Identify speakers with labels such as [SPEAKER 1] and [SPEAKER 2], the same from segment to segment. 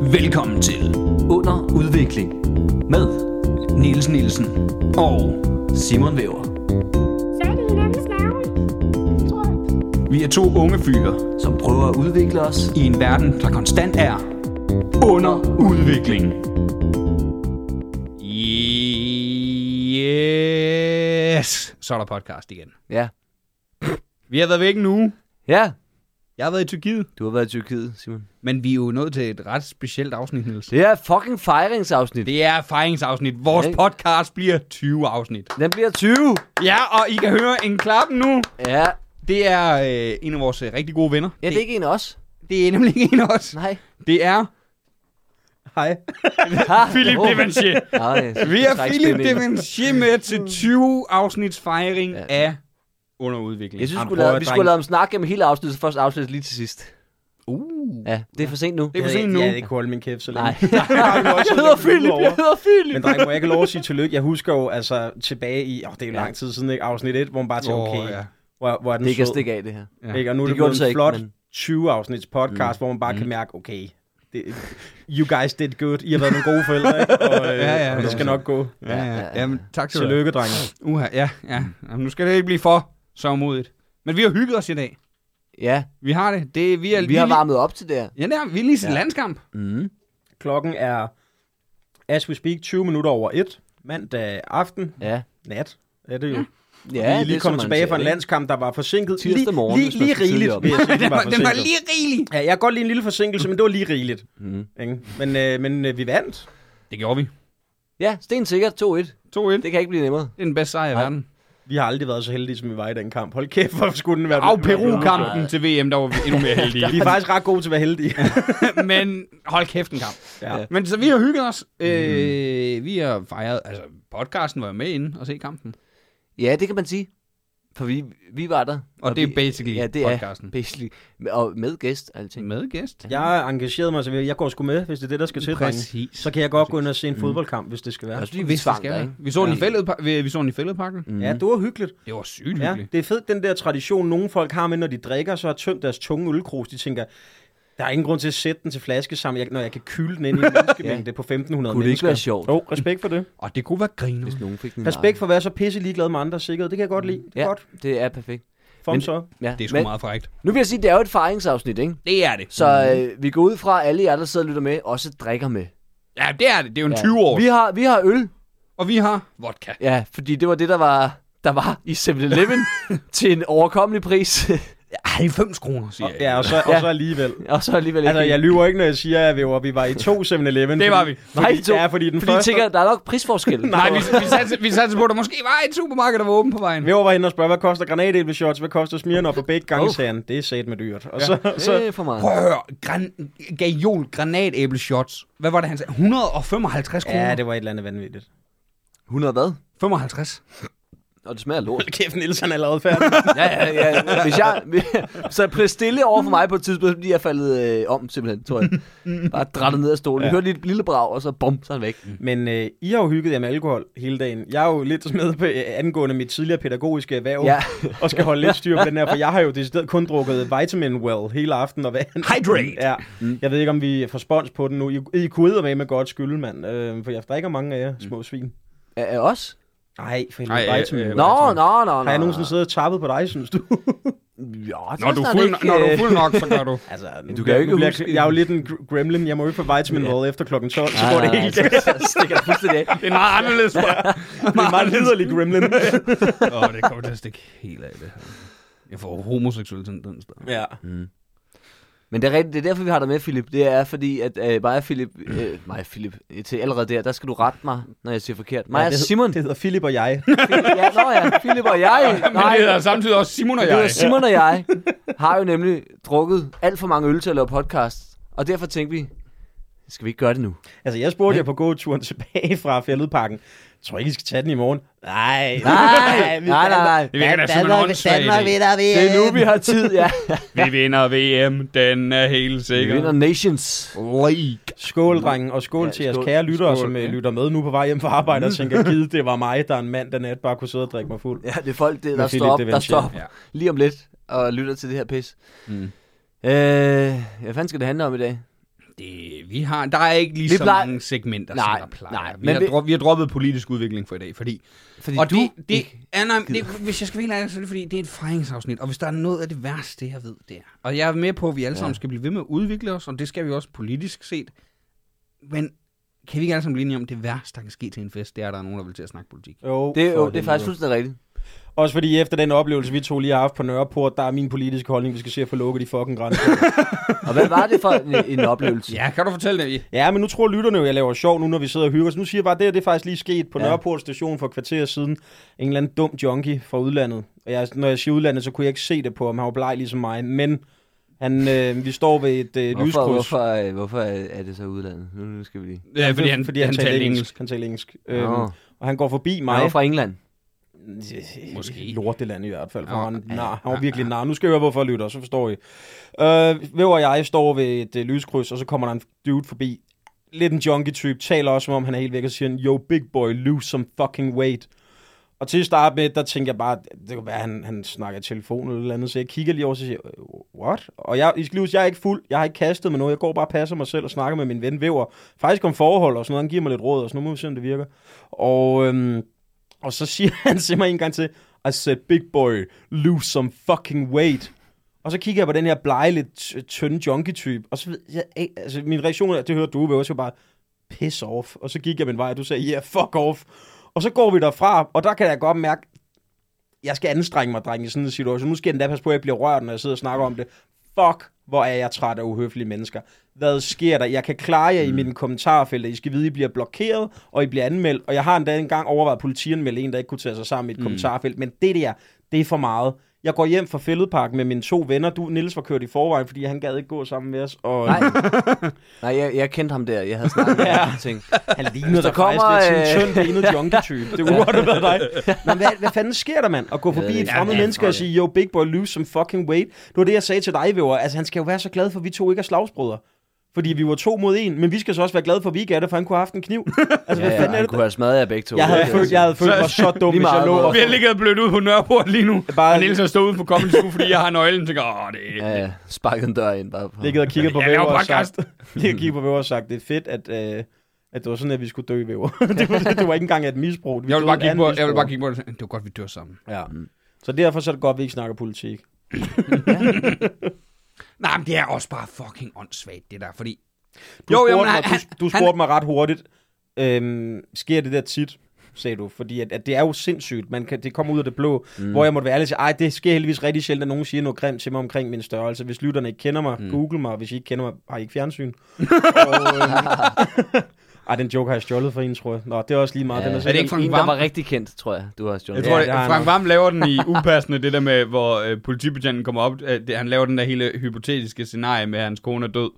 [SPEAKER 1] Velkommen til
[SPEAKER 2] Under udvikling med
[SPEAKER 1] Niels Nielsen og
[SPEAKER 2] Simon Væver,
[SPEAKER 3] Så er det hinandens navn. Tror jeg.
[SPEAKER 1] vi er to unge fyre
[SPEAKER 2] som prøver at udvikle os.
[SPEAKER 1] i en verden, der konstant er under udvikling. Yes! Så er der podcast igen.
[SPEAKER 2] Ja.
[SPEAKER 1] Vi har været væk en uge.
[SPEAKER 2] Ja,
[SPEAKER 1] Jeg har været i Tyrkiet,
[SPEAKER 2] du har været i Tyrkiet, Simon.
[SPEAKER 1] men vi er jo nået til et ret specielt afsnit, Niels.
[SPEAKER 2] Det er fucking fejringsafsnit.
[SPEAKER 1] Det er fejringsafsnit. Vores
[SPEAKER 2] Ikke?
[SPEAKER 1] podcast bliver 20 afsnit.
[SPEAKER 2] Den bliver 20.
[SPEAKER 1] Ja, og I kan høre en klappen nu.
[SPEAKER 2] Ja.
[SPEAKER 1] Det er øh, en af vores øh, rigtig gode venner.
[SPEAKER 2] Ja, det er ikke en af os.
[SPEAKER 1] det er nemlig ikke en af os.
[SPEAKER 2] Nej.
[SPEAKER 1] Det er... Hej.
[SPEAKER 2] Ah,
[SPEAKER 1] Philip
[SPEAKER 2] åh.
[SPEAKER 1] Devanchier.
[SPEAKER 2] Nej,
[SPEAKER 1] Vi har
[SPEAKER 2] træk
[SPEAKER 1] Philip
[SPEAKER 2] spændingen.
[SPEAKER 1] Devanchier med til 20 afsnits fejring
[SPEAKER 2] Ja.
[SPEAKER 1] af underudvikling.
[SPEAKER 2] Jeg synes, vi
[SPEAKER 1] Jamen,
[SPEAKER 2] skulle,
[SPEAKER 1] prøv
[SPEAKER 2] lave,
[SPEAKER 1] at
[SPEAKER 2] vi
[SPEAKER 1] drenge.
[SPEAKER 2] skulle lave om snak gennem hele afsnittet, så først afsnittet lige til sidst.
[SPEAKER 1] Uh.
[SPEAKER 2] Ja, det er for sent nu.
[SPEAKER 1] Det er for
[SPEAKER 4] Jeg-
[SPEAKER 1] sent nu.
[SPEAKER 4] Jeg havde ikke holdt min kæft så længe.
[SPEAKER 2] Nej.
[SPEAKER 4] jeg
[SPEAKER 2] Jeg hedder Philip, jeg hedder Philip.
[SPEAKER 4] Men dreng, må jeg ikke have lov at sige tillykke? Jeg husker jo altså tilbage i, åh, det er jo lang tid siden, ikke? afsnit 1, hvor man bare tænkte,
[SPEAKER 1] Åh,
[SPEAKER 4] okay,
[SPEAKER 1] ja.
[SPEAKER 4] hvor, hvor er den
[SPEAKER 2] Det kan
[SPEAKER 4] sød,
[SPEAKER 2] stikke af, det her.
[SPEAKER 1] Ja.
[SPEAKER 4] Ikke? Og nu er
[SPEAKER 2] Det
[SPEAKER 4] det,
[SPEAKER 2] gjorde
[SPEAKER 4] blevet
[SPEAKER 2] den
[SPEAKER 4] en
[SPEAKER 2] så ikke,
[SPEAKER 4] flot
[SPEAKER 2] men- Mm.
[SPEAKER 4] 20-afsnits podcast, hvor man bare kan mærke, okay, det, you guys did good. I har været nogle gode forældre, ikke? Og, øh,
[SPEAKER 1] Ja,
[SPEAKER 4] ja,
[SPEAKER 1] ja,
[SPEAKER 4] ja, og det
[SPEAKER 1] ja.
[SPEAKER 4] skal nok gå.
[SPEAKER 1] Ja, ja, ja. Jamen, tak til
[SPEAKER 4] Tillykke, drenge.
[SPEAKER 1] Uha, ja, ja. Jamen, nu skal det ikke blive for sørgmodigt. Men vi har hygget os i dag.
[SPEAKER 2] Ja,
[SPEAKER 1] Vi har det. det vi, er,
[SPEAKER 2] vi har
[SPEAKER 1] lige-
[SPEAKER 2] varmet op til det her.
[SPEAKER 1] Ja, det har vi. Vi er lige ja. landskamp.
[SPEAKER 2] Mm.
[SPEAKER 4] Klokken er, as we speak, 20 minutter over 1. Mandag aften,
[SPEAKER 2] Ja.
[SPEAKER 4] nat, er det jo.
[SPEAKER 2] Ja,
[SPEAKER 4] Ja, vi er
[SPEAKER 2] det
[SPEAKER 4] lige
[SPEAKER 2] er,
[SPEAKER 4] kommet
[SPEAKER 2] som man
[SPEAKER 4] tilbage
[SPEAKER 2] siger,
[SPEAKER 4] fra en
[SPEAKER 2] ikke?
[SPEAKER 4] landskamp, der var forsinket.
[SPEAKER 2] Tirsdag
[SPEAKER 4] Lige-
[SPEAKER 2] morgen,
[SPEAKER 4] lige,
[SPEAKER 2] hvis man
[SPEAKER 4] lige
[SPEAKER 2] skal tidligt
[SPEAKER 4] rigeligt,
[SPEAKER 2] op.
[SPEAKER 4] vil jeg sige,
[SPEAKER 1] Den
[SPEAKER 4] den
[SPEAKER 1] var,
[SPEAKER 4] var
[SPEAKER 1] den var
[SPEAKER 4] forsinket.
[SPEAKER 1] lige rigelig.
[SPEAKER 4] Ja, jeg kan godt lide en lille forsinkelse, men det var lige rigeligt.
[SPEAKER 2] Mhm.
[SPEAKER 4] Mm. Ikke? Men, øh, men øh, vi vandt.
[SPEAKER 1] Det gjorde vi.
[SPEAKER 2] Ja, sten sikkert 2-1.
[SPEAKER 1] 2-1.
[SPEAKER 2] Det kan ikke blive nemmere.
[SPEAKER 1] Det er den bedste sejr i
[SPEAKER 2] Nej.
[SPEAKER 1] verden.
[SPEAKER 4] Vi har aldrig været så heldige, som vi var i den kamp. Hold kæft, hvor skulle den være...
[SPEAKER 1] Af Peru-kampen til VM, der var vi endnu mere heldige.
[SPEAKER 4] Vi er faktisk ret gode til at være heldige.
[SPEAKER 1] Men hold kæft en kamp.
[SPEAKER 4] ja.
[SPEAKER 1] Men så vi har hygget os. Øh, vi har fejret, altså podcasten var jo med inde og se kampen.
[SPEAKER 2] Ja, det kan man sige. For vi, vi var der.
[SPEAKER 1] Og, og det er
[SPEAKER 2] vi,
[SPEAKER 1] basically
[SPEAKER 2] Ja, det
[SPEAKER 1] podcasten. Mm.
[SPEAKER 2] er basically. Og med gæst, alting.
[SPEAKER 1] Med gæst.
[SPEAKER 4] Jeg engagerede mig, så jeg går sgu med, hvis det er det, der skal til, drenge.
[SPEAKER 1] Præcis.
[SPEAKER 4] Så kan jeg godt gå ind og
[SPEAKER 2] Mm.
[SPEAKER 4] se en fodboldkamp, hvis det skal være.
[SPEAKER 2] Også lige, vi
[SPEAKER 1] Hvis det
[SPEAKER 2] tvang
[SPEAKER 1] skal
[SPEAKER 2] dig,
[SPEAKER 1] være.
[SPEAKER 2] ikke?
[SPEAKER 1] Vi så den i fælledpa- vi- vi så den i fældepakken.
[SPEAKER 2] Mm.
[SPEAKER 4] Ja, det var hyggeligt.
[SPEAKER 1] Det var sygt
[SPEAKER 4] Ja,
[SPEAKER 1] hyggeligt.
[SPEAKER 4] det er fedt, den der tradition, nogle folk har med, når de drikker, så har tømt deres tunge ølkrus. De tænker, der er ingen grund til at sætte den til flaske sammen, jeg, når jeg kan kylde den ind i en menneskemængde på 1500
[SPEAKER 2] Kunne det ikke
[SPEAKER 4] mennesker.
[SPEAKER 2] være sjovt,
[SPEAKER 4] Jo, respekt for det.
[SPEAKER 1] Og det kunne være griner.
[SPEAKER 2] hvis nogen fik den?
[SPEAKER 4] Respekt for at være så pisse ligeglad med andres sikkerhed. Det kan jeg godt lide. Det er
[SPEAKER 2] Ja,
[SPEAKER 4] godt.
[SPEAKER 2] det er perfekt.
[SPEAKER 4] Thumbs up.
[SPEAKER 2] Ja.
[SPEAKER 1] Det er sgu
[SPEAKER 2] Men
[SPEAKER 1] meget Mhm. frækt.
[SPEAKER 2] nu vil jeg sige, det er jo et fejringsafsnit, ikke?
[SPEAKER 1] Det er det.
[SPEAKER 2] Så øh, vi går ud fra, at alle jer, der sidder og lytter med, også drikker med.
[SPEAKER 1] Ja, det er det. Det er jo en 20 år.
[SPEAKER 2] Vi har, vi har øl,
[SPEAKER 1] Og vi har vodka.
[SPEAKER 2] ja, fordi det var det, der var, der var i 7-Eleven til en overkommelig pris.
[SPEAKER 1] 90 kroner, siger jeg.
[SPEAKER 4] Ja, og så, og så alligevel.
[SPEAKER 2] og så alligevel ikke.
[SPEAKER 4] Altså, jeg lyver ikke, når jeg siger, at vi var, vi var i to 7-Eleven.
[SPEAKER 1] Det var vi.
[SPEAKER 2] Nej,
[SPEAKER 4] Fordi,
[SPEAKER 2] to.
[SPEAKER 4] Ja, fordi
[SPEAKER 2] fordi
[SPEAKER 4] den fordi første...
[SPEAKER 2] jeg tænker, der er nok prisforskel.
[SPEAKER 1] Nej, vi, vi, satte, vi satte på, at der måske var et supermarked, der var åben på vejen.
[SPEAKER 4] Vi var inde og spørge, hvad koster granatæbleshots, hvad koster Smirnoff, og begge gange
[SPEAKER 2] Oh.
[SPEAKER 4] oh. sagde han, det er sat med dyrt. Og så, ja.
[SPEAKER 2] det
[SPEAKER 4] så,
[SPEAKER 2] er for meget.
[SPEAKER 1] Prøv at høre, gran, gajol granatæbleshots. Hvad var det, han sagde? 155 kroner?
[SPEAKER 4] ja, det var et eller andet vanvittigt.
[SPEAKER 2] 100 hvad?
[SPEAKER 1] 55.
[SPEAKER 2] Og det smager af lort.
[SPEAKER 4] Hold kæft, Niels, han er allerede færdig.
[SPEAKER 2] Ja, ja, ja. Hvis jeg, så blev stille over for mig på et tidspunkt, fordi jeg faldet øh, om simpelthen, tror jeg. Bare drættet ned af stolen. Ja. Jeg hørte lige et lille brag, og så bum, så er han væk.
[SPEAKER 4] Men øh, I har jo hygget jer med alkohol hele dagen. Jeg er jo lidt med på øh, angående mit tidligere pædagogiske erhverv,
[SPEAKER 2] Ja.
[SPEAKER 4] ja. og skal holde lidt styr på den her, for jeg har jo decideret kun drukket Vitamin Well hele aften. Og hvad
[SPEAKER 1] Hydrate!
[SPEAKER 4] Ja. Jeg ved ikke, om vi får spons på den nu. I, I kunne med med godt skyld, mand, øh, for jeg drikker mange af jer små svin.
[SPEAKER 2] Er, er os?
[SPEAKER 4] Nej, for
[SPEAKER 1] Ej,
[SPEAKER 4] helvede,
[SPEAKER 1] øh,
[SPEAKER 4] Vitamin
[SPEAKER 1] øh,
[SPEAKER 4] Well.
[SPEAKER 2] Nå, nå, nå, nå.
[SPEAKER 4] Har jeg nogensinde siddet og tappet på dig, synes du?
[SPEAKER 2] Ja,
[SPEAKER 1] Når du, er øh, fuld, når
[SPEAKER 2] øh,
[SPEAKER 1] du er fuld nok, så gør du.
[SPEAKER 4] altså, nu
[SPEAKER 2] kan
[SPEAKER 4] bliver-
[SPEAKER 2] jo ikke
[SPEAKER 4] nu bliver,
[SPEAKER 2] huske-
[SPEAKER 4] Jeg er jo lidt en gr- gremlin. Jeg må jo ikke få Vitamin Well efter klokken 12, så
[SPEAKER 2] Nej,
[SPEAKER 4] går det
[SPEAKER 2] nej,
[SPEAKER 4] helt
[SPEAKER 2] nej,
[SPEAKER 4] galt.
[SPEAKER 2] så- så stikker det fuldstændig af.
[SPEAKER 1] Det er meget anderledes, tror jeg.
[SPEAKER 4] Det er en meget liderlig gremlin.
[SPEAKER 1] Åh, det kommer til at stikke helt af det her. Jeg får homoseksuelle tendenser.
[SPEAKER 4] ja.
[SPEAKER 2] Mm. Men det er, rigtigt, det er derfor, vi har dig med, Philip. Det er fordi, at øh, mig og Philip... Øh, mig og Philip. øh, Til allerede der, der skal du rette mig, når jeg siger forkert. Mig
[SPEAKER 4] Ja,
[SPEAKER 2] og
[SPEAKER 4] det hed-
[SPEAKER 2] Simon.
[SPEAKER 4] Det hedder Philip og jeg.
[SPEAKER 2] Ja, nå ja, Philip og jeg.
[SPEAKER 1] Men det hedder samtidig også Simon og
[SPEAKER 2] Det var
[SPEAKER 1] jeg.
[SPEAKER 2] Simon og jeg har jo nemlig drukket alt for mange øl til at lave podcast. Og derfor tænkte vi, skal vi ikke gøre det nu?
[SPEAKER 4] Altså, jeg spurgte jer på gåturen tilbage fra Fjelledparken. Jeg tror ikke, I skal tage den i morgen. Nej.
[SPEAKER 2] Nej,
[SPEAKER 4] vi-
[SPEAKER 2] nej, nej, nej.
[SPEAKER 1] Det virker da som en åndssvag idé.
[SPEAKER 2] Det er nu, vi har tid, ja.
[SPEAKER 1] Vi vinder VM, den er helt
[SPEAKER 2] Vi
[SPEAKER 1] sikker.
[SPEAKER 2] vinder Nations.
[SPEAKER 1] League.
[SPEAKER 4] Skål, drengen, og skål
[SPEAKER 2] Ja,
[SPEAKER 4] ja, til jeres
[SPEAKER 2] skål. Mm.
[SPEAKER 4] kære lyttere,
[SPEAKER 1] Skål,
[SPEAKER 4] som
[SPEAKER 1] ja.
[SPEAKER 4] ja. lytter med nu på vej hjem fra arbejde og tænker, givet det var mig, der er en mand, der nat bare kunne sidde og drikke mig fuld.
[SPEAKER 2] Ja, det er folk, det, der står
[SPEAKER 4] Med Philip
[SPEAKER 2] op,
[SPEAKER 4] de
[SPEAKER 2] der
[SPEAKER 4] Vinci.
[SPEAKER 2] står op
[SPEAKER 1] Ja.
[SPEAKER 2] lige om lidt og lytter til det her pis.
[SPEAKER 1] Mm.
[SPEAKER 2] Øh, hvad fanden skal det handle om i dag?
[SPEAKER 1] Det øh, vi har, der er ikke lige
[SPEAKER 2] Vi
[SPEAKER 1] så
[SPEAKER 2] plejer-
[SPEAKER 1] mange segmenter,
[SPEAKER 2] Nej,
[SPEAKER 1] som der plejer.
[SPEAKER 2] nej,
[SPEAKER 1] vi,
[SPEAKER 2] men
[SPEAKER 1] har
[SPEAKER 2] vi-
[SPEAKER 1] dro- vi har droppet politisk udvikling for i dag, fordi...
[SPEAKER 2] Fordi
[SPEAKER 1] og
[SPEAKER 2] du
[SPEAKER 1] det, det,
[SPEAKER 2] ikke
[SPEAKER 1] ja, nej, det, hvis jeg skal være helt ærlig, så er det fordi, det er et fejringsafsnit, og hvis der er noget af det værste, jeg ved, det er. Og jeg er med på, at vi alle sammen skal blive ved med at udvikle os, og det skal vi også politisk set. Men kan vi ikke alle sammen blive enige om, at det værste, der kan ske til en fest, det er, at der er nogen, der vil til at snakke politik?
[SPEAKER 4] Jo,
[SPEAKER 2] Det, er
[SPEAKER 4] for
[SPEAKER 2] jo, det er faktisk
[SPEAKER 4] helvede.
[SPEAKER 2] fuldstændig rigtigt.
[SPEAKER 4] Også fordi efter den oplevelse, vi to lige har haft på Nørreport, der er min politiske holdning, vi skal se at få lukket de fucking grænser.
[SPEAKER 2] Og hvad var det for en, en oplevelse?
[SPEAKER 1] Ja, kan du fortælle det?
[SPEAKER 4] ja, men nu tror lytterne jo, jeg laver sjov nu, når vi sidder og hygger os. Nu siger jeg bare, at det, her, det er faktisk lige sket på
[SPEAKER 2] Ja.
[SPEAKER 4] ja. Nørreport station for et kvarter siden. En eller anden dum junkie fra udlandet. Og jeg, når jeg siger udlandet, så kunne jeg ikke se det på ham. Han var bleg ligesom mig. Men han, øh, vi står ved et øh,
[SPEAKER 2] Hvorfor,
[SPEAKER 4] lyskryds.
[SPEAKER 2] hvorfor, øh, hvorfor er det så udlandet? Nu, nu skal vi lige...
[SPEAKER 1] Ja, fordi han,
[SPEAKER 4] fordi han,
[SPEAKER 1] han
[SPEAKER 4] talte
[SPEAKER 1] talte
[SPEAKER 4] engelsk.
[SPEAKER 1] engelsk.
[SPEAKER 4] Han talte engelsk.
[SPEAKER 2] Øhm,
[SPEAKER 4] Øhm, og han går forbi mig.
[SPEAKER 2] han var fra England.
[SPEAKER 1] Måske.
[SPEAKER 4] Øh, Lorteland i hvert fald. For
[SPEAKER 1] Nå,
[SPEAKER 4] han,
[SPEAKER 1] ja,
[SPEAKER 4] nar, han var
[SPEAKER 1] ja,
[SPEAKER 4] virkelig nar. Nu skal jeg høre, hvorfor jeg lytter, så forstår I. Øh, Væv og jeg står ved et øh, lyskryds, og så kommer der en dude forbi. Lidt en junkie-type. Taler også, som om han er helt væk og siger, Yo, big boy, lose some fucking weight. Og til at starte med, der tænker jeg bare, det kan være, han, han snakker i telefonen eller et eller andet, så jeg kigger lige over, og så siger jeg, "Øh, what? Og jeg, I skal lige huske, jeg er ikke fuld, jeg har ikke kastet med noget, jeg går bare og passer mig selv og snakker med min ven Væver, faktisk om forhold og sådan noget, han giver mig lidt råd og sådan noget, nu må vi se, om det virker. Og, øhm, og så siger han til mig en gang til, I said, big boy, lose some fucking weight. Og så kigger jeg på den her blege, lidt t- tynde junkie-type, og så ved jeg, "Ey," altså min reaktion, er, det hørte du, Væver, også bare, piss off. Og så gik jeg min vej, og du sagde, yeah, fuck off. Og så går vi derfra, og der kan jeg godt mærke, jeg skal anstrenge mig, dreng, i sådan en situation. Nu skal jeg endda passe på, at jeg bliver rørt, når jeg sidder og snakker om det. Fuck, hvor er jeg træt af uhøflige mennesker. Hvad sker der? Jeg kan klare jer i mine kommentarfelter. I skal vide, I bliver blokeret, og I bliver anmeldt. Og jeg har endda engang overvejet politien med en, der ikke kunne tage sig sammen i et mm. kommentarfelt. Men det der, det er for meget. Jeg går hjem fra Fælledpark med mine to venner. Du, Nils var kørt i forvejen, fordi han gad ikke gå sammen med os. Og
[SPEAKER 2] Nej, Nej jeg, jeg kendte ham der. Jeg havde snakket med ham. og tænkt,
[SPEAKER 4] han ligner
[SPEAKER 2] der
[SPEAKER 4] der kommer,
[SPEAKER 2] kommer,
[SPEAKER 4] faktisk lidt sådan
[SPEAKER 2] øh,
[SPEAKER 4] en tynd, benet junkie-type. Det kunne godt have været dig. Men hvad, hvad fanden sker der, mand? At gå
[SPEAKER 2] ved
[SPEAKER 4] forbi
[SPEAKER 2] det
[SPEAKER 4] et
[SPEAKER 2] ikke.
[SPEAKER 4] fremmed
[SPEAKER 2] Ja, ja,
[SPEAKER 4] menneske og
[SPEAKER 2] fuck
[SPEAKER 4] sige, yo, big boy, lose some fucking weight. Det var det, jeg sagde til dig, Væver. Altså, han skal jo være så glad for, at vi to ikke er slagsbrødre. Fordi vi var to mod en, men vi skal så også være glade for, at vi ikke er det, for han kunne have haft en kniv. Altså,
[SPEAKER 2] ja,
[SPEAKER 4] hvad fanden
[SPEAKER 2] ja,
[SPEAKER 4] er
[SPEAKER 2] han
[SPEAKER 4] det?
[SPEAKER 2] kunne have smadret jer begge to.
[SPEAKER 4] Jeg havde, følt, jeg havde følt mig så dum,
[SPEAKER 2] altså. Lige
[SPEAKER 4] hvis jeg
[SPEAKER 2] meget
[SPEAKER 4] lå
[SPEAKER 2] hvad.
[SPEAKER 4] og
[SPEAKER 1] Vi har ligget og blødt ud på Nørreport lige nu.
[SPEAKER 4] Bare-
[SPEAKER 1] Bare... Og Niels har stået ude på Comedy Zoo, fordi jeg har nøglen. Tænker, åh, det er...
[SPEAKER 2] Ja, ja. Sparket en dør ind bare. På.
[SPEAKER 4] ligget og kigget på
[SPEAKER 1] Jeg
[SPEAKER 4] Væver
[SPEAKER 1] laver
[SPEAKER 4] og
[SPEAKER 1] podcast.
[SPEAKER 4] sagt, ligget og kigget på Væver og sagt, det er fedt, at, øh, at det var sådan, at vi skulle dø, Væver. det, var, det var ikke engang et misbrug. Vi
[SPEAKER 1] Jeg vil,
[SPEAKER 4] døde
[SPEAKER 1] bare
[SPEAKER 4] af
[SPEAKER 1] kigge
[SPEAKER 4] en
[SPEAKER 1] på, jeg vil
[SPEAKER 4] misbrug.
[SPEAKER 1] bare kigge på det. og sige, Det var godt, vi dør sammen.
[SPEAKER 4] Ja. Så derfor så er det godt, at vi ikke snakker politik.
[SPEAKER 1] Nej, men det er også bare fucking åndssvagt, det der. Fordi
[SPEAKER 4] Du,
[SPEAKER 1] Jo,
[SPEAKER 4] jo, spurgte,
[SPEAKER 1] jamen,
[SPEAKER 4] mig,
[SPEAKER 1] han-
[SPEAKER 4] du, du
[SPEAKER 1] han-
[SPEAKER 4] spurgte mig ret hurtigt, øhm, sker det der tit, sagde du? Fordi at, at det er jo sindssygt, man kan, det kommer ud af det blå, mm. hvor jeg måtte være ærlig og sige, ej, det sker heldigvis rigtig sjældent, at nogen siger noget grimt til mig omkring min størrelse. Hvis lytterne ikke kender mig, mm. google mig, hvis I ikke kender mig, har I ikke fjernsyn? og, øhm, ej, den joke har jeg stjålet for en, tror jeg. Nå, det er også lige meget. Ja. Den er
[SPEAKER 1] Er det ikke
[SPEAKER 2] en,
[SPEAKER 1] Frank
[SPEAKER 2] en, der
[SPEAKER 1] Hvam?
[SPEAKER 2] var rigtig kendt, tror jeg, du har stjålet.
[SPEAKER 1] Jeg tror,
[SPEAKER 4] Ja,
[SPEAKER 1] ja,
[SPEAKER 4] det har han
[SPEAKER 1] Frank
[SPEAKER 4] også.
[SPEAKER 1] Vam laver den i upassende, det der med, hvor øh, politibetjenten kommer op. Øh, det, han laver den der hele hypotetiske scenarie med, at hans kone er død.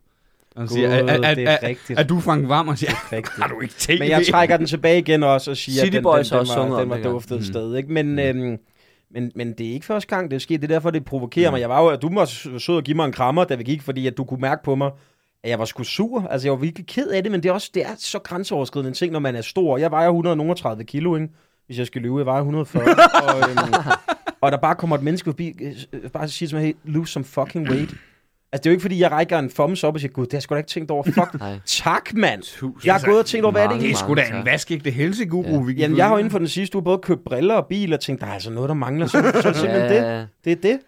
[SPEAKER 1] Og han siger,
[SPEAKER 4] Gud,
[SPEAKER 1] er, er,
[SPEAKER 4] det er
[SPEAKER 1] er,
[SPEAKER 4] rigtigt.
[SPEAKER 1] er, er du Frank Vam? Og siger,
[SPEAKER 4] rigtigt.
[SPEAKER 1] har du ikke tv?
[SPEAKER 4] Men jeg trækker den tilbage igen også og siger,
[SPEAKER 2] City
[SPEAKER 4] at den,
[SPEAKER 2] Boys har
[SPEAKER 4] den,
[SPEAKER 2] også
[SPEAKER 4] den, den,
[SPEAKER 2] sunget
[SPEAKER 4] var,
[SPEAKER 2] om
[SPEAKER 4] den var
[SPEAKER 2] det engang.
[SPEAKER 4] duftet mm. sted. Ikke? Men, øhm, men, men det er ikke første gang, det er sket. Det er derfor, det provokerer mm. mig. Jeg var jo, at du var s- sød og give mig en krammer, da vi gik, fordi at du kunne mærke på mig, at jeg var sgu sur. Altså, jeg var virkelig ked af det, men det er også det er så grænseoverskridende en ting, når man er stor. Jeg vejer 130 kilo, ikke? Hvis jeg skal løbe, jeg vejer 140. og, øhm, og der bare kommer et menneske forbi, øh, øh, bare siger til mig, hey, lose some fucking weight. Altså, det er jo ikke, fordi jeg rækker en thumbs op og siger, gud, det har jeg sgu da ikke tænkt over. Fuck,
[SPEAKER 2] Nej.
[SPEAKER 4] tak, mand.
[SPEAKER 2] Tusind
[SPEAKER 4] Jeg har gået og tænkt over, hvad er det
[SPEAKER 2] mange
[SPEAKER 1] det er sgu da
[SPEAKER 2] tak.
[SPEAKER 1] en vaskægte helseguru.
[SPEAKER 2] Ja.
[SPEAKER 1] Ja. Vi kan
[SPEAKER 4] Jamen,
[SPEAKER 1] få
[SPEAKER 4] jeg har jo
[SPEAKER 1] ud.
[SPEAKER 4] inden for den sidste uge både købt briller og bil og tænkt, der er altså noget, der mangler. Så, så er det simpelthen det. Det er det.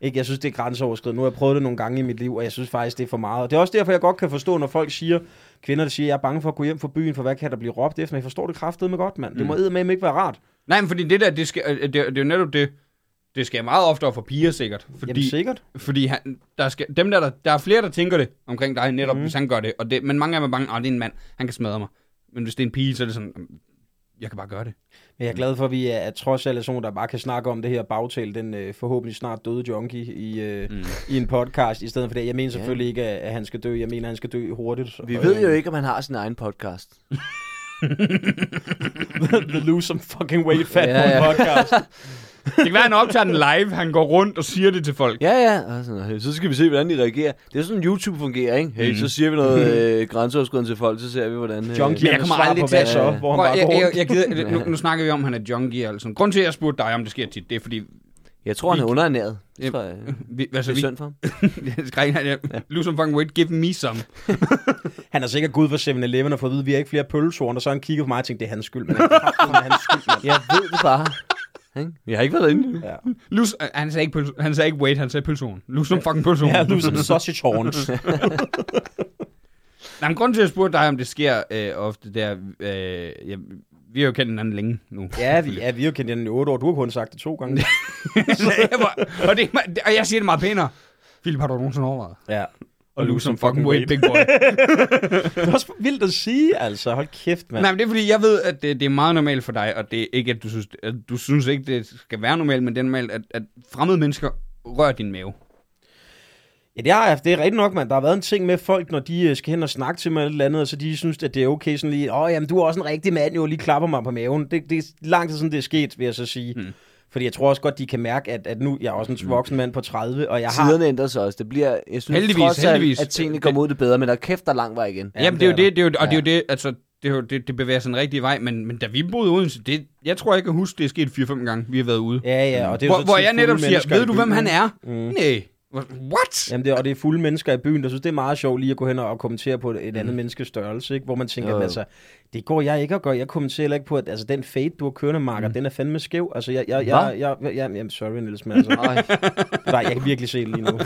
[SPEAKER 4] Ikke, jeg synes, det er grænseoverskridende. Nu har jeg prøvet det nogle gange i mit liv, og jeg synes faktisk, det er for meget. Og det er også derfor, jeg godt kan forstå, når folk siger, kvinder, der siger, jeg er bange for at gå hjem fra byen, for hvad kan der blive råbt efter? Men jeg forstår det kraftedeme godt, mand.
[SPEAKER 2] Mm.
[SPEAKER 4] Det må eddermame ikke være rart.
[SPEAKER 1] Nej, men fordi det der, det, skal, øh, det, det er jo netop det. Det sker meget oftere for piger, sikkert. Fordi,
[SPEAKER 4] Jamen, sikkert.
[SPEAKER 1] Fordi han, der, skal, dem der, der, der er flere, der tænker det omkring dig,
[SPEAKER 4] Mhm.
[SPEAKER 1] netop mm. hvis han gør det. Og det men mange af dem er bange, at det er en mand, han kan smadre mig. Men hvis det er en pige, så er det sådan, "Jamen, jeg kan bare gøre det.
[SPEAKER 4] Men jeg er glad for, at vi er at trods alt er sådan, nogle, der bare kan snakke om det her bagtale, den øh, forhåbentlig snart døde junkie i, øh, mm. i en podcast, i stedet for det. Jeg mener selvfølgelig ikke, at, at han skal dø. Jeg mener, at han skal dø hurtigt.
[SPEAKER 2] Vi
[SPEAKER 4] Og,
[SPEAKER 2] ved
[SPEAKER 4] øh,
[SPEAKER 2] jo ikke, om han har sin egen podcast.
[SPEAKER 4] the lose some fucking weight fat
[SPEAKER 2] Ja,
[SPEAKER 4] ja, ja.
[SPEAKER 2] ja.
[SPEAKER 4] podcast.
[SPEAKER 1] Det kan være, han optager den live, han går rundt og siger det til folk.
[SPEAKER 2] Ja, ja. Og sådan, "Hey, så skal vi se, hvordan de reagerer. Det er sådan, YouTube fungerer, ikke? Hey, mm. så siger vi noget øh, grænseoverskridende til folk, så ser vi, hvordan... Øh,
[SPEAKER 4] Junkie,
[SPEAKER 1] Men jeg
[SPEAKER 4] han
[SPEAKER 1] kommer
[SPEAKER 4] svarer
[SPEAKER 1] aldrig
[SPEAKER 4] på,
[SPEAKER 1] til
[SPEAKER 4] hvad
[SPEAKER 1] at-
[SPEAKER 4] så, hvor han
[SPEAKER 1] Prøv,
[SPEAKER 4] bare
[SPEAKER 1] jeg,
[SPEAKER 4] går
[SPEAKER 1] jeg,
[SPEAKER 4] rundt.
[SPEAKER 1] jeg gider, nu, nu snakker vi om, at han er junkie. Altså. Grunden til, at jeg spurgte dig, om det sker tit, det er fordi,
[SPEAKER 2] Jeg tror, han er underernæret.
[SPEAKER 1] Yep.
[SPEAKER 2] Det tror jeg, det
[SPEAKER 1] Vi, altså,
[SPEAKER 2] er
[SPEAKER 1] vi,
[SPEAKER 2] synd for ham.
[SPEAKER 1] Skrev han, ja. Lose some fucking weight, give me some.
[SPEAKER 4] Han er sikkert gud for 7-Eleven og fået at vide, at vi har ikke flere pølsehorn, og så har han kigger på mig og tænkt, det er hans skyld, men det er hans skyld, mand.
[SPEAKER 2] Jeg ved det bare. Ikke? Jeg har ikke været inde.
[SPEAKER 4] Ja.
[SPEAKER 1] Lose, øh, han sagde ikke, pølse, han sagde ikke weight, han sagde pølsehorn. Lose some fucking pølsehorn.
[SPEAKER 4] Ja, du som sausage horns.
[SPEAKER 1] Nej, men grunden til, at jeg spurgte dig, om det sker øh, ofte, det er, øh, ja, vi har jo kendt hinanden længe nu.
[SPEAKER 4] ja, vi, ja, vi har jo kendt hinanden i 8 år. Du har kun sagt det to gange.
[SPEAKER 1] Så jeg var, og, det, er meget- og jeg siger det meget pænere. Philip, har du nogensinde overvejet?
[SPEAKER 4] ja.
[SPEAKER 1] Og lose some fucking weight, big boy.
[SPEAKER 4] Det er også vildt at sige, altså. Hold kæft, mand.
[SPEAKER 1] Nej, men det er fordi, jeg ved, at det, det er meget normalt for dig, og det er ikke, at du synes, at du synes ikke, det skal være normalt, men det er normalt, at, at fremmede mennesker rører din mave.
[SPEAKER 4] Ja, det, har, jeg- det er rigtigt nok, mand. Der har været en ting med folk, når de øh, skal hen og snakke til mig eller et eller andet, og så de synes, at det er okay sådan lige, åh, jamen, du er også en rigtig mand, jo, lige klapper mig på maven. Det, det er lang tid siden, det er sket, vil jeg så sige. Mm. Fordi jeg tror også godt, de kan mærke, at, at nu, jeg er også en voksen mand på 30, og jeg har...
[SPEAKER 2] Tiderne ændrer sig også. Det bliver, jeg synes,
[SPEAKER 1] Heldigvis,
[SPEAKER 2] trods alt,
[SPEAKER 1] heldigvis.
[SPEAKER 2] at tingene kommer ud det bedre, men der er kæft, der er lang vej igen.
[SPEAKER 1] Ja, Jamen, det er jo
[SPEAKER 4] der.
[SPEAKER 1] det, det er jo, og det er jo det, altså, det, er jo, det, det bevæger sig en rigtig vej, men, men da vi boede i Odense, det, jeg tror, jeg kan huske, det er sket 4-5 gange, vi har været ude.
[SPEAKER 4] Ja, ja, og det er jo
[SPEAKER 1] hvor,
[SPEAKER 4] så
[SPEAKER 1] hvor
[SPEAKER 4] tit
[SPEAKER 1] jeg
[SPEAKER 4] fulde
[SPEAKER 1] netop siger,
[SPEAKER 4] mennesker i
[SPEAKER 1] ved du, hvem
[SPEAKER 4] byen,
[SPEAKER 1] han
[SPEAKER 4] ikke?
[SPEAKER 1] er? Mm. Nej. What?
[SPEAKER 4] Jamen det, og det er fulde mennesker i byen, der synes, det er meget sjovt lige at gå hen og, og kommentere på et, et
[SPEAKER 1] Mhm.
[SPEAKER 4] andet menneskes størrelse, ikke? hvor man tænker,
[SPEAKER 2] Jo, jo.
[SPEAKER 4] jamen, altså, det går jeg ikke at gøre. Jeg kommenterer heller ikke på, at altså, den fade, du har kørende,
[SPEAKER 1] Mhm.
[SPEAKER 4] Marker, mm. den er fandme skæv. Altså, jeg, jeg, jeg,
[SPEAKER 2] Hvad?
[SPEAKER 4] jeg, jeg, jeg, jeg sorry, Niels, men altså,
[SPEAKER 2] Ej.
[SPEAKER 4] nej, jeg kan virkelig se det lige nu.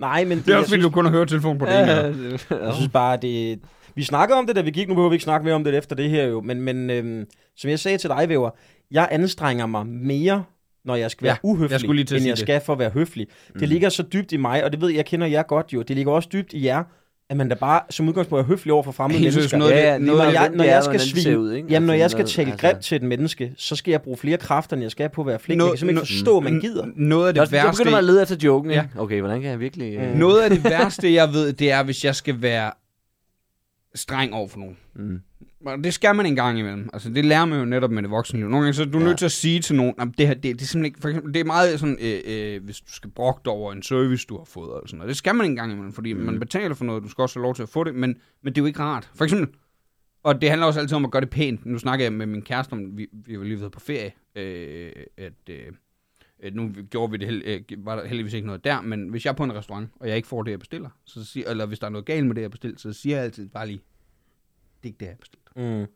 [SPEAKER 4] nej, men det,
[SPEAKER 1] Det er
[SPEAKER 4] jeg,
[SPEAKER 1] også fordi,
[SPEAKER 4] synes,
[SPEAKER 1] du kun har hørt telefonen på det ene øre.
[SPEAKER 4] jeg synes bare, det... Vi snakkede om det, da vi gik. Nu behøver vi ikke snakke mere om det efter det her jo. Men, men øhm, som jeg sagde til dig, Væver, jeg anstrenger mig mere når jeg skal være
[SPEAKER 1] Ja,
[SPEAKER 4] ja, uhøflig,
[SPEAKER 1] jeg skulle lige til at
[SPEAKER 4] end
[SPEAKER 1] sige
[SPEAKER 4] jeg
[SPEAKER 1] det. Mm.
[SPEAKER 4] skal for at være høflig. Det ligger så dybt i mig, og det ved jeg, kender jer godt jo. Det ligger også dybt i jer, at man da bare som udgangspunkt er høflig over for fremmede
[SPEAKER 1] Helt seriøst,
[SPEAKER 4] mennesker.
[SPEAKER 1] noget af det- noget af
[SPEAKER 4] når
[SPEAKER 1] det-
[SPEAKER 4] jeg, når jeg skal svine,
[SPEAKER 2] svine
[SPEAKER 4] ud, ikke? Jamen, når jeg skal tale altså... grimt til et menneske, så skal jeg bruge flere kræfter, end jeg skal på at være flink.
[SPEAKER 1] Nå-
[SPEAKER 4] jeg kan simpelthen
[SPEAKER 1] nå-
[SPEAKER 4] ikke forstå, at man gider. Altså,
[SPEAKER 1] Noget af
[SPEAKER 2] Jeg
[SPEAKER 1] det
[SPEAKER 2] begynder
[SPEAKER 1] værste...
[SPEAKER 2] man at lede efter joken, ikke? Okay, hvordan kan jeg virkelig... øh,
[SPEAKER 1] Noget af det værste, jeg ved, det er, hvis jeg skal være streng over for nogen.
[SPEAKER 2] Mm.
[SPEAKER 1] Og Det skal man en gang imellem. Altså, det lærer man jo netop med det voksne liv. Nogle gange så er du ja.
[SPEAKER 2] Ja.
[SPEAKER 1] nødt til at sige til nogen, at det her, det, det er simpelthen ikke, for eksempel, det er meget sådan, øh, øh, hvis du skal brogte over en service, du har fået, og sådan noget. Det skal man en gang imellem, fordi mm. man betaler for noget, du skal også have lov til at få det, men, men det er jo ikke rart. For eksempel, og det handler også altid om at gøre det pænt. Nu snakker jeg med min kæreste om, vi, vi var lige ved på ferie, øh, at... Øh, Øh, nu gjorde vi det held, øh, var der heldigvis ikke noget der, men hvis jeg er på en restaurant, og jeg ikke får det, jeg bestiller, så siger, eller hvis der er noget galt med det, jeg bestiller, så siger jeg altid bare lige, det er ikke det, jeg bestilte.
[SPEAKER 4] Mm.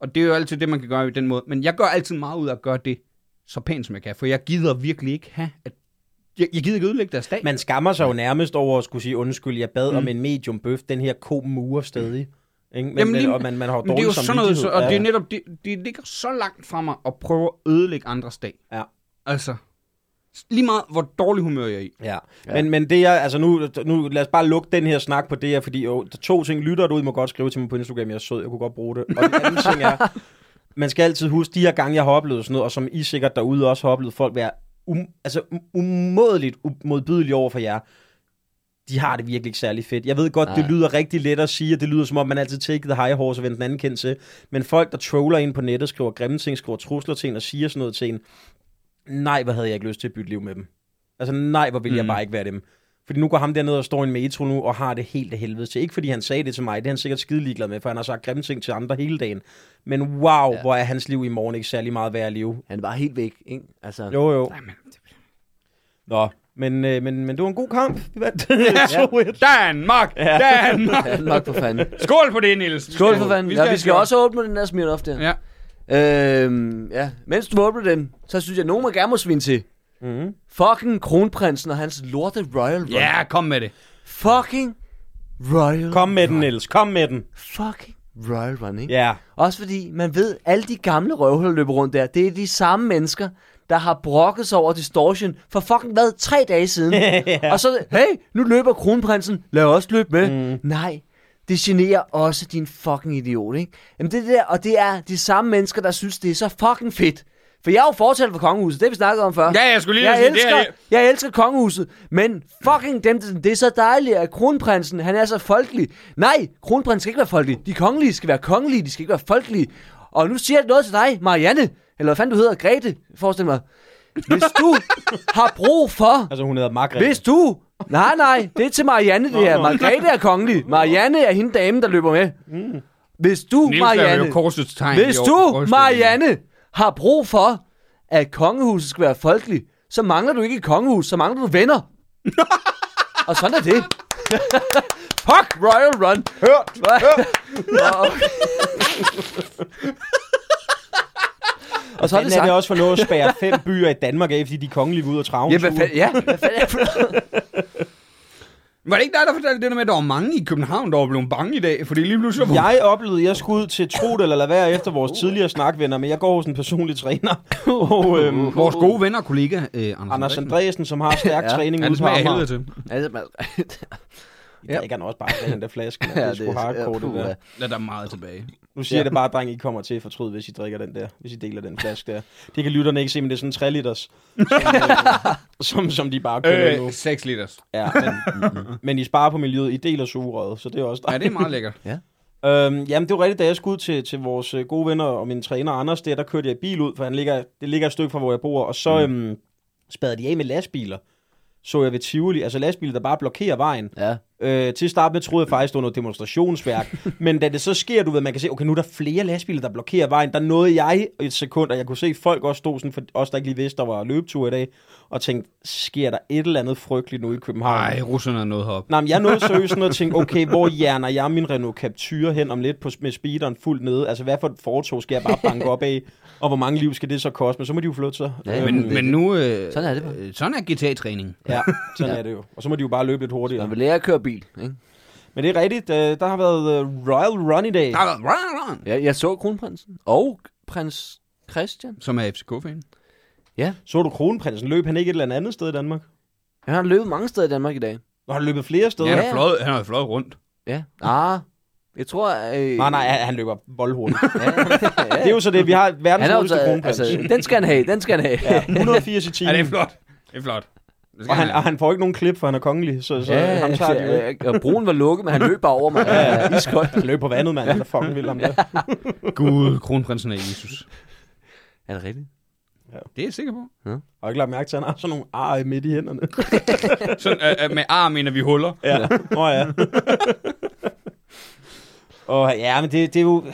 [SPEAKER 1] Og det er jo altid det, man kan gøre i den måde. Men jeg gør altid meget ud af at gøre det så pænt, som jeg kan, for jeg gider virkelig ikke have, at jeg, jeg gider ikke ødelægge deres dag.
[SPEAKER 4] Man skammer sig jo nærmest over at skulle sige, undskyld, jeg bad mm. om en medium bøf, den her ko murer stadig. Ikke?
[SPEAKER 1] Jamen,
[SPEAKER 4] Men, Jamen,
[SPEAKER 1] lige-
[SPEAKER 4] men, og man, man har jo
[SPEAKER 1] Men
[SPEAKER 4] dårlig
[SPEAKER 1] det er jo sådan noget, så,
[SPEAKER 4] samvittighed.
[SPEAKER 1] og det er
[SPEAKER 4] Ja.
[SPEAKER 1] netop, det, det ligger så langt fra mig at prøve at ødelægge andres dag.
[SPEAKER 4] Ja.
[SPEAKER 1] Altså, lige meget hvor dårlig humør jeg er i.
[SPEAKER 4] Ja. Men, men det er, altså nu, nu, lad os bare lukke den her snak på det her, fordi jo, der er to ting, lytter du ud, må godt skrive til mig på Instagram, jeg er sød, jeg kunne godt bruge det. Og den anden ting er, man skal altid huske, de her gange, jeg har oplevet sådan noget, og som I sikkert derude også har oplevet, folk være um, altså, um- umådeligt modbydelige over for jer. De har det virkelig ikke særlig fedt. Jeg ved godt, Nej. det
[SPEAKER 2] Nej.
[SPEAKER 4] lyder rigtig let at sige, og det lyder som om, man altid take the high horse og vender den anden kendt til. Men folk, der troller ind på nettet, skriver grimme ting, skriver trusler til en og siger sådan noget til en, nej, hvor havde jeg ikke lyst til at bytte liv med dem. Altså nej, hvor ville mm. jeg
[SPEAKER 1] Mm.
[SPEAKER 4] bare ikke være dem. Fordi nu går ham dernede og står i en metro nu og har det helt af helvede til. Ikke fordi han sagde det til mig, det er han sikkert skide ligeglad med, for han har sagt grimme ting til andre hele dagen. Men wow, ja. hvor er hans liv i morgen ikke særlig meget værd at leve.
[SPEAKER 2] Han var helt væk, ikke? Altså,
[SPEAKER 4] Jo, jo.
[SPEAKER 1] Jamen,
[SPEAKER 4] Nå. Men, øh, men, men det var en god kamp. Vi vandt. Ja.
[SPEAKER 1] Danmark!
[SPEAKER 4] Ja.
[SPEAKER 1] Danmark!
[SPEAKER 2] Danmark for fanden.
[SPEAKER 1] Skål på det, Niels!
[SPEAKER 2] Skål for fanden. Vi skal, ja, vi skal
[SPEAKER 1] skål.
[SPEAKER 2] også åbne den der Smirnoff der.
[SPEAKER 1] Ja.
[SPEAKER 2] Øhm, ja. Mens du åbner den, så synes jeg, at nogen må gerne må svine til. Mhm.
[SPEAKER 4] Mm-hmm.
[SPEAKER 2] Fucking kronprinsen og hans lorte Royal Run.
[SPEAKER 1] Ja, kom med det.
[SPEAKER 2] Fucking Royal
[SPEAKER 4] Kom med den, Niels. Kom med den.
[SPEAKER 2] Fucking Royal Run, ikke?
[SPEAKER 4] Ja.
[SPEAKER 2] Også fordi man ved, alle de gamle røvhuller der løber rundt der, det er de samme mennesker, der har brokket sig over distortion for fucking hvad, tre dage siden.
[SPEAKER 4] Ja.
[SPEAKER 2] Og så, hey, nu løber kronprinsen, lad os løbe med. Mm. Nej, det generer også din fucking idiot, ikke? Jamen det er det der, og det er de samme mennesker, der synes, det er så fucking fedt. For jeg er jo fortalt for kongehuset, det har vi snakket om før.
[SPEAKER 1] Ja, jeg skulle lige
[SPEAKER 2] Jeg
[SPEAKER 1] sige, det
[SPEAKER 2] elsker,
[SPEAKER 1] her-
[SPEAKER 2] jeg elsker kongehuset, men fucking dem, det det er så dejligt, at kronprinsen, han er så folkelig. Nej, kronprinsen skal ikke være folkelig. De kongelige skal være kongelige, de skal ikke være folkelige. Og nu siger jeg noget til dig, Marianne, eller hvad fanden du hedder, Grete, forestil mig. Hvis du har brug for
[SPEAKER 4] Altså, hun hedder Margrethe.
[SPEAKER 2] hvis du... Nej, nej, det er til Marianne, det her. Margrethe er kongelig. Marianne er hende dame, der løber med. Hvis du,
[SPEAKER 1] Mm. Niels er jo
[SPEAKER 2] Marianne...
[SPEAKER 1] korsets tegn.
[SPEAKER 2] Hvis
[SPEAKER 1] i år-
[SPEAKER 2] du,
[SPEAKER 1] årstiden.
[SPEAKER 2] Marianne, har brug for, at kongehuset skal være folkeligt, så mangler du ikke et kongehus, så mangler du venner. og sådan er det. Fuck Royal Run.
[SPEAKER 4] Hørt!
[SPEAKER 2] Og, og så er det sagt.
[SPEAKER 4] Sådan er det også for noget at spære fem byer i Danmark af, fordi de er kongelige ude og travne.
[SPEAKER 2] Ja, hvad fanden, ja, hvad fanden er det for noget?
[SPEAKER 1] Var det ikke dig, der fortalte det der med, at der var mange i København, der var blevet bange i dag? Fordi lige pludselig... var-
[SPEAKER 4] Jeg oplevede, at jeg skulle ud til tro det eller lade være efter vores tidligere snakvenner, men jeg går hos en personlig træner. Og øhm,
[SPEAKER 1] Vores gode venner og kollega, øh, Anders,
[SPEAKER 4] Anders Andreasen, som har stærk
[SPEAKER 2] Ja.
[SPEAKER 4] træning
[SPEAKER 1] Ja,
[SPEAKER 4] ude
[SPEAKER 1] det
[SPEAKER 4] på
[SPEAKER 1] smager af
[SPEAKER 4] Amager.
[SPEAKER 1] helvede til.
[SPEAKER 2] Altså, man-
[SPEAKER 4] Ja. Der ikke han også bare af den der flaske. Man.
[SPEAKER 2] Ja,
[SPEAKER 4] Ja, det er sgu
[SPEAKER 2] det er-
[SPEAKER 4] hardcore,
[SPEAKER 2] ja,
[SPEAKER 4] det
[SPEAKER 2] puha.
[SPEAKER 4] der.
[SPEAKER 1] Ja, der er meget tilbage.
[SPEAKER 4] Nu siger ja.
[SPEAKER 2] Ja.
[SPEAKER 4] det bare, dreng, I kommer til at fortryde, hvis I drikker den der. Hvis I deler den flaske der. Det kan lytterne ikke se, men det er sådan en 3 liters. Som, øh, som, som de bare kører øh. nu.
[SPEAKER 1] 6 liters.
[SPEAKER 4] Ja, men, men I sparer på miljøet. I deler sugerøret, så det er også
[SPEAKER 1] Ja, det er meget lækkert.
[SPEAKER 4] Øhm, jamen, det var rigtigt, da jeg skulle ud til, til vores øh, gode venner og min træner Anders der, der kørte jeg i bil ud, for han ligger, det ligger et stykke fra, hvor jeg bor, og så mm. øhm, spadede de af med lastbiler, så jeg ved Tivoli, altså lastbiler, der bare blokerer vejen.
[SPEAKER 2] ja.
[SPEAKER 4] Øh, til at starte med troede jeg faktisk, det var noget demonstrationsværk, men da det så sker, du ved, man kan se, okay, nu er der flere lastbiler, der blokerer vejen, der nåede jeg et sekund, og jeg kunne se, folk også stod sådan, for os der ikke lige vidste, der var løbetur i dag, og tænkte, sker der et eller andet frygteligt nu i København?
[SPEAKER 1] Nej, russerne er nået herop.
[SPEAKER 4] Nej, men jeg nåede seriøst sådan at tænke, okay, hvor hjerner jeg min Renault Captur hen om lidt på, med speederen fuldt nede? Altså, hvad for et fortog skal jeg bare banke op af? Og hvor mange liv skal det så koste? Men så må de jo flytte sig.
[SPEAKER 2] Ja,
[SPEAKER 4] Øhm,
[SPEAKER 1] Men, men nu... Øh,
[SPEAKER 2] Sådan er det bare.
[SPEAKER 1] øh, Sådan er GTA-træning.
[SPEAKER 4] ja, sådan er det jo. Og så må de jo bare løbe lidt hurtigere.
[SPEAKER 2] Man vil lære at køre bil, ikke?
[SPEAKER 4] Men det er rigtigt. øh, Der har været øh, Royal Run i dag.
[SPEAKER 1] Der er været run, run,
[SPEAKER 2] Ja, jeg så kronprinsen. Og prins Christian.
[SPEAKER 1] som er FCK-fan.
[SPEAKER 4] Så du kronprinsen. Løb han ikke et eller andet sted i Danmark?
[SPEAKER 2] Han har løbet mange steder i Danmark i dag.
[SPEAKER 4] Og har løbet flere steder?
[SPEAKER 1] Ja, han
[SPEAKER 2] Ja.
[SPEAKER 1] har fløjet, han har fløjet rundt.
[SPEAKER 2] Ja. Ah, jeg tror... Øh...
[SPEAKER 4] Nej, nej, han- han løber voldhurtigt.
[SPEAKER 2] Ja,
[SPEAKER 4] Det er jo så det, vi har verdens
[SPEAKER 2] han er
[SPEAKER 4] hurtigste
[SPEAKER 2] altså,
[SPEAKER 4] kronprins.
[SPEAKER 2] altså, den skal han have, den skal han have.
[SPEAKER 4] Ja, 180 i timen.
[SPEAKER 1] Ja, det er flot. Det er flot. Det skal
[SPEAKER 4] Og han,
[SPEAKER 1] han
[SPEAKER 4] og
[SPEAKER 1] have.
[SPEAKER 4] han får ikke nogen klip, for han er kongelig, så, så ja, ham tager de jo ikke.
[SPEAKER 2] ja, og broen var lukket, men han løb bare over mig. Ja, ja, ja. Iskold.
[SPEAKER 4] Han løb på vandet, mand. Han er fucking vild om det.
[SPEAKER 1] Gud, kronprinsen af Jesus.
[SPEAKER 2] Er det rigtigt?
[SPEAKER 1] Det er jeg sikker på.
[SPEAKER 4] Og jeg har ikke lagt mærke til, at han har sådan nogle ar i midt i hænderne.
[SPEAKER 1] Sådan, øh, øh, med arm mener vi huller.
[SPEAKER 4] Ja. Nå ja. og ja, men det, det er jo...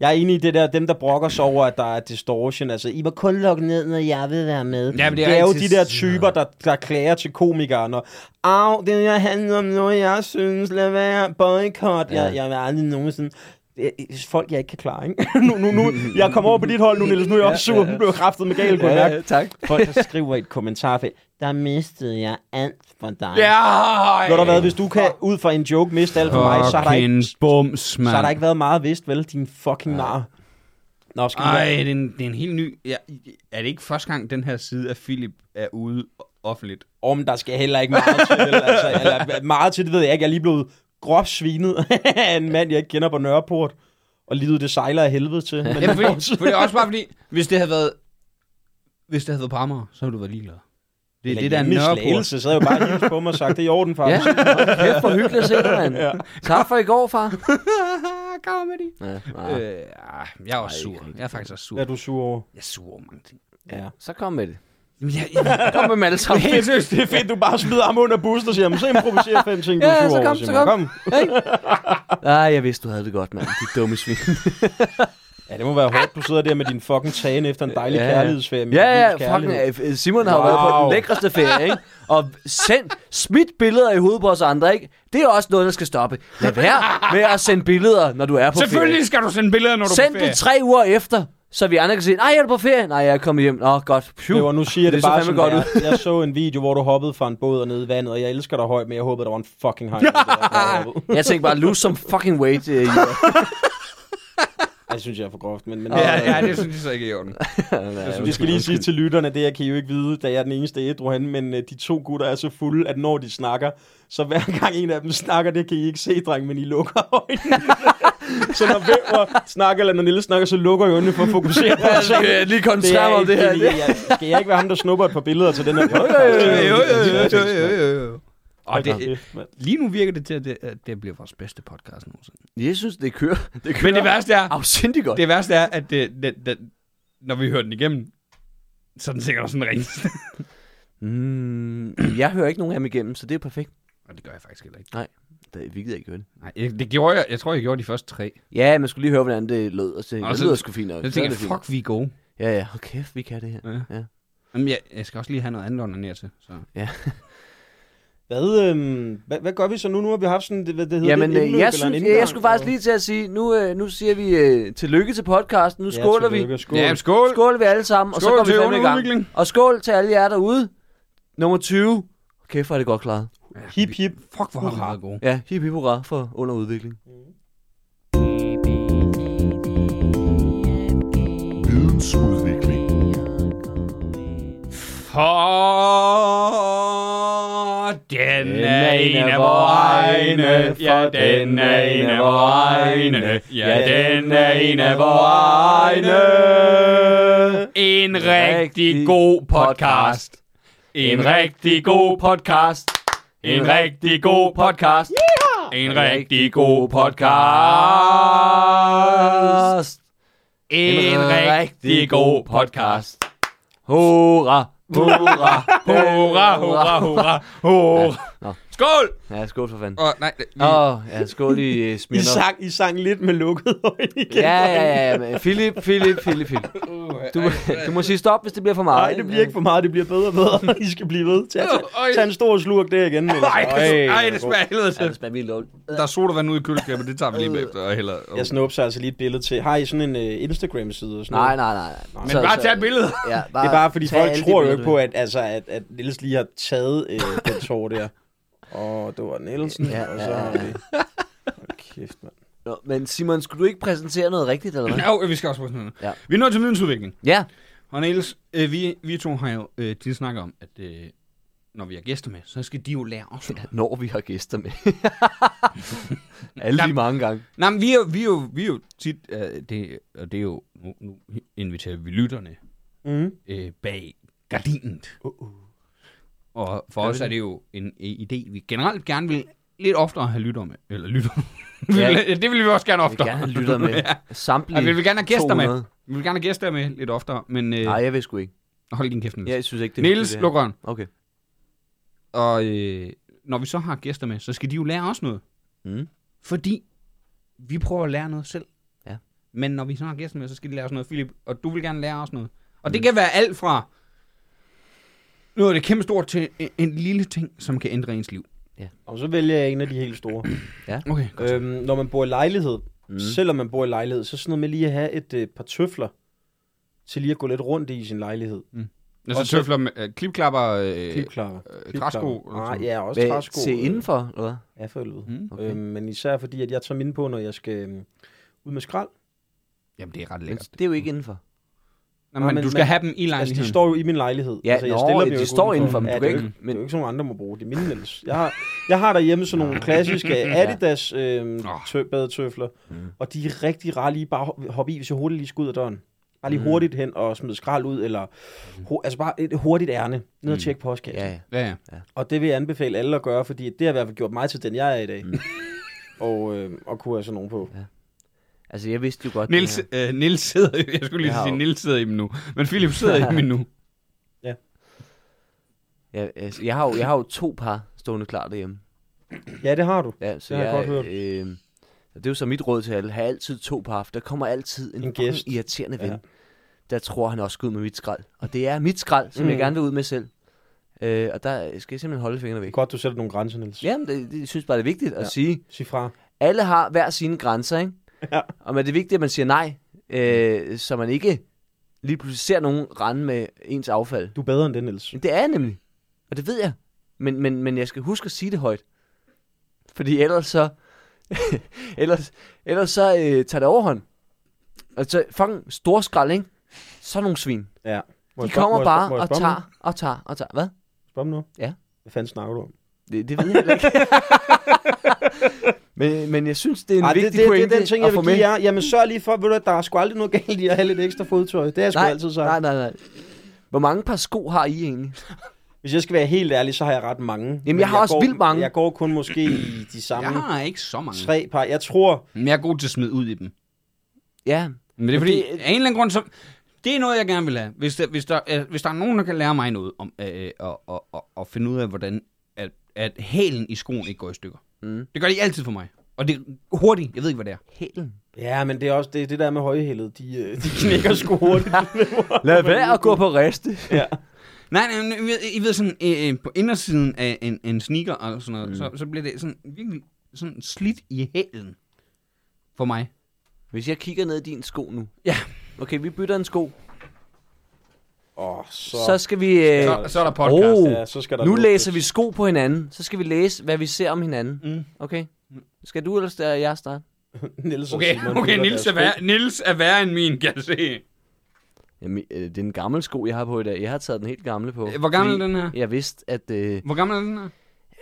[SPEAKER 4] Jeg er enig i det der, dem der brokker sig over, at der er distortion. Altså, I må kun lukke ned, når jeg vil være med.
[SPEAKER 1] Ja, men det
[SPEAKER 4] det
[SPEAKER 1] er
[SPEAKER 4] er, det er jo
[SPEAKER 1] altid
[SPEAKER 4] de der
[SPEAKER 1] sådan
[SPEAKER 4] typer, der, der klager til komikere, når Au, det her handler om noget, jeg synes, lad være, boykot, ja. jeg, jeg vil aldrig nogensinde... Det er folk, jeg ikke kan klare, ikke? nu, nu, nu, jeg kommer over på dit hold nu, Niels, nu er jeg også sur, nu blev jeg kraftet med galt, kunne jeg mærke.
[SPEAKER 2] tak.
[SPEAKER 4] Folk, der skriver i et kommentarfelt, der mistede jeg alt for dig.
[SPEAKER 1] Ja,
[SPEAKER 4] Ved du hvad, hvis du kan ud fra en joke miste alt for mig, så har der ikke,
[SPEAKER 1] Fucking bums, mand.
[SPEAKER 4] så har der ikke været meget vist, vel? Din fucking nar. Nå, skal vi
[SPEAKER 1] Ej,
[SPEAKER 4] have-
[SPEAKER 1] det er, en, det er en helt ny... Ja, er det ikke første gang, den her side af Philip er ude offentligt?
[SPEAKER 4] Om der skal heller ikke meget til, vel? altså, eller, meget til, det ved jeg ikke. Jeg er lige blevet groft svinet af en mand, jeg ikke kender på Nørreport. Og livet, det sejler af helvede til. Men
[SPEAKER 1] Ja, fordi, for det er også bare fordi, hvis det havde været, hvis det havde været på Amager, så havde du været ligeglad. Det er
[SPEAKER 4] Eller
[SPEAKER 1] det, der er
[SPEAKER 4] hjemme i
[SPEAKER 1] Nørreport.
[SPEAKER 4] Slagelse, så havde jeg jo bare hilst på mig og sagt, det er i orden, far.
[SPEAKER 2] Ja, kæft for hyggeligt at se dig, mand. Ja. Tak for i går, far.
[SPEAKER 1] Comedy.
[SPEAKER 2] Ja, nej.
[SPEAKER 1] Øh, ah, jeg er også
[SPEAKER 2] Ej, ikke
[SPEAKER 1] sur.
[SPEAKER 2] rigtig.
[SPEAKER 1] Jeg er faktisk også sur.
[SPEAKER 4] Hvad er du sur over?
[SPEAKER 1] Jeg er sur over mange ting.
[SPEAKER 4] Ja.
[SPEAKER 2] Så kom med det.
[SPEAKER 1] Jamen, jeg, jeg,
[SPEAKER 2] Kom med dem alle sammen.
[SPEAKER 4] Helt seriøst, det er fedt, du bare smider ham under bussen og siger, "Men så improviserer fem ting, du
[SPEAKER 2] Ja,
[SPEAKER 4] er sur
[SPEAKER 2] så
[SPEAKER 4] over,
[SPEAKER 2] kom, så
[SPEAKER 4] Simon.
[SPEAKER 2] kom. Ej, jeg vidste, du havde det godt, mand. De dumme svin.
[SPEAKER 4] Ja, det må være hårdt, du sidder der med din fucking tagen efter en dejlig
[SPEAKER 2] Ja,
[SPEAKER 4] ja.
[SPEAKER 2] ja.
[SPEAKER 4] kærlighedsferie. med
[SPEAKER 2] Ja,
[SPEAKER 4] din livs
[SPEAKER 2] ja,
[SPEAKER 4] kærlighed.
[SPEAKER 2] fucking, øh, Simon har wow. været på
[SPEAKER 4] Wow.
[SPEAKER 2] den lækreste ferie, ikke? Og send, smidt billeder i hovedet på os andre, ikke? Det er også noget, der skal stoppe. Lad være med at sende billeder, når du er på
[SPEAKER 1] selvfølgelig skal du sende billeder, når du
[SPEAKER 2] ferie.
[SPEAKER 1] er på
[SPEAKER 2] Send
[SPEAKER 1] ferie.
[SPEAKER 2] det tre uger efter, så vi andre kan sige, nej, jeg er på ferie. Nej, jeg er kommet hjem. Åh, godt. Phew.
[SPEAKER 4] Det var, nu siger jeg det,
[SPEAKER 2] så
[SPEAKER 4] det bare
[SPEAKER 2] fandme
[SPEAKER 4] sådan,
[SPEAKER 2] godt
[SPEAKER 4] godt
[SPEAKER 2] ud.
[SPEAKER 4] jeg så en video, hvor du hoppede fra en båd og ned i vandet, og jeg elsker dig højt, men jeg håbede, der var en fucking hej.
[SPEAKER 2] Jeg tænkte bare, lose some fucking weight. Øh, ja.
[SPEAKER 4] Jeg synes, jeg er for groft, men... men
[SPEAKER 1] Ja, ja, det synes jeg så ikke er i orden.
[SPEAKER 4] Jeg synes, det skal lige sige til lytterne, det jeg kan I jo ikke vide, da jeg er den eneste ædru han, men øh, de to gutter er så fulde, at når de snakker, så hver gang en af dem snakker, det kan I ikke se, dreng, men I lukker øjnene. så når Væver snakker, eller når Nille snakker, så lukker I øjnene for at fokusere på os.
[SPEAKER 2] skal jeg lige koncentrere mig om det her.
[SPEAKER 4] Det. Jeg, skal jeg ikke være ham, der snupper et par billeder til den her? Jo,
[SPEAKER 1] Jo, jo, jo, jo, jo, jo. Og det,
[SPEAKER 4] jo.
[SPEAKER 1] lige nu virker det til, at det, at det bliver vores bedste podcast nogensinde.
[SPEAKER 2] Jeg synes, det kører. Det kører.
[SPEAKER 1] Men det værste er,
[SPEAKER 2] Afsindig godt.
[SPEAKER 1] det værste er at det, det, det, når vi hører den igennem, så er den sikkert også en ring.
[SPEAKER 2] Mm, jeg hører ikke nogen af dem igennem, så det er perfekt.
[SPEAKER 1] Og det gør jeg faktisk heller ikke.
[SPEAKER 2] Det, vi gider ikke høre det.
[SPEAKER 1] Nej, jeg- det gjorde jeg. Jeg tror, jeg gjorde de første tre.
[SPEAKER 2] Ja, man skulle lige høre, hvordan det lød. Og så,
[SPEAKER 1] Nå,
[SPEAKER 2] det
[SPEAKER 1] så-
[SPEAKER 2] lyder sgu fint nok.
[SPEAKER 1] Jeg
[SPEAKER 2] Så er
[SPEAKER 1] tænkte,
[SPEAKER 2] det fint.
[SPEAKER 1] fuck, vi er gode.
[SPEAKER 2] Ja, ja, hold kæft, vi kan det her.
[SPEAKER 1] Ja.
[SPEAKER 2] Ja.
[SPEAKER 1] Jamen, jeg, jeg skal også lige have noget andet under ned til. Så.
[SPEAKER 4] Hvad, øhm, hvad, hvad gør vi så nu? Nu har vi haft sådan, det, hvad det hedder
[SPEAKER 2] Jamen,
[SPEAKER 4] det,
[SPEAKER 2] øh,
[SPEAKER 4] et indløb
[SPEAKER 2] jeg,
[SPEAKER 4] eller en
[SPEAKER 2] synes, jeg,
[SPEAKER 4] indgang,
[SPEAKER 2] jeg skulle faktisk
[SPEAKER 4] eller-
[SPEAKER 2] lige til at sige, nu, øh, nu siger vi øh, tillykke til podcasten, nu skåler vi.
[SPEAKER 4] tillykke, Skål.
[SPEAKER 1] Ja, skål!
[SPEAKER 2] Skål vi alle sammen, og så
[SPEAKER 1] Skål
[SPEAKER 2] går vi
[SPEAKER 1] til
[SPEAKER 2] fandme i gang.
[SPEAKER 1] underudvikling.
[SPEAKER 2] Og skål til alle jer derude. Nummer 20. Kæft, hvor er det godt klaret.
[SPEAKER 1] Ja,
[SPEAKER 4] Hip, hip.
[SPEAKER 1] Fuck, hvor er meget gode.
[SPEAKER 2] Ja, hip hip hurra for underudvikling.
[SPEAKER 5] Vidensudvikling.
[SPEAKER 1] For den
[SPEAKER 2] er en af vores egne.
[SPEAKER 1] Ja, den er en af vores egne. Ja, den er en af vores egne. En rigtig god podcast. En rigtig god podcast. En rigtig god podcast. En rigtig god podcast. En rigtig god podcast.
[SPEAKER 2] Hurra, hurra,
[SPEAKER 1] Hurra, hurra, hurra, hurra.
[SPEAKER 2] Nå.
[SPEAKER 1] Skål!
[SPEAKER 2] Ja, skål for fanden.
[SPEAKER 1] Åh, oh, nej. Vi, oh.
[SPEAKER 2] Åh, oh, ja, skål i uh,
[SPEAKER 4] I
[SPEAKER 2] Smirnoff.
[SPEAKER 4] sang, I sang lidt med lukkede øjne igen.
[SPEAKER 2] Ja, ja, ja, ja. men Philip, Philip, Philip, Philip. Du, du må sige stop, hvis det bliver for meget.
[SPEAKER 4] Nej, det bliver ikke for meget, det bliver bedre og bedre. I skal blive ved. Tag,
[SPEAKER 1] Øj.
[SPEAKER 4] tag, tag en stor slurk der igen. Niels.
[SPEAKER 1] Ej, det,
[SPEAKER 4] Øj,
[SPEAKER 1] ej, det smager af helvede
[SPEAKER 2] Ja, det
[SPEAKER 1] til.
[SPEAKER 2] smager vildt dårligt.
[SPEAKER 1] Der er sodavand ude i køleskabet, det tager vi lige bagefter. Og heller, og...
[SPEAKER 4] Jeg snupser altså lige et billede til. Har I sådan en uh, Instagram-side og sådan
[SPEAKER 2] Nej,
[SPEAKER 4] noget?
[SPEAKER 2] nej, nej. nej.
[SPEAKER 1] Men bare tag et billede.
[SPEAKER 2] Ja,
[SPEAKER 4] Det er bare, fordi
[SPEAKER 2] tag
[SPEAKER 4] folk
[SPEAKER 2] alle de
[SPEAKER 4] tror jo
[SPEAKER 2] billeder,
[SPEAKER 4] ikke på, at, altså, at, at Niels lige har taget øh, den tår der. Og det var Nielsen,
[SPEAKER 2] Ja,
[SPEAKER 4] ja, og så
[SPEAKER 2] ja,
[SPEAKER 4] har
[SPEAKER 2] ja.
[SPEAKER 4] vi... Hold kæft, mand.
[SPEAKER 2] du- Nå, men Simon, skulle du ikke præsentere noget rigtigt, eller hvad?
[SPEAKER 1] Nå, øh, vi skal også prøve sådan noget.
[SPEAKER 2] Ja.
[SPEAKER 1] Vi er nået til vidensudvikling.
[SPEAKER 2] Ja,
[SPEAKER 1] Og Niels, øh, vi, vi to har jo øh, tit snakket om, at øh, når vi har gæster med, så skal de jo lære os noget.
[SPEAKER 2] når vi har gæster med. alle de
[SPEAKER 1] Jamen.
[SPEAKER 2] mange gange.
[SPEAKER 1] Nej, men vi er, jo- vi er jo, vi er jo tit, øh, det, og det er jo, nu, nu inviterer vi lytterne
[SPEAKER 4] Mm.
[SPEAKER 1] øh, bag gardinet.
[SPEAKER 2] Uh,
[SPEAKER 4] Uh-uh.
[SPEAKER 1] Og for os er det jo en øh, idé, vi generelt gerne vil lidt oftere have lytter med. Eller lytter.
[SPEAKER 2] Ja.
[SPEAKER 1] Ja. det vil vi også gerne
[SPEAKER 2] Jeg vil
[SPEAKER 1] oftere.
[SPEAKER 2] gerne have lyttet med.
[SPEAKER 1] ja.
[SPEAKER 2] Samtlige
[SPEAKER 1] Ej, vi vil gerne have gæster
[SPEAKER 2] 200.
[SPEAKER 1] med. Vi vil gerne have gæster med lidt oftere, men øh,
[SPEAKER 2] Nej, jeg ved sgu ikke.
[SPEAKER 1] hold din kæft, Niels.
[SPEAKER 2] Jeg synes ikke, det er
[SPEAKER 1] Niels,
[SPEAKER 2] hyggeligt, det
[SPEAKER 1] luk røven.
[SPEAKER 2] her. Okay.
[SPEAKER 1] Og øh, når vi så har gæster med, så skal de jo lære os noget.
[SPEAKER 2] Mm.
[SPEAKER 1] Fordi vi prøver at lære noget selv.
[SPEAKER 2] Ja.
[SPEAKER 1] Men når vi så har gæster med, så skal de lære os noget, Philip. Og du vil gerne lære os noget. Og det kan være alt fra noget af det kæmpe stort til en, en lille ting, som kan ændre ens liv.
[SPEAKER 4] Og så vælger jeg en af de helt store.
[SPEAKER 1] Okay, godt. Øh,
[SPEAKER 4] øhm, når man bor i lejlighed,
[SPEAKER 2] Mm.
[SPEAKER 4] mm. selvom man bor i lejlighed, så sådan noget med lige at have et øh, par tøfler til lige at gå lidt rundt i sin lejlighed.
[SPEAKER 1] Når så
[SPEAKER 4] og så-
[SPEAKER 1] tøfler med øh, klipklapper, øh,
[SPEAKER 4] Klipklapper.
[SPEAKER 1] øh, træsko. og
[SPEAKER 4] Nej,
[SPEAKER 1] sådan.
[SPEAKER 4] Ah, ja, også
[SPEAKER 2] Hvad,
[SPEAKER 4] træsko. øh,
[SPEAKER 2] se indenfor, eller hvad?
[SPEAKER 4] Ja, for helvede.
[SPEAKER 1] Mm.
[SPEAKER 2] Okay.
[SPEAKER 4] Okay. Øhm, men især fordi, at jeg tager mine på, når jeg skal øhm, ud med skrald. Altså,
[SPEAKER 1] Jamen, det er ret
[SPEAKER 2] Men
[SPEAKER 1] lækkert.
[SPEAKER 2] det er jo ikke indenfor.
[SPEAKER 1] Nå, men,
[SPEAKER 4] men-
[SPEAKER 1] du skal
[SPEAKER 4] men-
[SPEAKER 1] have dem i
[SPEAKER 4] Altså,
[SPEAKER 1] lejligheden.
[SPEAKER 4] de står jo i min lejlighed.
[SPEAKER 2] Ja,
[SPEAKER 4] altså,
[SPEAKER 2] nå,
[SPEAKER 4] dem
[SPEAKER 2] de
[SPEAKER 4] jo ikke
[SPEAKER 2] står
[SPEAKER 4] udenfor.
[SPEAKER 2] indenfor, men
[SPEAKER 4] ja,
[SPEAKER 2] du
[SPEAKER 4] det er
[SPEAKER 2] kan
[SPEAKER 4] jo
[SPEAKER 2] ikke-
[SPEAKER 4] ikke, men... det er jo ikke nogen andre, der må bruge. Det er mine ellers. Jeg har, jeg har derhjemme sådan nogle klassiske Adidas øhm, tø- badetøfler,
[SPEAKER 1] Mm.
[SPEAKER 4] og de er rigtig rare lige bare at hoppe i, hvis jeg hurtigt lige skal ud af døren. Bare
[SPEAKER 2] Mm.
[SPEAKER 4] lige hurtigt hen og smide skrald ud, eller
[SPEAKER 1] Mm.
[SPEAKER 4] hu- altså bare et hurtigt ærne. Ned og tjekke postkassen.
[SPEAKER 2] Mm. Ja, ja.
[SPEAKER 1] Ja, ja.
[SPEAKER 4] Og det vil jeg anbefale alle at gøre, fordi det har i hvert fald gjort mig til den, jeg er i
[SPEAKER 2] Mm.
[SPEAKER 4] dag. og, øh, og kunne have sådan nogen på.
[SPEAKER 2] Altså, jeg vidste jo godt... det
[SPEAKER 1] Nils,
[SPEAKER 2] her.
[SPEAKER 1] øh, Nils sidder i- jeg skulle lige
[SPEAKER 2] Jeg har
[SPEAKER 1] sige,
[SPEAKER 2] jo-
[SPEAKER 1] Nils sidder i dem nu. Men Philip sidder i dem nu.
[SPEAKER 2] Ja, altså, jeg, har jo, jeg har jo to par stående klar derhjemme.
[SPEAKER 4] Ja, det har du.
[SPEAKER 2] Ja, så
[SPEAKER 4] Det har jeg
[SPEAKER 2] jeg,
[SPEAKER 4] godt hørt.
[SPEAKER 2] øh, det er jo så mit råd til alle. Ha' altid to par. for Der kommer altid en,
[SPEAKER 4] En
[SPEAKER 2] en
[SPEAKER 4] gæst.
[SPEAKER 2] gæst. irriterende ven.
[SPEAKER 4] Ja.
[SPEAKER 2] Ja. Der tror han også skal ud med mit skrald. Og det er mit skrald, som mm. jeg
[SPEAKER 4] Mm.
[SPEAKER 2] gerne vil ud med selv. Øh, og der skal jeg simpelthen holde fingrene væk.
[SPEAKER 4] Godt, du sætter nogle grænser, Niels.
[SPEAKER 2] Jamen, det, det, jeg synes bare, det er vigtigt at
[SPEAKER 4] Ja.
[SPEAKER 2] ja. sige.
[SPEAKER 4] Sig fra.
[SPEAKER 2] Alle har hver sine grænser, ikke?
[SPEAKER 4] Ja.
[SPEAKER 2] Og men det er vigtigt, at man siger nej, øh, så man ikke lige pludselig ser nogen rende med ens affald.
[SPEAKER 4] Du er bedre end det, Niels.
[SPEAKER 2] Men det er jeg nemlig. Og det ved jeg. Men, men, men jeg skal huske at sige det højt. Fordi ellers så... ellers, ellers så øh, tager det overhånd. Og så fucking store skrald, ikke? Sådan nogle svin.
[SPEAKER 4] Ja. Må
[SPEAKER 2] De
[SPEAKER 4] jeg spørge- må
[SPEAKER 2] kommer
[SPEAKER 4] jeg
[SPEAKER 2] bare
[SPEAKER 4] spørge- må jeg
[SPEAKER 2] og
[SPEAKER 4] spørge om
[SPEAKER 2] tager og tager og tager. Hvad?
[SPEAKER 4] noget? Spørge om noget?
[SPEAKER 2] Ja.
[SPEAKER 4] Hvad fanden snakker du om?
[SPEAKER 2] Det, det ved jeg heller ikke. men, men jeg synes, det er en
[SPEAKER 4] Ej,
[SPEAKER 2] Ej, vigtig
[SPEAKER 4] det, det,
[SPEAKER 2] pointe
[SPEAKER 4] det, det, er den ting, jeg
[SPEAKER 2] at få
[SPEAKER 4] vil
[SPEAKER 2] med.
[SPEAKER 4] give jer. Jamen, sørg lige for, ved du, at der er sgu aldrig noget galt i at have lidt ekstra fodtøj. Det har jeg sgu
[SPEAKER 2] nej,
[SPEAKER 4] altid sagt.
[SPEAKER 2] nej, nej, nej. Hvor mange par sko har I egentlig?
[SPEAKER 4] Hvis jeg skal være helt ærlig, så har jeg ret mange. Jamen,
[SPEAKER 2] jeg har også
[SPEAKER 4] går,
[SPEAKER 2] vildt mange.
[SPEAKER 4] Jeg går kun måske i de samme
[SPEAKER 1] Jeg har ikke så mange.
[SPEAKER 4] tre par. Jeg tror...
[SPEAKER 1] Men jeg er god til at smide ud i dem.
[SPEAKER 2] Ja,
[SPEAKER 1] Men det er
[SPEAKER 2] Men
[SPEAKER 1] fordi,
[SPEAKER 2] det-
[SPEAKER 1] af en eller anden grund, så... Det er noget, jeg gerne vil have. Hvis der, hvis der, øh, hvis der er nogen, der kan lære mig noget om øh, og, og, og, og finde ud af, hvordan at, at hælen i skoen ikke går i stykker.
[SPEAKER 2] Mm.
[SPEAKER 1] Det gør de altid for mig. Og det er hurtigt. Jeg ved ikke, hvad det er.
[SPEAKER 2] hælen.
[SPEAKER 4] Ja, men det er også det, det der med højhælet. De, øh, de knækker sgu hurtigt.
[SPEAKER 2] Lad være at gå på reste.
[SPEAKER 4] ja.
[SPEAKER 1] Nej, nej, men I ved- I ved sådan, øh, øh, på indersiden af en, en sneaker og sådan noget, mm. så, så bliver det sådan virkelig sådan slidt i hælen for mig.
[SPEAKER 2] Hvis jeg kigger ned i din sko nu.
[SPEAKER 1] Ja.
[SPEAKER 2] Okay, vi bytter en sko.
[SPEAKER 4] Åh, oh, så...
[SPEAKER 2] Så skal vi... Øh,
[SPEAKER 1] Så, så er der podcast.
[SPEAKER 2] Oh.
[SPEAKER 1] Oh.
[SPEAKER 4] ja, så skal der
[SPEAKER 2] nu
[SPEAKER 4] luftes.
[SPEAKER 2] læser vi sko på hinanden. Så skal vi læse, hvad vi ser om hinanden.
[SPEAKER 1] Mm.
[SPEAKER 2] Okay? Skal du eller skal jeg starte?
[SPEAKER 4] Niels og
[SPEAKER 1] Okay,
[SPEAKER 4] Simon
[SPEAKER 1] okay
[SPEAKER 4] bytter
[SPEAKER 1] Nils, er
[SPEAKER 4] deres
[SPEAKER 1] værre, Nils er værre end min, kan jeg se.
[SPEAKER 2] Jamen, øh, det er en gammel sko, jeg har på i dag. Jeg har taget den helt gamle på.
[SPEAKER 1] Øh, hvor gammel er
[SPEAKER 2] fordi
[SPEAKER 1] den her?
[SPEAKER 2] Jeg vidste, at... Øh,
[SPEAKER 1] Hvor gammel er den her?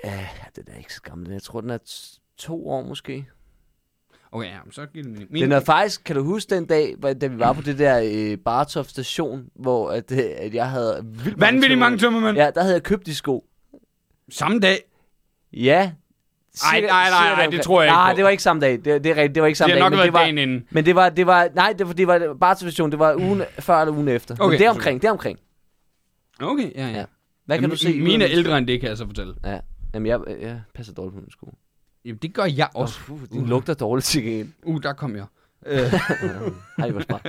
[SPEAKER 2] ja, den er ikke så gammel. Jeg tror, den er t- to år måske.
[SPEAKER 1] Okay, ja, men så giver det min. min
[SPEAKER 2] Den er faktisk, kan du huske den dag, hvor- da vi var på det der øh, Bartov station, hvor at, øh, at jeg havde vildt
[SPEAKER 1] Vanvittigt
[SPEAKER 2] sko.
[SPEAKER 1] mange tømmermænd. Ja.
[SPEAKER 2] Ja, der havde jeg købt de sko.
[SPEAKER 1] Samme dag.
[SPEAKER 2] Ja.
[SPEAKER 1] Ej, nej, nej, nej, det tror jeg ikke
[SPEAKER 2] Nej,
[SPEAKER 1] på.
[SPEAKER 2] det var ikke samme dag. Det, det er rigtigt, det var ikke samme
[SPEAKER 1] Det har
[SPEAKER 2] dag.
[SPEAKER 1] nok
[SPEAKER 2] men
[SPEAKER 1] været
[SPEAKER 2] det var,
[SPEAKER 1] dagen inden.
[SPEAKER 2] Men det var, det var, nej, det var, det var Bartov-station, det var ugen før eller ugen efter. Okay.
[SPEAKER 1] Okay.
[SPEAKER 2] Men det er omkring, det er omkring.
[SPEAKER 1] Okay, ja, ja.
[SPEAKER 2] Ja.
[SPEAKER 1] ja.
[SPEAKER 2] Hvad kan
[SPEAKER 1] Jamen,
[SPEAKER 2] du se? ud af
[SPEAKER 1] Mine er
[SPEAKER 2] mine sko?
[SPEAKER 1] ældre end det, kan jeg så fortælle.
[SPEAKER 2] Ja, jamen jeg, øh, jeg passer dårligt på mine sko.
[SPEAKER 1] Jamen, det gør jeg også.
[SPEAKER 2] Åh, oh, de lugter dårligt til gengæld.
[SPEAKER 1] Uh, der kom jeg. Øh,
[SPEAKER 2] Ej, hvor smart.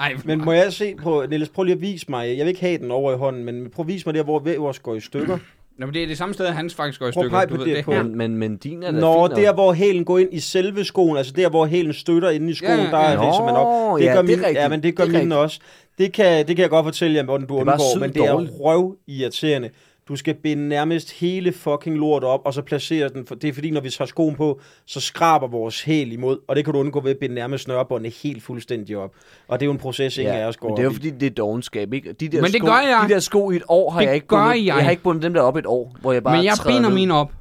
[SPEAKER 1] ej,
[SPEAKER 4] Men må jeg se på, Niels, prøv lige at vise mig, jeg vil ikke have den over i hånden, men prøv at vise mig der, hvor Vævers går i stykker.
[SPEAKER 1] Nå, men det er det samme sted, at hans faktisk går i
[SPEAKER 4] Prøv at
[SPEAKER 1] stykker.
[SPEAKER 4] pege
[SPEAKER 1] Du
[SPEAKER 4] på
[SPEAKER 1] ved,
[SPEAKER 4] det
[SPEAKER 1] det
[SPEAKER 4] på-
[SPEAKER 1] her.
[SPEAKER 2] Men, men, men din er da
[SPEAKER 4] Nå,
[SPEAKER 2] fin
[SPEAKER 4] der
[SPEAKER 2] nok.
[SPEAKER 4] hvor hælen går ind i selve skoen, altså der hvor hælen støtter inde i skoen,
[SPEAKER 1] Ja, ja,
[SPEAKER 4] der er
[SPEAKER 2] ja.
[SPEAKER 4] det som man
[SPEAKER 2] Nå,
[SPEAKER 4] op. Det
[SPEAKER 2] ja,
[SPEAKER 4] gør
[SPEAKER 2] det er
[SPEAKER 4] mine,
[SPEAKER 2] rigtigt.
[SPEAKER 4] ja, men det gør
[SPEAKER 2] Det er
[SPEAKER 4] mine også. Det kan, det kan jeg godt fortælle jer, hvordan du
[SPEAKER 2] er bare
[SPEAKER 4] undgår,
[SPEAKER 2] sygt
[SPEAKER 4] men det er
[SPEAKER 2] dårligt.
[SPEAKER 4] røv irriterende. Du skal binde nærmest hele fucking lort op, og så placere den. For det er fordi, når vi tager skoen på, så skraber vores hæl imod, og det kan du undgå ved at binde nærmest snørebåndene helt fuldstændig op. Og det er jo en proces, ingen af os går
[SPEAKER 2] men det er jo
[SPEAKER 4] op i.
[SPEAKER 2] fordi, det er dogenskab, ikke? De der
[SPEAKER 1] Men det
[SPEAKER 2] sko,
[SPEAKER 1] gør jeg.
[SPEAKER 2] De der sko i et år har
[SPEAKER 1] Det
[SPEAKER 2] jeg ikke
[SPEAKER 1] gør
[SPEAKER 2] bundet.
[SPEAKER 1] jeg.
[SPEAKER 2] Jeg har ikke bundet dem der op et år, hvor jeg bare
[SPEAKER 1] Men jeg
[SPEAKER 2] træder
[SPEAKER 1] binder
[SPEAKER 2] ned.
[SPEAKER 1] mine op.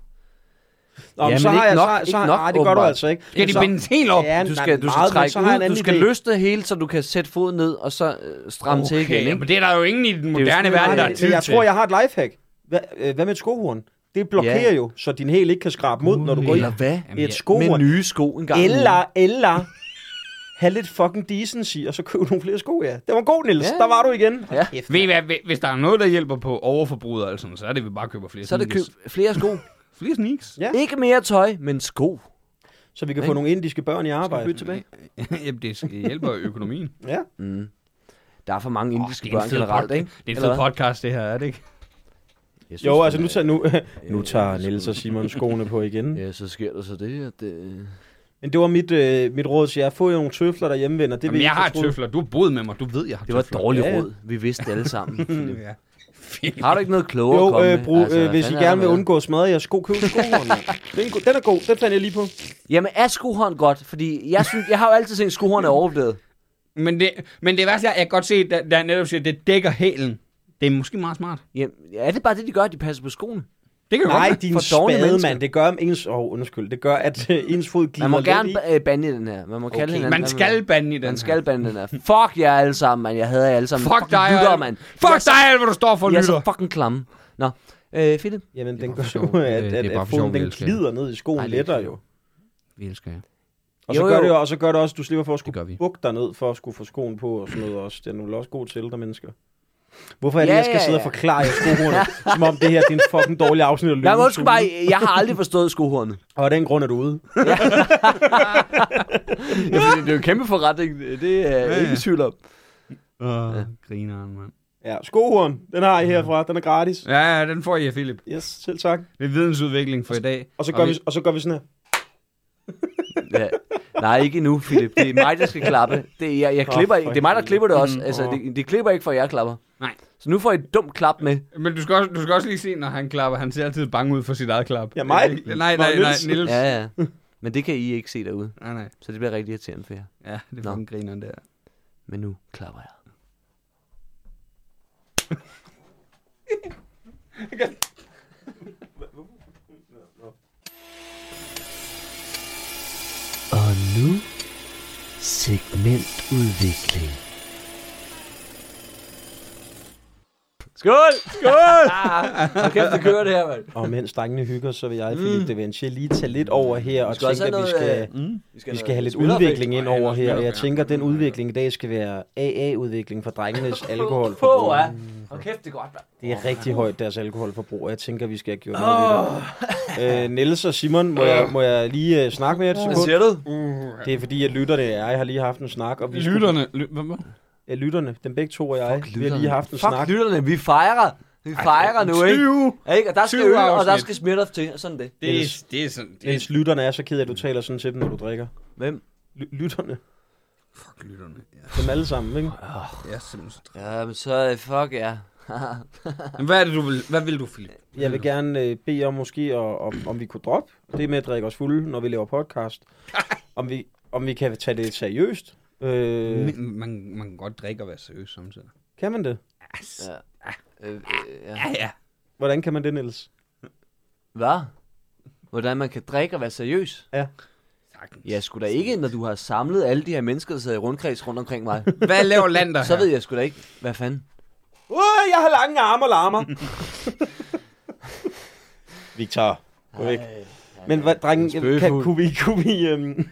[SPEAKER 4] Nå, men
[SPEAKER 2] Jamen,
[SPEAKER 4] så
[SPEAKER 2] ikke
[SPEAKER 4] har jeg,
[SPEAKER 2] nok-
[SPEAKER 4] så, så,
[SPEAKER 2] ikke nok,
[SPEAKER 4] nej, det gør du
[SPEAKER 2] åbenbart.
[SPEAKER 4] altså ikke.
[SPEAKER 1] Skal de
[SPEAKER 4] så,
[SPEAKER 1] bindes helt op?
[SPEAKER 4] Ja,
[SPEAKER 2] Du
[SPEAKER 4] nej,
[SPEAKER 2] skal, du skal
[SPEAKER 4] meget, men
[SPEAKER 2] trække
[SPEAKER 4] så har jeg en
[SPEAKER 2] ud, du
[SPEAKER 4] anden
[SPEAKER 2] skal
[SPEAKER 4] idé.
[SPEAKER 2] løste det hele, så du kan sætte foden ned, og så øh, stramme til igen,
[SPEAKER 1] Okay,
[SPEAKER 2] ikke?
[SPEAKER 1] men det er der jo ingen i den
[SPEAKER 2] jo
[SPEAKER 1] moderne
[SPEAKER 2] sådan,
[SPEAKER 1] verden, der er
[SPEAKER 2] det
[SPEAKER 4] Men
[SPEAKER 1] tid
[SPEAKER 4] Øh, Jeg
[SPEAKER 1] til.
[SPEAKER 4] tror, jeg har et lifehack. Hvad, øh, hvad med et skohorn? Det blokerer
[SPEAKER 2] Ja.
[SPEAKER 4] jo, så din hæl ikke kan skrabe mod, når du går ind.
[SPEAKER 2] Eller hvad?
[SPEAKER 1] Jamen,
[SPEAKER 4] Et
[SPEAKER 1] ja.
[SPEAKER 2] Med
[SPEAKER 4] skohorn.
[SPEAKER 2] nye sko en gang.
[SPEAKER 4] Eller, eller have lidt fucking decency, og så købe nogle flere sko, ja. Det var god, Niels.
[SPEAKER 2] Ja.
[SPEAKER 4] Der var du igen.
[SPEAKER 2] Ja.
[SPEAKER 4] Kæft,
[SPEAKER 1] Ved I hvad, hvis- hvis der er noget, der hjælper på overforbruget, altså, så er det, at vi bare køber flere
[SPEAKER 2] Så er det køb
[SPEAKER 1] sneakers.
[SPEAKER 2] flere sko.
[SPEAKER 1] Flere sneaks?
[SPEAKER 4] Ja.
[SPEAKER 2] Ikke mere tøj, men sko.
[SPEAKER 4] Så vi kan få nogle indiske børn i
[SPEAKER 2] Skal vi
[SPEAKER 4] arbejde.
[SPEAKER 2] bytte tilbage?
[SPEAKER 1] Jamen, det skal- hjælper økonomien.
[SPEAKER 4] Ja.
[SPEAKER 2] Der er for mange
[SPEAKER 1] Åh,
[SPEAKER 2] indiske
[SPEAKER 1] det er en
[SPEAKER 2] børn
[SPEAKER 1] fed
[SPEAKER 2] generelt,
[SPEAKER 1] pod-
[SPEAKER 2] ikke?
[SPEAKER 1] Det er en
[SPEAKER 2] Eller
[SPEAKER 1] fed
[SPEAKER 2] hvad?
[SPEAKER 1] podcast, det her, er det ikke?
[SPEAKER 2] Jeg synes,
[SPEAKER 4] Jo,
[SPEAKER 2] den
[SPEAKER 4] altså nu
[SPEAKER 2] er- Øh,
[SPEAKER 4] tager, nu, nu tager Niels og Simon skoene på igen.
[SPEAKER 2] Ja, så sker der så det, at... øh,
[SPEAKER 4] Men det var mit, øh, mit råd til jer. Få jer nogle tøfler derhjemme, venner. Det
[SPEAKER 1] Jamen,
[SPEAKER 4] vil I
[SPEAKER 1] jeg
[SPEAKER 4] ikke
[SPEAKER 1] har
[SPEAKER 4] fortryde.
[SPEAKER 1] tøfler. Du har boet med mig. Du ved, jeg har
[SPEAKER 2] Det var et
[SPEAKER 1] tøfler.
[SPEAKER 2] dårligt
[SPEAKER 4] Ja, ja.
[SPEAKER 2] råd. Vi vidste det alle sammen. Philip.
[SPEAKER 1] Ja. Fint.
[SPEAKER 2] Har du ikke noget klogere at
[SPEAKER 4] Jo,
[SPEAKER 2] komme
[SPEAKER 4] øh,
[SPEAKER 2] med?
[SPEAKER 4] brug,
[SPEAKER 2] Altså,
[SPEAKER 4] øh, hvis I
[SPEAKER 2] fanden er
[SPEAKER 4] gerne
[SPEAKER 2] der
[SPEAKER 4] vil
[SPEAKER 2] med?
[SPEAKER 4] undgå smadret jeres sko, køb skohorn. mand. Den, er god. den er god. Den fandt jeg lige på.
[SPEAKER 2] Jamen, er skohånd godt? Fordi jeg, synes, jeg har jo altid tænkt, at skohånd er overvurderet.
[SPEAKER 1] Men det, men det værste er, jeg kan godt se, der, der netop siger, at det dækker hælen. Det er måske meget smart.
[SPEAKER 2] Jamen, er det bare det, de gør, at de passer på skoene?
[SPEAKER 1] Det kan jo
[SPEAKER 4] Nej,
[SPEAKER 1] godt
[SPEAKER 4] din
[SPEAKER 2] for dårlige
[SPEAKER 4] spade,
[SPEAKER 2] mennesker.
[SPEAKER 4] mand. Det gør ens... Åh, oh, undskyld. Det gør, at øh, ens fod glider
[SPEAKER 2] Man må
[SPEAKER 4] lidt
[SPEAKER 2] gerne
[SPEAKER 4] i.
[SPEAKER 2] ba- øh, bande i den her. Man må kalde
[SPEAKER 1] være.
[SPEAKER 2] hinanden.
[SPEAKER 1] Man
[SPEAKER 2] hvad
[SPEAKER 1] skal bande i den
[SPEAKER 2] Man
[SPEAKER 1] her.
[SPEAKER 2] skal bande den her. Fuck jer alle sammen, mand. Jeg hader jer alle sammen.
[SPEAKER 1] Fuck
[SPEAKER 2] Fucking
[SPEAKER 1] dig,
[SPEAKER 2] Lytter,
[SPEAKER 1] Al.
[SPEAKER 2] mand.
[SPEAKER 1] Fuck
[SPEAKER 2] jeg,
[SPEAKER 1] dig, Al, hvor du står for
[SPEAKER 2] Jeg er
[SPEAKER 1] lytter.
[SPEAKER 2] så fucking klamme. Nå, øh, Philip.
[SPEAKER 4] Jamen, den
[SPEAKER 1] bare
[SPEAKER 4] gør
[SPEAKER 1] for sjov.
[SPEAKER 4] jo, at,
[SPEAKER 1] Det- det
[SPEAKER 4] at,
[SPEAKER 1] er bare
[SPEAKER 4] at
[SPEAKER 1] for sjov,
[SPEAKER 4] foden
[SPEAKER 1] vi
[SPEAKER 4] den
[SPEAKER 1] elsker.
[SPEAKER 4] glider ned i skoen
[SPEAKER 2] Ej,
[SPEAKER 4] Ej,
[SPEAKER 2] det er
[SPEAKER 4] lettere
[SPEAKER 2] ikke
[SPEAKER 4] jo.
[SPEAKER 1] Vi elsker jer.
[SPEAKER 4] Og så
[SPEAKER 2] Jo,
[SPEAKER 4] gør
[SPEAKER 2] jo.
[SPEAKER 4] det jo, og så gør det også, at du slipper for at
[SPEAKER 1] gør vi.
[SPEAKER 4] skulle bukke dig ned, for at skulle få skoen på og sådan noget også. Det er nu også god til ældre mennesker. Hvorfor er det,
[SPEAKER 2] Ja,
[SPEAKER 4] jeg skal
[SPEAKER 2] ja,
[SPEAKER 4] sidde
[SPEAKER 2] ja.
[SPEAKER 4] og forklare jer skohornet, som om det her det er en fucking dårlig afsnit af
[SPEAKER 2] Jeg må
[SPEAKER 4] Løvens
[SPEAKER 2] sgu
[SPEAKER 4] Hule?
[SPEAKER 2] bare, jeg har aldrig forstået skohornet.
[SPEAKER 4] Og af den grund er du ude.
[SPEAKER 2] Ja, fordi det er jo en kæmpe forretning. Det er jeg ikke i tvivl om.
[SPEAKER 1] Åh, ja. grineren, mand.
[SPEAKER 4] Ja, skohorn, den har I
[SPEAKER 1] Mm.
[SPEAKER 4] herfra, den er gratis.
[SPEAKER 1] Ja, ja, den får I af Philip.
[SPEAKER 4] Yes, selv tak.
[SPEAKER 1] Det er vidensudvikling for i dag.
[SPEAKER 4] Og så gør, vi, og så gør vi sådan her.
[SPEAKER 2] Ja. Nej, ikke endnu, Philip. Det er mig, der skal klappe. Det er, jeg, jeg
[SPEAKER 4] Åh,
[SPEAKER 2] klipper ikke.
[SPEAKER 4] for
[SPEAKER 2] Det er mig, der
[SPEAKER 4] helvede.
[SPEAKER 2] klipper det også.
[SPEAKER 4] Mm,
[SPEAKER 2] Altså,
[SPEAKER 4] åh.
[SPEAKER 2] det, det klipper ikke, for jeg klapper.
[SPEAKER 1] Nej.
[SPEAKER 2] Så nu får I et dumt klap med.
[SPEAKER 1] Men du skal, også, du skal også lige se, når han klapper. Han ser altid bange ud for sit eget klap.
[SPEAKER 4] Ja, mig?
[SPEAKER 1] Nej, nej,
[SPEAKER 4] Nå,
[SPEAKER 1] nej, nej
[SPEAKER 4] Niels.
[SPEAKER 1] Niels. Ja.
[SPEAKER 2] Ja, ja. Men det kan I ikke se derude.
[SPEAKER 1] Nej, nej.
[SPEAKER 2] Så det bliver rigtig irriterende for jer.
[SPEAKER 1] Ja, det
[SPEAKER 2] Nå.
[SPEAKER 1] er fucking grineren der.
[SPEAKER 2] Men nu klapper jeg. Og nu segmentudvikling. Skål! Skål! Hvor kæft, det kører det her, mand.
[SPEAKER 4] Og mens drengene hygger, så vil jeg, Philip de Vinci, lige tage lidt over her og
[SPEAKER 2] Mm. skal også
[SPEAKER 4] tænke, at
[SPEAKER 2] have
[SPEAKER 4] vi
[SPEAKER 2] noget, øh,
[SPEAKER 4] skal...
[SPEAKER 2] Vi
[SPEAKER 4] Vi skal have lidt udvikling ind over her, og jeg tænker, at den udvikling i dag skal være AA-udvikling for drengenes alkoholforbrug.
[SPEAKER 2] Åh, ja. Hvor kæft, det er godt, mand.
[SPEAKER 4] Det er rigtig højt, deres alkoholforbrug, og jeg tænker, vi skal have gjort noget ved det. Øh, Niels og Simon, må jeg, må jeg lige øh, snakke med jer et
[SPEAKER 2] Hvad
[SPEAKER 4] sekund?
[SPEAKER 2] siger du?
[SPEAKER 4] Det er fordi, at lytterne er. Jeg har lige haft en snak, og vi
[SPEAKER 1] Lytterne. Ly- hvad, hvad?
[SPEAKER 4] øh, lytterne, den begge to og jeg, vi har
[SPEAKER 1] lytterne.
[SPEAKER 4] lige haft en
[SPEAKER 2] Fuck
[SPEAKER 4] snak.
[SPEAKER 2] lytterne, vi fejrer. Vi fejrer nu, ikke?
[SPEAKER 4] 20!
[SPEAKER 2] Ja, ikke? Og der skal
[SPEAKER 1] 20
[SPEAKER 2] øl, og der
[SPEAKER 1] afsnit.
[SPEAKER 2] skal smirnoff til, og sådan det.
[SPEAKER 1] Det er, det er sådan... Det er,
[SPEAKER 4] Jens, lytterne er så ked af, at du taler sådan til dem, når du drikker.
[SPEAKER 2] Hvem?
[SPEAKER 4] Ly- lytterne.
[SPEAKER 1] fuck lytterne. Ja,
[SPEAKER 4] Dem alle sammen, ikke?
[SPEAKER 1] jeg er simpelthen så træt.
[SPEAKER 2] Ja, men så øh, fuck ja.
[SPEAKER 1] Men hvad er det, du vil... Hvad vil du, Philip?
[SPEAKER 4] Jeg vil gerne øh, bede om måske, og, om, om vi kunne droppe det med at drikke os fulde, når vi laver podcast. Om vi, om vi kan tage det seriøst. Øh,
[SPEAKER 1] Men Man, man kan godt drikke og være seriøs samtidig.
[SPEAKER 4] kan man det?
[SPEAKER 2] ja. Øh, øh, ja.
[SPEAKER 1] Ja, ja.
[SPEAKER 4] Hvordan kan man det, Niels?
[SPEAKER 2] Hvad? Hvordan man kan drikke og være seriøs?
[SPEAKER 1] Sagtens.
[SPEAKER 2] Jeg skulle da ikke, når du har samlet alle de her mennesker, der sidder i rundkreds rundt omkring mig.
[SPEAKER 1] Hvad laver lander
[SPEAKER 2] Så ved jeg sgu da ikke, hvad fanden.
[SPEAKER 4] Åh, øh, jeg har lange arme og larmer. Victor. Gå væk. Men hvad, drengen, kan, kunne vi, kunne vi, øhm,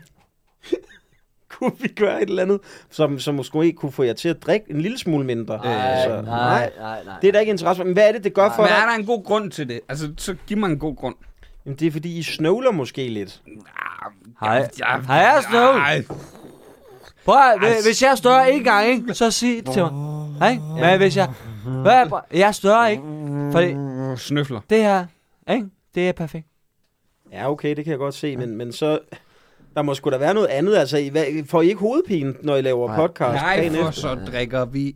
[SPEAKER 4] kunne vi gøre et eller andet, som, som måske ikke kunne få jer til at drikke en lille smule mindre? Altså,
[SPEAKER 2] Nej, Øh, nej, nej, nej.
[SPEAKER 4] Det er der ikke interesse for. Men hvad er det, det gør for
[SPEAKER 1] Men er
[SPEAKER 4] dig?
[SPEAKER 1] der en god grund til det? Altså, så giv mig en god grund.
[SPEAKER 4] Jamen, det er, fordi I snøvler måske lidt.
[SPEAKER 2] Hej. Hej, jeg er Snow. Prøv at, hvi- hvis jeg er større en gang, ikke, så sig det til mig. Hej, men hvis jeg... Hvad er, bra- jeg er større, ikke? Fordi
[SPEAKER 1] Ej, snøfler.
[SPEAKER 2] det her, ikke? Det er perfekt.
[SPEAKER 4] Ja, okay, det kan jeg godt se, men, men så... Der må sgu da være noget andet. Altså, I, hvad, får I ikke hovedpine, når I laver
[SPEAKER 2] Nej.
[SPEAKER 4] podcast?
[SPEAKER 1] Nej,
[SPEAKER 4] dagen
[SPEAKER 1] for
[SPEAKER 4] efter?
[SPEAKER 1] så drikker vi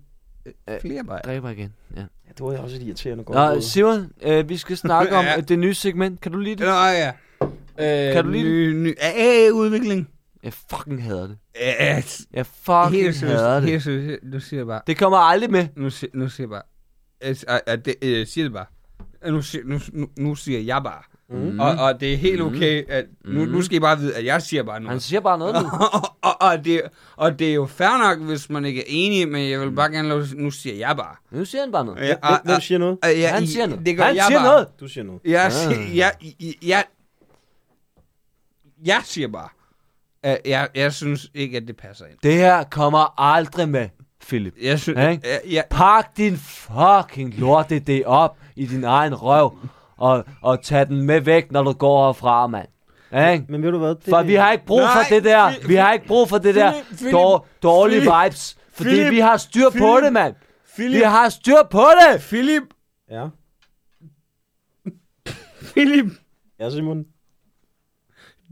[SPEAKER 1] øh, flere bajer.
[SPEAKER 2] Dræber igen, ja.
[SPEAKER 4] Ja, det var også et irriterende godt
[SPEAKER 2] Nå,
[SPEAKER 4] råd.
[SPEAKER 2] Simon, øh, vi skal snakke om
[SPEAKER 1] Ja.
[SPEAKER 2] øh, det nye segment. Kan du lide det?
[SPEAKER 1] Nå ja. Øh,
[SPEAKER 2] Kan du lide
[SPEAKER 1] ny, ny, øh, udvikling.
[SPEAKER 2] Jeg fucking hader det.
[SPEAKER 1] Øh,
[SPEAKER 2] Jeg fucking
[SPEAKER 1] helt
[SPEAKER 2] hader
[SPEAKER 1] seriøst,
[SPEAKER 2] det.
[SPEAKER 1] helt seriøst. Nu siger jeg bare.
[SPEAKER 2] Det kommer aldrig med.
[SPEAKER 1] Nu, si- nu siger jeg bare. Øh, s- øh, øh, det, øh, siger det bare. Øh, Nu, si- nu, nu, nu siger jeg bare. Mm. Og, og det er helt okay. At, nu, nu skal I bare vide, at jeg siger bare
[SPEAKER 2] Mm. Han
[SPEAKER 1] noget.
[SPEAKER 2] siger bare noget nu.
[SPEAKER 1] og, og, og, det, og det er jo fair nok, hvis man ikke er enig, men jeg
[SPEAKER 2] Mm.
[SPEAKER 1] vil bare gerne lov til- Nu siger jeg bare.
[SPEAKER 2] Nu siger han bare noget.
[SPEAKER 1] Ja,
[SPEAKER 4] Hvem- Hvem siger noget?
[SPEAKER 1] Øh, ja,
[SPEAKER 2] Han
[SPEAKER 1] I-
[SPEAKER 2] siger noget.
[SPEAKER 1] Det gør
[SPEAKER 2] Han
[SPEAKER 1] jeg
[SPEAKER 2] siger
[SPEAKER 1] bare.
[SPEAKER 2] noget.
[SPEAKER 4] Du siger noget.
[SPEAKER 1] Jeg,
[SPEAKER 2] Ah.
[SPEAKER 1] siger, jeg, jeg, jeg, jeg siger bare, at jeg, jeg synes ikke, at det passer ind.
[SPEAKER 2] Det her kommer aldrig med, Philip.
[SPEAKER 1] Jeg synes,
[SPEAKER 2] Ja, ikke?
[SPEAKER 1] jeg, jeg,
[SPEAKER 2] Pak din fucking lorte det op i din egen røv, og, og tag den med væk, når du går herfra, mand. Ikke?
[SPEAKER 4] Men ved du hvad? Det,
[SPEAKER 2] For vi har ikke brug for
[SPEAKER 1] Nej,
[SPEAKER 2] det der.
[SPEAKER 1] Philip,
[SPEAKER 2] Vi har ikke brug for det der
[SPEAKER 1] Philip, Philip,
[SPEAKER 2] dår, dårlige
[SPEAKER 1] Philip,
[SPEAKER 2] vibes. Fordi
[SPEAKER 1] Philip,
[SPEAKER 2] vi har styr på
[SPEAKER 1] Philip,
[SPEAKER 2] det, mand. Vi
[SPEAKER 1] Philip,
[SPEAKER 2] har styr på det.
[SPEAKER 1] Philip,
[SPEAKER 4] Ja.
[SPEAKER 1] Philip,
[SPEAKER 4] Ja, Simon.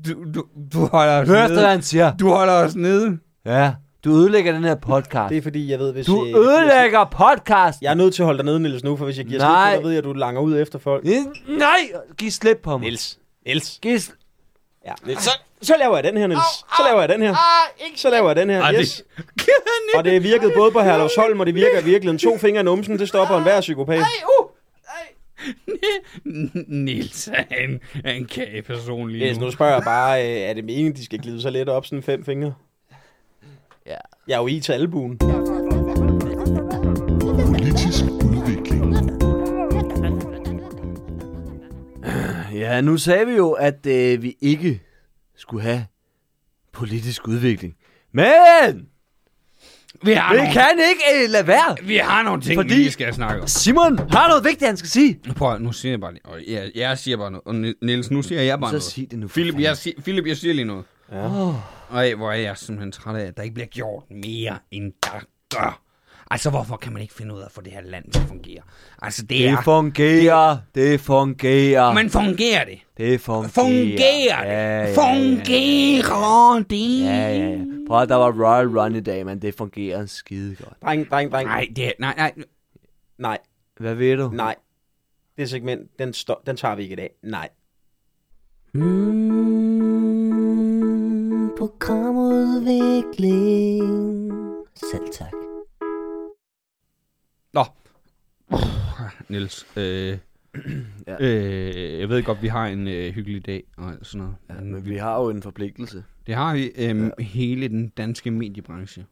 [SPEAKER 1] du, du, du holder os
[SPEAKER 2] Hør efter, hvad
[SPEAKER 1] nede.
[SPEAKER 2] han siger.
[SPEAKER 1] Du holder os nede.
[SPEAKER 2] Ja, du ødelægger den her podcast.
[SPEAKER 4] Det er fordi, jeg ved, hvis
[SPEAKER 2] Du
[SPEAKER 4] jeg, jeg,
[SPEAKER 2] ødelægger podcast.
[SPEAKER 4] jeg er nødt til at holde dig nede, Niels, nu, for hvis jeg giver slip
[SPEAKER 2] Nej.
[SPEAKER 4] på dig, ved jeg, at du langer ud efter folk.
[SPEAKER 2] Nej, giv slip på mig.
[SPEAKER 4] Niels. Niels.
[SPEAKER 2] Giv slip.
[SPEAKER 4] Ja, Niels. Så, så laver jeg den her, Niels. Så laver jeg den her. Så laver jeg den her. Yes. Og det virkede både på Herlevsholm, og det virker i virkeligheden. To fingre i numsen, det stopper enhver psykopat.
[SPEAKER 1] Nils er en, er en kage person lige
[SPEAKER 4] Yes,
[SPEAKER 1] nu.
[SPEAKER 4] nu spørger jeg bare, øh, er det meningen, de skal glide så lidt op sådan fem fingre?
[SPEAKER 2] Ja.
[SPEAKER 4] Jeg er jo i til albuen.
[SPEAKER 5] Politisk udvikling.
[SPEAKER 2] Ja, nu sagde vi jo, at øh, vi ikke skulle have politisk udvikling. Men
[SPEAKER 1] Vi har,
[SPEAKER 2] vi
[SPEAKER 1] nogle,
[SPEAKER 2] kan ikke øh, lade være.
[SPEAKER 1] vi har nogle ting,
[SPEAKER 2] Fordi-
[SPEAKER 1] Fordi... vi lige skal snakke om.
[SPEAKER 2] Simon har noget vigtigt, han skal sige.
[SPEAKER 1] Prøv, at- nu siger jeg bare lige. Og jeg, jeg siger bare noget. Og Ni- Niels, nu siger jeg bare
[SPEAKER 2] Så
[SPEAKER 1] noget.
[SPEAKER 2] sig det nu. for
[SPEAKER 1] Philip,
[SPEAKER 2] fanden.
[SPEAKER 1] jeg, si- Philip, jeg siger lige noget.
[SPEAKER 4] Ja.
[SPEAKER 1] Ej, hvor er jeg simpelthen træt af, at der ikke bliver gjort mere, end der gør. Altså, hvorfor kan man ikke finde ud af at få det her land til at fungere? Altså, det
[SPEAKER 2] Det
[SPEAKER 1] er...
[SPEAKER 2] fungerer, det fungerer,
[SPEAKER 1] Men fungerer det?
[SPEAKER 2] det fungerer.
[SPEAKER 1] Fungerer
[SPEAKER 2] Ja, ja,
[SPEAKER 1] det? Fungerer det?
[SPEAKER 2] Ja, ja, ja. Prøv at der var Royal Run i dag, men det fungerer skide godt.
[SPEAKER 4] Dreng, dreng, dreng.
[SPEAKER 1] Nej, det er... Nej, nej.
[SPEAKER 4] Nej,
[SPEAKER 2] Hvad ved du?
[SPEAKER 4] nej. Det segment, den, sto- den tager vi ikke i dag. Nej.
[SPEAKER 6] Mm, programudvikling. Selv tak.
[SPEAKER 1] Nå. Niels, øh...
[SPEAKER 2] Ja.
[SPEAKER 1] Øh, jeg ved godt, vi har en øh, hyggelig dag og alt sådan noget.
[SPEAKER 2] Ja, men vi har jo en forpligtelse.
[SPEAKER 1] Det har vi øhm, ja. hele den danske mediebranche.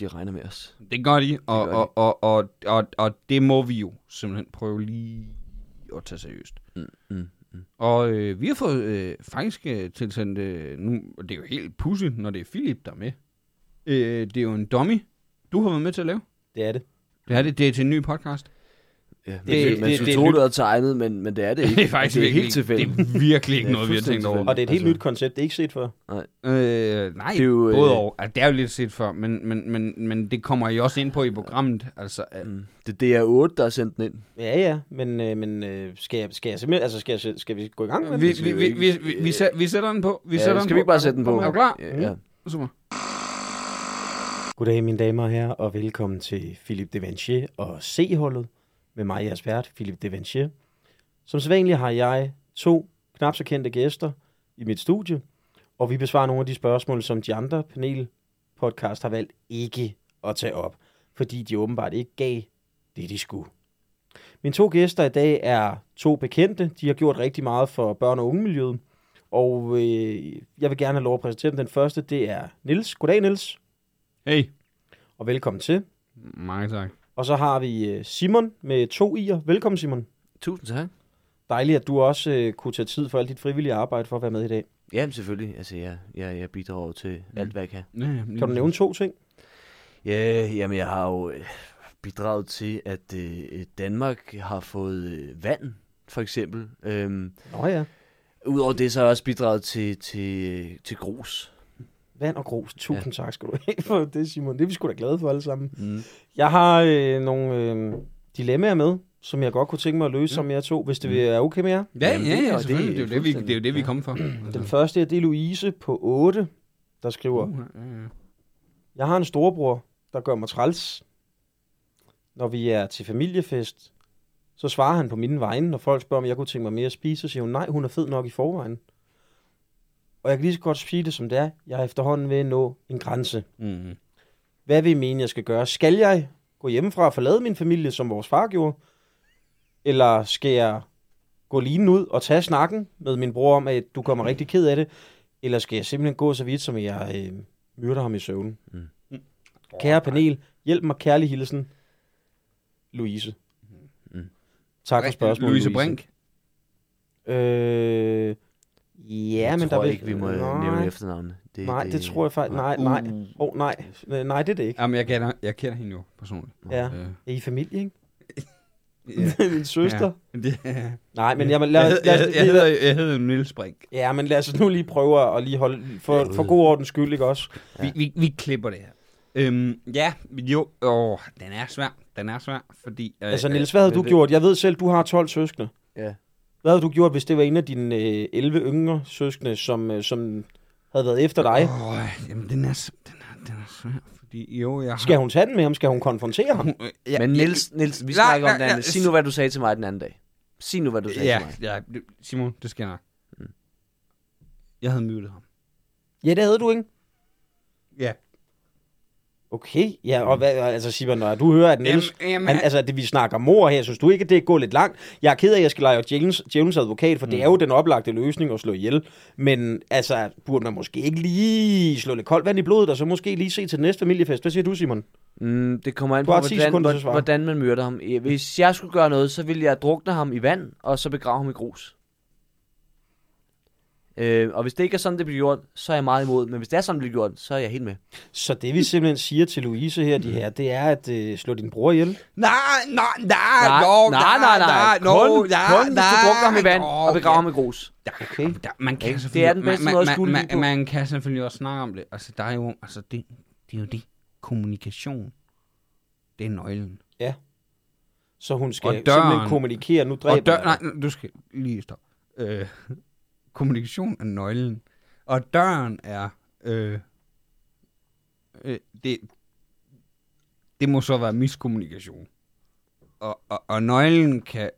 [SPEAKER 2] De regner med os.
[SPEAKER 1] Det gør de, og,
[SPEAKER 2] gør de.
[SPEAKER 1] og, og, og, og, og det må vi jo simpelthen prøve lige at tage seriøst.
[SPEAKER 2] Mm.
[SPEAKER 1] Og øh, vi har fået øh, faktisk øh, tilsendt, øh, nu, og det er jo helt pudsigt, når det er Philip, der er med. Øh, det er jo en dummy, du har været med til at lave.
[SPEAKER 4] Det er det.
[SPEAKER 1] Det er, det, det er til en ny podcast.
[SPEAKER 2] Ja, men
[SPEAKER 1] Det-
[SPEAKER 2] det, man
[SPEAKER 1] det-
[SPEAKER 2] skulle
[SPEAKER 1] det-
[SPEAKER 2] tro,
[SPEAKER 1] det-
[SPEAKER 2] det havde tegnet, men, men det er det ikke.
[SPEAKER 1] Det er faktisk
[SPEAKER 2] det er
[SPEAKER 1] virkelig,
[SPEAKER 2] helt tilfældigt.
[SPEAKER 1] Det er virkelig ikke
[SPEAKER 2] Det er
[SPEAKER 1] noget, vi har tænkt
[SPEAKER 2] fuldstændig
[SPEAKER 1] over.
[SPEAKER 4] Og det er et helt
[SPEAKER 2] Altså-
[SPEAKER 4] nyt koncept, det er ikke set før.
[SPEAKER 1] Øh, Øh, nej,
[SPEAKER 2] Det er jo, øh,
[SPEAKER 1] både og. Altså, det er jo lidt set før, men, men, men, men det kommer I også ind på i programmet. Altså, øh, mm.
[SPEAKER 2] Det er DR8, der har sendt den ind.
[SPEAKER 4] Ja, ja, men, øh, men øh, skal, jeg, skal jeg simpelthen, altså skal, jeg, skal vi gå i gang med
[SPEAKER 1] vi,
[SPEAKER 4] det?
[SPEAKER 1] vi, vi, vi, vi, vi, sæt- vi sætter den på. Vi
[SPEAKER 2] Ja,
[SPEAKER 1] sætter den
[SPEAKER 2] skal
[SPEAKER 1] på.
[SPEAKER 2] vi ikke bare sætte den på?
[SPEAKER 1] Er du klar? Mm.
[SPEAKER 2] Ja.
[SPEAKER 1] Super.
[SPEAKER 4] Goddag mine damer og herrer, og velkommen til Philip Devanchier og C-holdet med mig, jeres vært, Philip Devanchier. Som sædvanligt har jeg to knap så kendte gæster i mit studie, og vi besvarer nogle af de spørgsmål, som de andre panelpodcast har valgt ikke at tage op, fordi de åbenbart ikke gav det, de skulle. Mine to gæster i dag er to bekendte. De har gjort rigtig meget for børn- og ungemiljøet, og øh, jeg vil gerne have lov at præsentere dem. Den første, det er Nils. Goddag, Nils
[SPEAKER 1] Hey.
[SPEAKER 4] og velkommen til.
[SPEAKER 1] Mange tak.
[SPEAKER 4] Og så har vi øh, Simon med to i'er. Velkommen, Simon.
[SPEAKER 2] Tusind tak.
[SPEAKER 4] Dejligt, at du også øh, kunne tage tid for alt dit frivillige arbejde for at være med i dag.
[SPEAKER 7] Jamen selvfølgelig. Altså, jeg, jeg, jeg bidrager til mm. alt, hvad jeg kan.
[SPEAKER 1] Ja, ja, lige
[SPEAKER 4] Kan du nævne to ting?
[SPEAKER 7] Ja, jamen, jeg har jo øh, bidraget til, at øh, Danmark har fået øh, vand, for eksempel. Øhm,
[SPEAKER 4] Nå ja,
[SPEAKER 7] Udover det, så har jeg også bidraget til, til, til grus.
[SPEAKER 4] vand og grus. Tusind ja. tak skal du have for det, Simon. Det er vi sgu da glade for alle sammen.
[SPEAKER 7] Mm.
[SPEAKER 4] Jeg har øh, nogle øh, dilemmaer med, som jeg godt kunne tænke mig at løse som jer to, hvis det er okay med jer.
[SPEAKER 1] Ja, ja, ja,
[SPEAKER 7] det er-
[SPEAKER 1] ja,
[SPEAKER 7] og
[SPEAKER 1] selvfølgelig. Det,
[SPEAKER 7] det er
[SPEAKER 1] er jo det, vi,
[SPEAKER 7] fuldstændig-
[SPEAKER 1] det er jo det, vi kommer for. Altså.
[SPEAKER 4] Den første er, det er Louise på 8, der skriver,
[SPEAKER 1] Uh, ja, ja.
[SPEAKER 4] Jeg har en storebror, der gør mig træls. Når vi er til familiefest, så svarer han på mine vegne, når folk spørger, om jeg kunne tænke mig mere at spise, så siger hun, nej, hun er fed nok i forvejen. Og jeg kan lige så godt sige det, som det er. Jeg er efterhånden ved at nå en grænse.
[SPEAKER 1] Mm.
[SPEAKER 4] Hvad vil I mene, jeg skal gøre? Skal jeg gå hjemmefra og forlade min familie, som vores far gjorde? Eller skal jeg gå linen ud og tage snakken med min bror om, at du kommer rigtig ked af det? Eller skal jeg simpelthen gå så vidt, som at jeg øh, myrder ham i søvn? Mm. Kære panel, hjælp mig kærlig hilsen. Louise. Mm. Tak for spørgsmålet,
[SPEAKER 1] Louise Brink.
[SPEAKER 4] Øh, ja,
[SPEAKER 7] jeg
[SPEAKER 4] men
[SPEAKER 7] tror
[SPEAKER 4] der vil...
[SPEAKER 7] ikke, vi
[SPEAKER 2] øh,
[SPEAKER 7] må
[SPEAKER 4] nej,
[SPEAKER 7] nej. nævne efternavnet. Det,
[SPEAKER 4] Nej, det tror jeg faktisk...
[SPEAKER 1] Uh.
[SPEAKER 4] Nej, nej. Åh, oh, nej. Øh, Nej, det er det ikke.
[SPEAKER 1] Jamen, jeg kender, jeg kender hende jo personligt.
[SPEAKER 4] Ja.
[SPEAKER 1] Øh,
[SPEAKER 4] Er I familie, ikke?
[SPEAKER 1] ja.
[SPEAKER 4] Min søster. Ja.
[SPEAKER 1] Det,
[SPEAKER 4] Nej, men jamen,
[SPEAKER 1] jeg,
[SPEAKER 4] lad,
[SPEAKER 1] hed, jeg,
[SPEAKER 4] lad, lad,
[SPEAKER 1] hed- jeg, hedder, jeg hedder Niels Brink.
[SPEAKER 4] ja, men lad os nu lige prøve at lige holde, for, for god ordens skyld, ikke også?
[SPEAKER 1] Vi, vi, vi klipper det her. Øhm, ja, jo, åh, den er svær. Den er svær, fordi... Øh,
[SPEAKER 4] Altså, Niels, hvad havde du gjort? Jeg ved selv, du har 12 søskende.
[SPEAKER 2] Ja.
[SPEAKER 4] Hvad havde du gjort, hvis det var en af dine øh, 11 yngre søskende, som, øh, som havde været efter dig?
[SPEAKER 1] Åh, jamen, den er, s- den er, den er svær, fordi jo, jeg har...
[SPEAKER 4] Skal hun tage den med ham? Skal hun konfrontere ham?
[SPEAKER 1] Øh, ja,
[SPEAKER 2] Men Niels, Niels vi
[SPEAKER 1] Nej,
[SPEAKER 2] snakker
[SPEAKER 1] nej,
[SPEAKER 2] om det
[SPEAKER 1] nej,
[SPEAKER 2] andet. Sig nu, hvad du sagde til mig den anden dag. Sig nu, hvad du sagde
[SPEAKER 1] Ja,
[SPEAKER 2] til mig.
[SPEAKER 1] ja, det- Simon, det skal jeg nok.
[SPEAKER 4] Mm.
[SPEAKER 1] Jeg havde myrdet ham.
[SPEAKER 4] Ja, det havde du, ikke?
[SPEAKER 1] Ja.
[SPEAKER 4] Okay, ja, og hvad, altså Simon, når du hører, at Niels,
[SPEAKER 1] Jamen, jamen,
[SPEAKER 4] han,
[SPEAKER 1] han-
[SPEAKER 4] altså det, vi snakker mor her, synes du ikke, at det går lidt langt? Jeg er ked af, at jeg skal lege James, James advokat, for mm. det er jo den oplagte løsning at slå ihjel, men altså, burde man måske ikke lige slå lidt koldt vand i blodet, og så måske lige se til den næste familiefest? Hvad siger du, Simon?
[SPEAKER 2] Mm, det kommer an
[SPEAKER 4] Du
[SPEAKER 2] på,
[SPEAKER 4] har 10
[SPEAKER 2] hvordan,
[SPEAKER 4] sekunder til
[SPEAKER 2] hvordan,
[SPEAKER 4] at svare.
[SPEAKER 2] hvordan man myrder ham. Eh, Hvis jeg skulle gøre noget, så ville jeg drukne ham i vand, og så begrave ham i grus. Øh, og hvis det ikke er sådan, det bliver gjort, så er jeg meget imod. Men hvis det er sådan, det bliver gjort, så er jeg helt med.
[SPEAKER 4] Så det, vi simpelthen siger til Louise her, de her det er at øh, slå din bror ihjel.
[SPEAKER 1] Nej, nej, Ah, nej,
[SPEAKER 2] nej,
[SPEAKER 1] jo,
[SPEAKER 2] nej, nej, nej.
[SPEAKER 1] no,
[SPEAKER 2] kun,
[SPEAKER 1] ja,
[SPEAKER 2] kun hvis du
[SPEAKER 1] nej,
[SPEAKER 2] drukner ham i vand
[SPEAKER 1] jo,
[SPEAKER 2] og begraver
[SPEAKER 1] ja.
[SPEAKER 2] ham i grus.
[SPEAKER 1] Okay. Der, man kan
[SPEAKER 2] Ikke?
[SPEAKER 1] selvfølgelig-
[SPEAKER 2] Det er den bedste
[SPEAKER 1] man,
[SPEAKER 2] måde at
[SPEAKER 1] man,
[SPEAKER 2] skjule
[SPEAKER 1] man,
[SPEAKER 2] det på.
[SPEAKER 1] man, man kan selvfølgelig også snakke om det. Altså, der er jo, altså, det, det er jo det. Kommunikation. Det er nøglen.
[SPEAKER 4] Så hun
[SPEAKER 1] Og
[SPEAKER 4] skal
[SPEAKER 1] døren.
[SPEAKER 4] simpelthen kommunikere, nu dræber
[SPEAKER 1] Og dør,
[SPEAKER 4] jeg
[SPEAKER 1] nej,
[SPEAKER 4] dig.
[SPEAKER 1] nej, du skal lige stoppe. Øh, kommunikation er nøglen. Og døren er... Øh, øh, det, det må så være miskommunikation. Og, og, og nøglen kan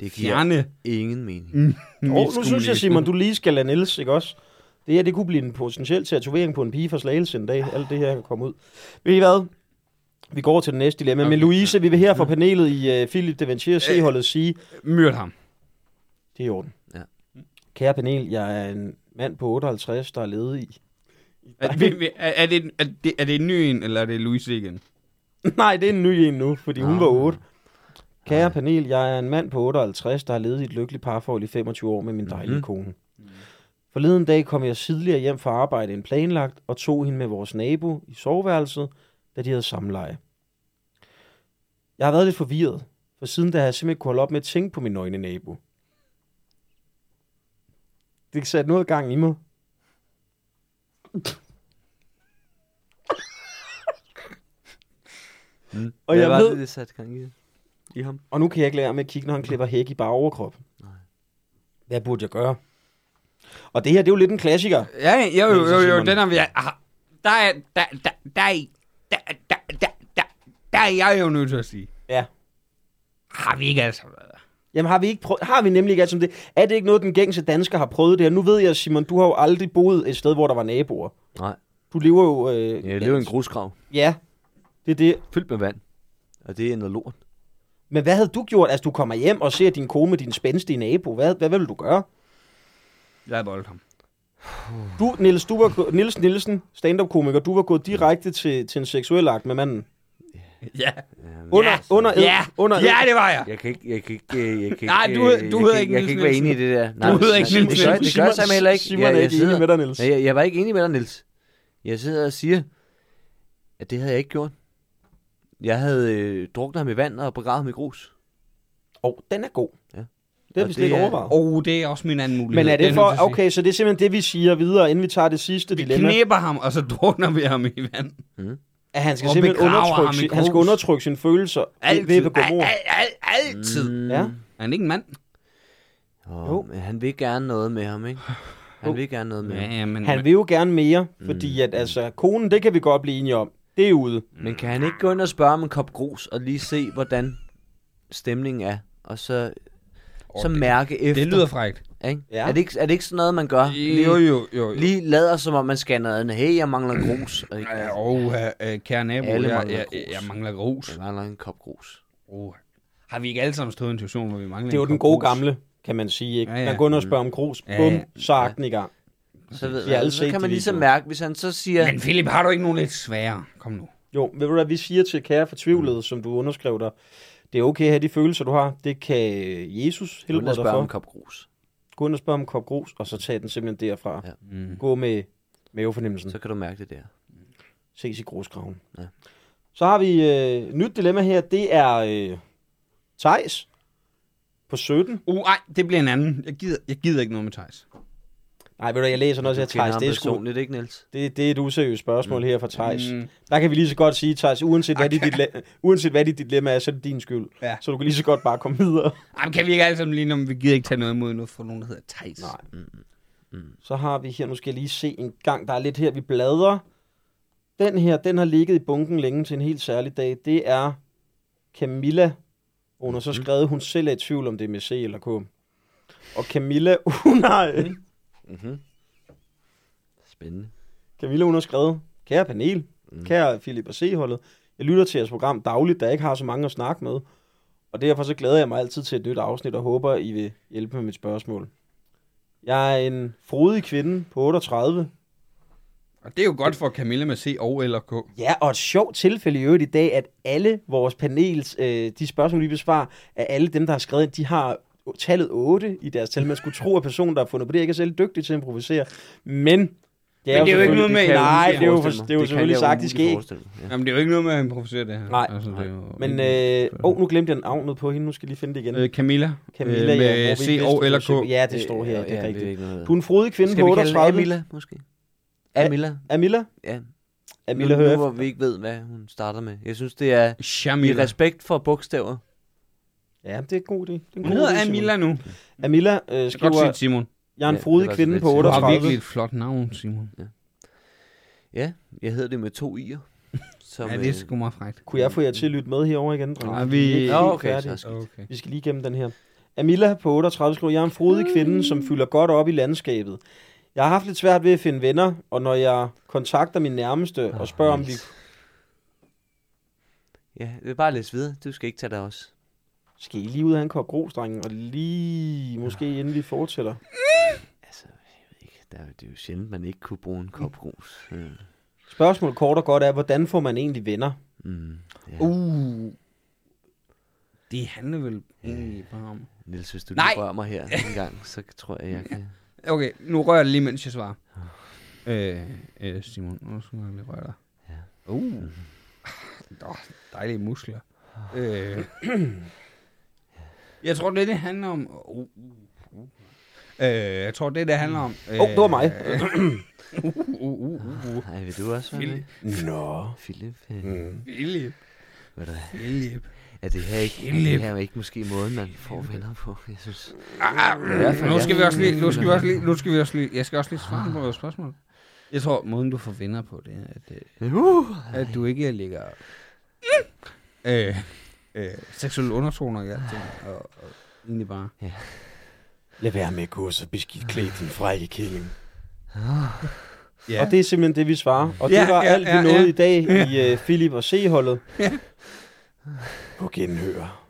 [SPEAKER 7] Det giver
[SPEAKER 1] fjerne
[SPEAKER 7] ingen mening.
[SPEAKER 1] Mm.
[SPEAKER 4] Åh, nu synes jeg, Simon, du lige skal lade Niels, ikke også? Det her, det kunne blive en potentiel tatovering på en pige fra Slagelse en dag. Alt det her kan komme ud. Ved I hvad? Vi går til det næste dilemma. Men Louise, vi vil her fra panelet i uh, Philip de Ventier C-holdet sige,
[SPEAKER 1] myrde ham.
[SPEAKER 4] det er i orden.
[SPEAKER 7] Ja.
[SPEAKER 4] Kære panel, jeg er en mand på 58, der er ledet i.
[SPEAKER 1] Er, vi- vi- er, er, det, er, det, er det en ny en, eller er det Louise igen?
[SPEAKER 4] Nej, det er en ny en nu, fordi hun var 8. Kære panel, jeg er en mand på 58, der har levet i et lykkeligt parforhold i 25 år med min dejlige mm-hmm. kone. Forleden dag kom jeg tidligere hjem fra arbejde end planlagt og tog hende med vores nabo i soveværelset, da de havde samleje. Jeg har været lidt forvirret, for siden da har jeg simpelthen kunne holde op med at tænke på min nøgne nabo. Det satte noget gang i mig.
[SPEAKER 2] Mm.
[SPEAKER 4] Og
[SPEAKER 2] Hvad
[SPEAKER 4] jeg
[SPEAKER 2] var
[SPEAKER 4] ved-
[SPEAKER 2] det, det satte gang i, i ham?
[SPEAKER 4] Og nu kan jeg ikke lære med at kigge, når han klipper hæk i bare overkrop. Hvad burde jeg gøre? Og det her, det er jo lidt en klassiker.
[SPEAKER 1] Ja, jo, jo,
[SPEAKER 4] Men så
[SPEAKER 1] jo,
[SPEAKER 4] siger
[SPEAKER 1] jo,
[SPEAKER 4] man-
[SPEAKER 1] den har vi... Ah, Der er, der, der, der, er- der, der, der, der, der er jeg jo nødt til at sige.
[SPEAKER 4] Ja.
[SPEAKER 1] Har vi ikke altså været der?
[SPEAKER 4] Jamen har vi, ikke prøvet, har vi nemlig ikke alt som det? Er det ikke noget, den gængse dansker har prøvet det her? Nu ved jeg, Simon, du har jo aldrig boet et sted, hvor der var naboer.
[SPEAKER 2] Nej.
[SPEAKER 4] Du lever jo... Øh,
[SPEAKER 2] Jeg lever i en grusgrav,
[SPEAKER 4] Ja, det er det.
[SPEAKER 2] fyldt med vand. Og det er noget lort.
[SPEAKER 4] Men hvad havde du gjort? Altså, du kommer hjem og ser din kone med din spændstige nabo. Hvad, hvad ville du gøre?
[SPEAKER 1] Jeg havde boldet ham.
[SPEAKER 4] Du, Niels, du var, gå- Niels Nielsen, stand-up-komiker, du var gået direkte til, til en seksuel akt med manden.
[SPEAKER 1] Ja.
[SPEAKER 4] Under,
[SPEAKER 1] Ja.
[SPEAKER 4] under, ed,
[SPEAKER 1] Ja,
[SPEAKER 4] under ed.
[SPEAKER 1] ja, det var jeg.
[SPEAKER 2] Jeg kan ikke, jeg kan ikke, øh, jeg kan
[SPEAKER 1] Nej,
[SPEAKER 2] ikke,
[SPEAKER 1] du-
[SPEAKER 2] øh,
[SPEAKER 1] du
[SPEAKER 2] jeg kan
[SPEAKER 1] hedder
[SPEAKER 2] ikke-
[SPEAKER 1] ikke
[SPEAKER 2] Jeg kan
[SPEAKER 1] Niels
[SPEAKER 2] ikke være
[SPEAKER 1] Nielsen.
[SPEAKER 2] enig i det der.
[SPEAKER 1] Du hedder ikke
[SPEAKER 2] det
[SPEAKER 1] Niels
[SPEAKER 2] gør-
[SPEAKER 1] Nielsen.
[SPEAKER 2] Det gør jeg simpelthen heller ikke.
[SPEAKER 4] Simon er
[SPEAKER 2] Jeg, jeg,
[SPEAKER 4] ikke enig med
[SPEAKER 2] sidder,
[SPEAKER 4] dig, Niels.
[SPEAKER 2] jeg, jeg var ikke enig med dig, Niels. Jeg sidder og siger, at det havde jeg ikke gjort. Jeg havde øh, druknet ham i vand og begravet ham i grus.
[SPEAKER 4] Åh, oh, den er god.
[SPEAKER 2] Ja.
[SPEAKER 4] Det har
[SPEAKER 2] Og
[SPEAKER 4] vi
[SPEAKER 2] det
[SPEAKER 4] slet ikke
[SPEAKER 2] er-
[SPEAKER 4] overvejet.
[SPEAKER 1] Åh, oh, det er også min anden mulighed.
[SPEAKER 4] Men er
[SPEAKER 1] er
[SPEAKER 4] det
[SPEAKER 1] jeg
[SPEAKER 4] for...
[SPEAKER 1] nødt til at sige.
[SPEAKER 4] Okay, så det er simpelthen det, vi siger videre, inden vi tager det sidste
[SPEAKER 1] Vi
[SPEAKER 4] dilemma.
[SPEAKER 1] knæber ham, og så drukner vi ham i vand.
[SPEAKER 4] At han skal
[SPEAKER 1] og
[SPEAKER 4] simpelthen
[SPEAKER 1] begraver
[SPEAKER 4] undertrykke,
[SPEAKER 1] ham i
[SPEAKER 4] sin, han skal
[SPEAKER 1] grus.
[SPEAKER 4] undertrykke sine følelser Altid. ved
[SPEAKER 1] Altid.
[SPEAKER 4] at begå
[SPEAKER 1] Al,
[SPEAKER 4] mord.
[SPEAKER 1] al, al, altid. Mm.
[SPEAKER 4] Ja.
[SPEAKER 1] Er han ikke en mand?
[SPEAKER 2] Og,
[SPEAKER 4] Jo.
[SPEAKER 2] jo. Men han vil gerne noget med ham, ikke? Han
[SPEAKER 4] Jo.
[SPEAKER 2] vil gerne noget med
[SPEAKER 1] Ja,
[SPEAKER 2] ham.
[SPEAKER 1] ja, men...
[SPEAKER 4] Han vil jo gerne mere, fordi at, altså, konen, det kan vi godt blive enige om. Det er ude.
[SPEAKER 2] Men kan han ikke gå ind og spørge om en kop grus og lige se, hvordan stemningen er? Og så, oh, så
[SPEAKER 1] det-
[SPEAKER 2] mærke efter.
[SPEAKER 1] Det lyder frækt.
[SPEAKER 2] Ikke?
[SPEAKER 4] Ja.
[SPEAKER 2] Ja. Er, det ikke, er det ikke sådan noget, man gør? Lige,
[SPEAKER 1] Jo, jo, jo. jo.
[SPEAKER 2] lige lader som om, man skal noget andet. Hey, jeg mangler grus. Og ikke,
[SPEAKER 1] Ja, Og øh, kære nabo,
[SPEAKER 2] Alle
[SPEAKER 1] jeg,
[SPEAKER 2] mangler
[SPEAKER 1] jeg,
[SPEAKER 2] grus.
[SPEAKER 1] jeg mangler grus.
[SPEAKER 2] jeg mangler en kop grus.
[SPEAKER 1] Oh. Har vi ikke alle sammen stået i en situation, hvor vi mangler
[SPEAKER 4] Det er jo
[SPEAKER 1] en
[SPEAKER 4] den
[SPEAKER 1] kop
[SPEAKER 4] gode
[SPEAKER 1] grus?
[SPEAKER 4] gamle, kan man sige. Ikke?
[SPEAKER 1] Ja, ja.
[SPEAKER 4] Man går ind og spørger om grus.
[SPEAKER 1] Ja,
[SPEAKER 4] Bum,
[SPEAKER 1] ja.
[SPEAKER 4] så er akten i gang.
[SPEAKER 2] Så, ved
[SPEAKER 4] Vi har alle
[SPEAKER 2] man, så
[SPEAKER 4] set
[SPEAKER 2] kan
[SPEAKER 4] de
[SPEAKER 2] man ligesom
[SPEAKER 4] videoer.
[SPEAKER 2] mærke, hvis han så siger...
[SPEAKER 1] Men Philip, har du ikke nogen lidt sværere? Kom nu.
[SPEAKER 4] Jo, ved du hvad, vi siger til kære fortvivlede, som du underskrev dig, det er okay at have de følelser, du har. Det kan Jesus
[SPEAKER 2] Uden
[SPEAKER 4] helbrede
[SPEAKER 2] at
[SPEAKER 4] dig
[SPEAKER 2] spørge om en
[SPEAKER 4] for.
[SPEAKER 2] kop grus.
[SPEAKER 4] Gå ind og spørg om en kop grus, og så tag den simpelthen derfra.
[SPEAKER 2] Ja.
[SPEAKER 1] Mm.
[SPEAKER 4] Gå med mavefornemmelsen.
[SPEAKER 2] Så kan du mærke det der.
[SPEAKER 4] Ses i grusgraven. Ja.
[SPEAKER 2] Ja.
[SPEAKER 4] Så har vi øh, nyt dilemma her. Det er øh, Tejs på 17.
[SPEAKER 1] Uh, ej, det bliver en anden. Jeg gider, jeg gider ikke noget med Thijs.
[SPEAKER 4] Nej, ved du, hvad, jeg læser den også her,
[SPEAKER 2] du kender
[SPEAKER 4] Thijs.
[SPEAKER 2] ham
[SPEAKER 4] Det er, sgu,
[SPEAKER 2] personligt, ikke, Niels?
[SPEAKER 4] det, det er et useriøst spørgsmål mm. her fra Tejs. Mm.
[SPEAKER 1] Mm.
[SPEAKER 4] Der kan vi lige så godt sige, Thijs, uanset, hvad dit, dile- uanset hvad dit dilemma er, så er det din skyld.
[SPEAKER 1] Ja.
[SPEAKER 4] Så du kan lige så godt bare komme videre.
[SPEAKER 1] Jamen, kan vi ikke alle sammen lige, når vi gider ikke tage noget imod noget for nogen, der hedder Thijs?
[SPEAKER 4] Nej. Så har vi her, nu skal jeg lige se en gang, der er lidt her, vi bladrer. Den her, den har ligget i bunken længe til en helt særlig dag. Det er Camilla. Hun har så skrevet, hun selv er i tvivl, om det er med C eller K. Og Camilla, uh, nej.
[SPEAKER 2] Mm-hmm. Spændende.
[SPEAKER 4] Camilla, hun har skrevet, kære panel, kære Philip og C-holdet, jeg lytter til jeres program dagligt, da jeg ikke har så mange at snakke med. Og derfor så glæder jeg mig altid til et nyt afsnit og håber, I vil hjælpe med mit spørgsmål. Jeg er en frodig kvinde på 38,
[SPEAKER 1] Og det er jo godt for Camilla med C og eller K.
[SPEAKER 4] Ja, og et sjovt tilfælde i øvrigt i dag, at alle vores panels, øh, de spørgsmål, vi besvarer, af alle dem, der har skrevet, ind, de har tallet 8 i deres tal. Man skulle tro, at personen, der har fundet på det, ikke er særlig dygtig til at improvisere. Men... Det
[SPEAKER 1] Men det er jo ikke
[SPEAKER 4] selvfølgelig-
[SPEAKER 1] noget med-
[SPEAKER 4] det kan- Nej, det er jo, for,
[SPEAKER 2] forestille mig.
[SPEAKER 4] det er jo
[SPEAKER 2] kan
[SPEAKER 4] selvfølgelig
[SPEAKER 2] jeg
[SPEAKER 4] sagt i
[SPEAKER 2] umuligt
[SPEAKER 4] skæg.
[SPEAKER 2] forestille mig, Ja.
[SPEAKER 1] Jamen, det er jo ikke noget med at improvisere det her.
[SPEAKER 4] Nej.
[SPEAKER 1] altså, det er jo
[SPEAKER 4] Men,
[SPEAKER 1] øh,
[SPEAKER 4] øh, oh, nu glemte jeg navnet på hende. Nu skal jeg lige finde det igen.
[SPEAKER 1] øh, Camilla,
[SPEAKER 4] Camilla,
[SPEAKER 1] øh,
[SPEAKER 4] ja, hvor vi
[SPEAKER 1] med C
[SPEAKER 4] vidste,
[SPEAKER 1] og
[SPEAKER 4] du
[SPEAKER 1] eller K.
[SPEAKER 4] simpelthen- Ja, det står her.
[SPEAKER 2] Øh, Ja,
[SPEAKER 4] Det er
[SPEAKER 2] Det er
[SPEAKER 4] rigtigt.
[SPEAKER 2] ikke noget.
[SPEAKER 4] Du er en frodig kvinde
[SPEAKER 2] Skal
[SPEAKER 4] på
[SPEAKER 2] vi kalde
[SPEAKER 4] 38.
[SPEAKER 2] hende Amilla, måske? Amilla?
[SPEAKER 4] Amilla?
[SPEAKER 2] Ja.
[SPEAKER 4] Amilla
[SPEAKER 2] nu,
[SPEAKER 4] hører
[SPEAKER 2] nu, hvor vi ikke ved, hvad hun starter med. Jeg synes, det er i
[SPEAKER 1] Shamila.
[SPEAKER 2] respekt for bogstaver.
[SPEAKER 4] Ja, det er en god idé. Det er en
[SPEAKER 1] Hun
[SPEAKER 4] god idé,
[SPEAKER 1] hedder
[SPEAKER 4] Simon.
[SPEAKER 1] Amilla nu.
[SPEAKER 4] Amilla øh,
[SPEAKER 1] Jeg kan godt
[SPEAKER 4] skriver,
[SPEAKER 1] sige Simon.
[SPEAKER 4] jeg er en
[SPEAKER 2] Ja,
[SPEAKER 4] frodig
[SPEAKER 2] det var
[SPEAKER 4] kvinde
[SPEAKER 2] sådan
[SPEAKER 4] på
[SPEAKER 2] lidt
[SPEAKER 1] Du har
[SPEAKER 4] 38.
[SPEAKER 1] virkelig et flot navn, Simon.
[SPEAKER 2] Ja, jeg hedder det med to i'er. Som,
[SPEAKER 1] Ja, det er
[SPEAKER 2] øh,
[SPEAKER 1] sgu meget frækt.
[SPEAKER 4] Kunne jeg få jer til at lytte med herover igen, drenge?
[SPEAKER 1] Nej, vi-
[SPEAKER 4] er ikke
[SPEAKER 2] Nå,
[SPEAKER 4] helt
[SPEAKER 2] okay,
[SPEAKER 4] færdige.
[SPEAKER 2] så skal-
[SPEAKER 1] Okay.
[SPEAKER 4] Vi skal lige gennem den her. Amilla på 38 skriver, jeg er en frodig kvinde, som fylder godt op i landskabet. Jeg har haft lidt svært ved at finde venner, og når jeg kontakter min nærmeste
[SPEAKER 2] Ah,
[SPEAKER 4] og spørger, om vi...
[SPEAKER 2] Ja, det er bare læs videre. Du skal ikke tage dig også.
[SPEAKER 4] Skal I lige ud af en kop grus, drenge, og lige måske inden vi fortsætter?
[SPEAKER 2] Altså, jeg ved ikke. Der, er jo- det er jo sjældent, man ikke kunne bruge en kop grus. Øh,
[SPEAKER 4] Spørgsmålet kort og godt er, hvordan får man egentlig venner?
[SPEAKER 2] Mm, ja.
[SPEAKER 1] Uh. Det handler vel egentlig bare om...
[SPEAKER 2] Niels, hvis du
[SPEAKER 1] Nej.
[SPEAKER 2] lige rører mig her en gang, så tror jeg, jeg kan...
[SPEAKER 1] Okay, nu rører jeg lige, mens jeg svarer.
[SPEAKER 4] Ah.
[SPEAKER 1] Øh, øh Simon, nu skal jeg lige røre dig. Uh. Nå, dejlige muskler.
[SPEAKER 4] Ah.
[SPEAKER 1] Øh. Jeg tror, det det handler om... Uh, uh, uh. Øh, jeg tror, det det handler om... Åh,
[SPEAKER 4] Åh, oh, det var mig.
[SPEAKER 1] Uh, uh, uh, uh, uh.
[SPEAKER 2] Nej, vil du også være med?
[SPEAKER 1] Philip.
[SPEAKER 4] Nå.
[SPEAKER 2] Philip. Øh,
[SPEAKER 1] Philip.
[SPEAKER 2] Ved du hvad?
[SPEAKER 1] Hjælp.
[SPEAKER 2] Er det her ikke, er det her er ikke måske måden, man får venner på? Jeg synes,
[SPEAKER 1] Ah, nu skal vi også lige, nu skal vi også lige, nu skal vi også lige, jeg skal også lige svare på vores spørgsmål. Jeg tror, måden du får venner på, det er, at, øh,
[SPEAKER 2] uh,
[SPEAKER 1] at du ikke ligger øh, øh, seksuelle undertoner i alting, og, og egentlig bare...
[SPEAKER 4] Lad være med at gå så beskidt klædt, din frække killing. Ja. Og det er simpelthen det, vi svarer. Og det
[SPEAKER 1] Ah. Ja,
[SPEAKER 4] var
[SPEAKER 1] ja,
[SPEAKER 4] alt, vi
[SPEAKER 1] ja,
[SPEAKER 4] nåede
[SPEAKER 1] ja.
[SPEAKER 4] i dag i uh, Philip og C-holdet. På genhør.